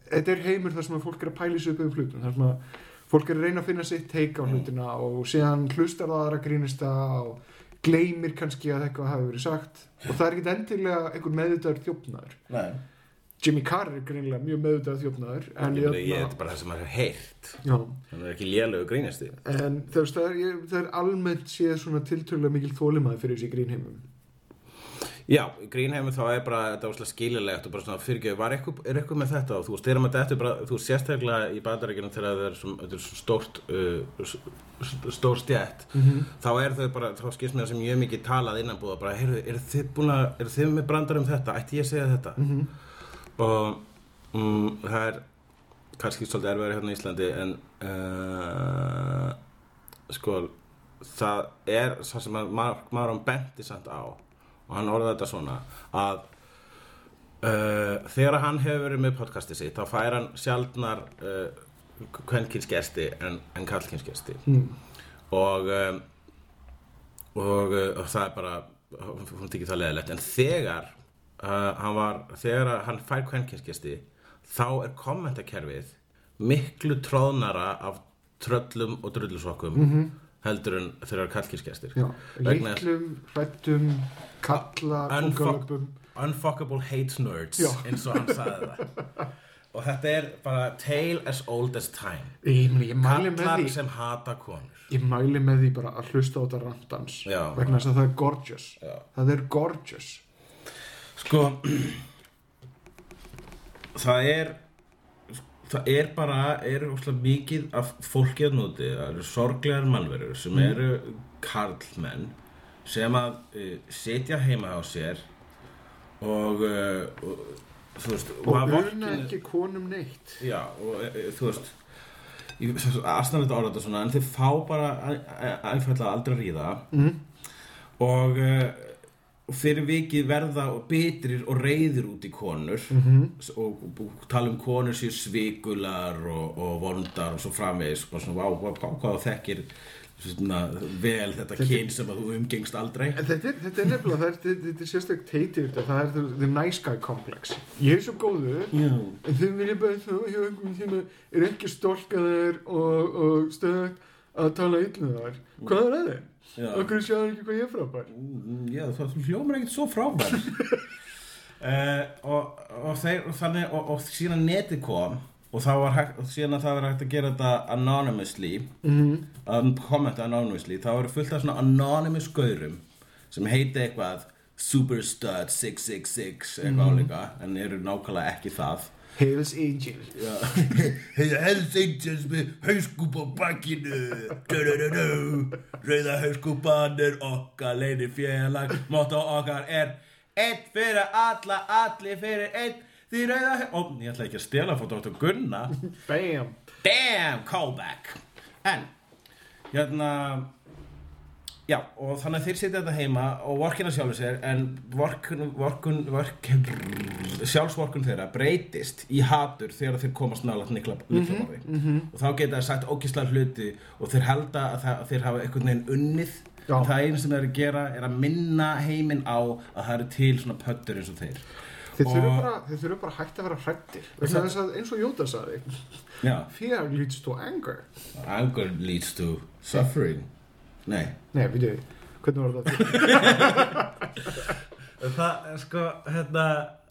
[SPEAKER 1] þetta er heimur þar sem að fólk er að pæli sig upp um hlutum þar sem að fólk er að reyna að finna sitt teika á hlutina og síðan hlustar það aðra grínista og gleymir kannski að eitthvað hafi verið sagt og það er ekkit endilega einhver meðvitaður þjófnaður
[SPEAKER 2] nei
[SPEAKER 1] Jimmy Carr er greinilega mjög meðvitaður þjófnaður en
[SPEAKER 2] ég, meina, ég,
[SPEAKER 1] hérna-
[SPEAKER 2] þetta er bara það sem maður hefur heyrt
[SPEAKER 1] Já.
[SPEAKER 2] hann er ekki lélögu grínisti
[SPEAKER 1] En þú veist, það er, ég, það er almennt séð svona tiltölulega mikil þólimaði fyrir þessi grínheimum.
[SPEAKER 2] Já, grínheimur þá er bara þetta óslega skililegt og bara svona fyrirgjöf, var eitthvað, er eitthvað með þetta og þú styrir maður þetta bara, þú sérstaklega í bandarækjunum þegar það er svona, þetta er svona stórt uh, s- stór stjætt þá er þau bara, þá skilst mér sem mjög mikið talað innanbúða, bara, heyrðu, eru þið búin að eru þið með brandar um þetta, ætti ég að segja þetta og mm, það er kannski svolítið erfiðar hérna í Íslandi en uh, sko það er það sem að Mar Maron benti samt á og hann orðaði þetta svona að uh, þegar hann hefur verið með podcastið sitt þá fær hann sjaldnar uh, kvenkinsgesti en, en kallkinsgesti mm. og um, og, uh, og það er bara hún tekið það leðilegt en þegar uh, hann var, þegar að hann fær kvenkinsgesti þá er kommentakerfið miklu tróðnara af tröllum og drullusokkum heldur en þegar kallkinsgestir
[SPEAKER 1] Já, litlum, hrættum, kalla,
[SPEAKER 2] Unfuck,
[SPEAKER 1] kongulöpum
[SPEAKER 2] unfuckable hate nerds
[SPEAKER 1] Já.
[SPEAKER 2] eins og hann sagði það og þetta er bara tale as old as time
[SPEAKER 1] Ég, meni, ég mæli með
[SPEAKER 2] kallar
[SPEAKER 1] því
[SPEAKER 2] sem hata konur
[SPEAKER 1] Ég mæli með því bara að hlusta á þetta randans
[SPEAKER 2] Já.
[SPEAKER 1] vegna þess að það er gorgeous
[SPEAKER 2] Já.
[SPEAKER 1] Það er gorgeous
[SPEAKER 2] sko það er það er bara er óslega mikið af fólki að núti það eru sorglegar mannverur
[SPEAKER 1] Mm.
[SPEAKER 2] sem eru karlmenn sem að uh, sitja heima á sér og, uh, og þú veist
[SPEAKER 1] og
[SPEAKER 2] maður
[SPEAKER 1] urna
[SPEAKER 2] vorkennir-
[SPEAKER 1] ekki konum neitt
[SPEAKER 2] Já, og e, e, þú veist ég- svo- svo astanlega orða þetta svona en þið fá bara einfallega aldrei að ríða mm. og e, og fyrir vikið verða og bitrir og reyðir út í konur -hmm. og, og, og tala um konur sér svikular og, og vondar og svo framvegis og bara svona, vá, vá, vá, hvað þú þekkir svona, vel þetta kyn sem að þú umgengst aldrei
[SPEAKER 1] En þetta er, þetta er nefnilega, það er, þetta, þetta er sérstaklega teitir þetta, það er the, the nice guy complex. Ég er svo góður,
[SPEAKER 2] Já.
[SPEAKER 1] en þau vilja bara þá hjá einhverjum tíma er ekki stólkaðir og, og stöðugt að tala yllu þar. Hvað er að þeim?
[SPEAKER 2] Já.
[SPEAKER 1] Okkur sjáður ekki hvað ég er frábær.
[SPEAKER 2] Mm, Já, það hljómar ekkert svo frábær uh, og, og, þeir, og, þannig, og, og síðan netið kom og, það var hægt, og síðan að það var hægt að gera þetta anonymously mm. að kommenta anonymously þá eru fullt af svona anonymous gaurum sem heiti eitthvað Superstud 666 eitthvað álíka en eru nákvæmlega ekki það
[SPEAKER 1] Hells Angel.
[SPEAKER 3] Hei, Hells Angels með hauskúb á bakkinu Du-du-du-du. Rauða hauskúban er okkar leini félag
[SPEAKER 2] Motto okkar er Eitt fyrir alla, allir fyrir einn Því rauða Og ég ætla ekki að stela frá Dr. Gunna
[SPEAKER 1] Bam!
[SPEAKER 2] Damn, callback En, hérna Já, og þannig að þeir sitja þetta heima og vorkina sjálfur sér en vorkun, vorkun, vorkun sjálfsvorkun þeirra breytist í hatur þegar þeir komast nálægt nikla, nikla borði og þá geta þeir sagt ógislega hluti og þeir halda að, það, að þeir hafa einhvern veginn unnið
[SPEAKER 1] Já.
[SPEAKER 2] en það einu sem þeir eru að gera er að minna heiminn á að það eru til svona pöttur eins og þeir
[SPEAKER 1] Þeir þurfa
[SPEAKER 2] Og-
[SPEAKER 1] bara, þeir þurfa bara hægt að vera hrættir. Þess að eins og Jóta sagði,
[SPEAKER 2] Já,
[SPEAKER 1] fear leads to anger.
[SPEAKER 2] anger leads to suffering Nei
[SPEAKER 1] Nei, við þau, hvernig var það?
[SPEAKER 2] Það, er sko, hérna,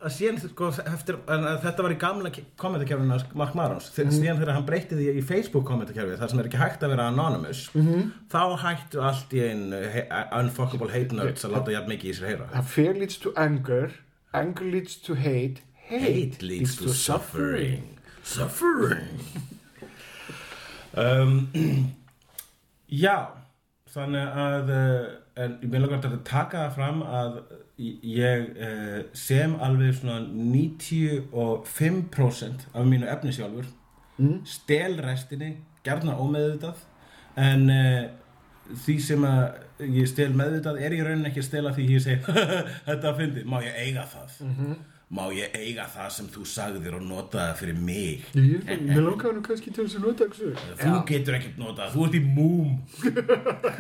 [SPEAKER 2] að síðan, sko, eftir, en að þetta var í gamla kommentarkerfinu hans Mark Marons, þegar síðan þegar hann breytti því í Facebook kommentarkerfið, þar sem er ekki hægt að vera anonymous, -hmm. þá hættu allt í einu he- unfuckable hate nerds að láta jafn mikið í sér heyra.
[SPEAKER 1] að fear leads to anger anger leads to hate hate,
[SPEAKER 2] Hate leads to suffering. Suffering. um, já, þannig að, eh, en ég vil langar til að taka það fram að ég eh, sem alveg svona 95% af mínu efni sjálfur, mm. stel restinni, gerna ómeðvitað, en eh, því sem að ég stel meðvitað er ég raunin ekki að stela því ég segi þetta að fyndi, má ég eiga það? Má ég eiga það sem þú sagðir og notaði fyrir mig?
[SPEAKER 1] Ég- Mér langar nú kannski til þess að nota þessu.
[SPEAKER 2] Þú getur ekkert notað, þú ert í múm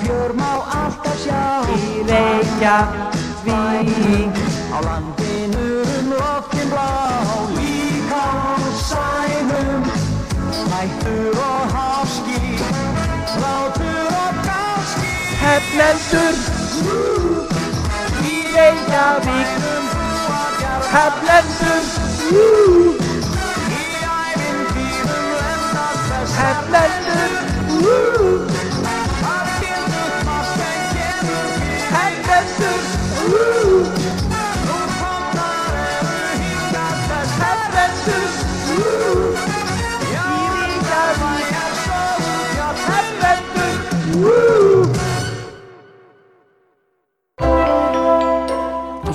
[SPEAKER 6] Björn má alltaf sjá Í Reykjavík Á landinu um loftin blá Líka á sænum Hættur og háski Hlátur og gáski Hefnendur Í Reykjavík Hefnendur Í ævintýrum lendar þess Hefnendur Hefnendur
[SPEAKER 7] og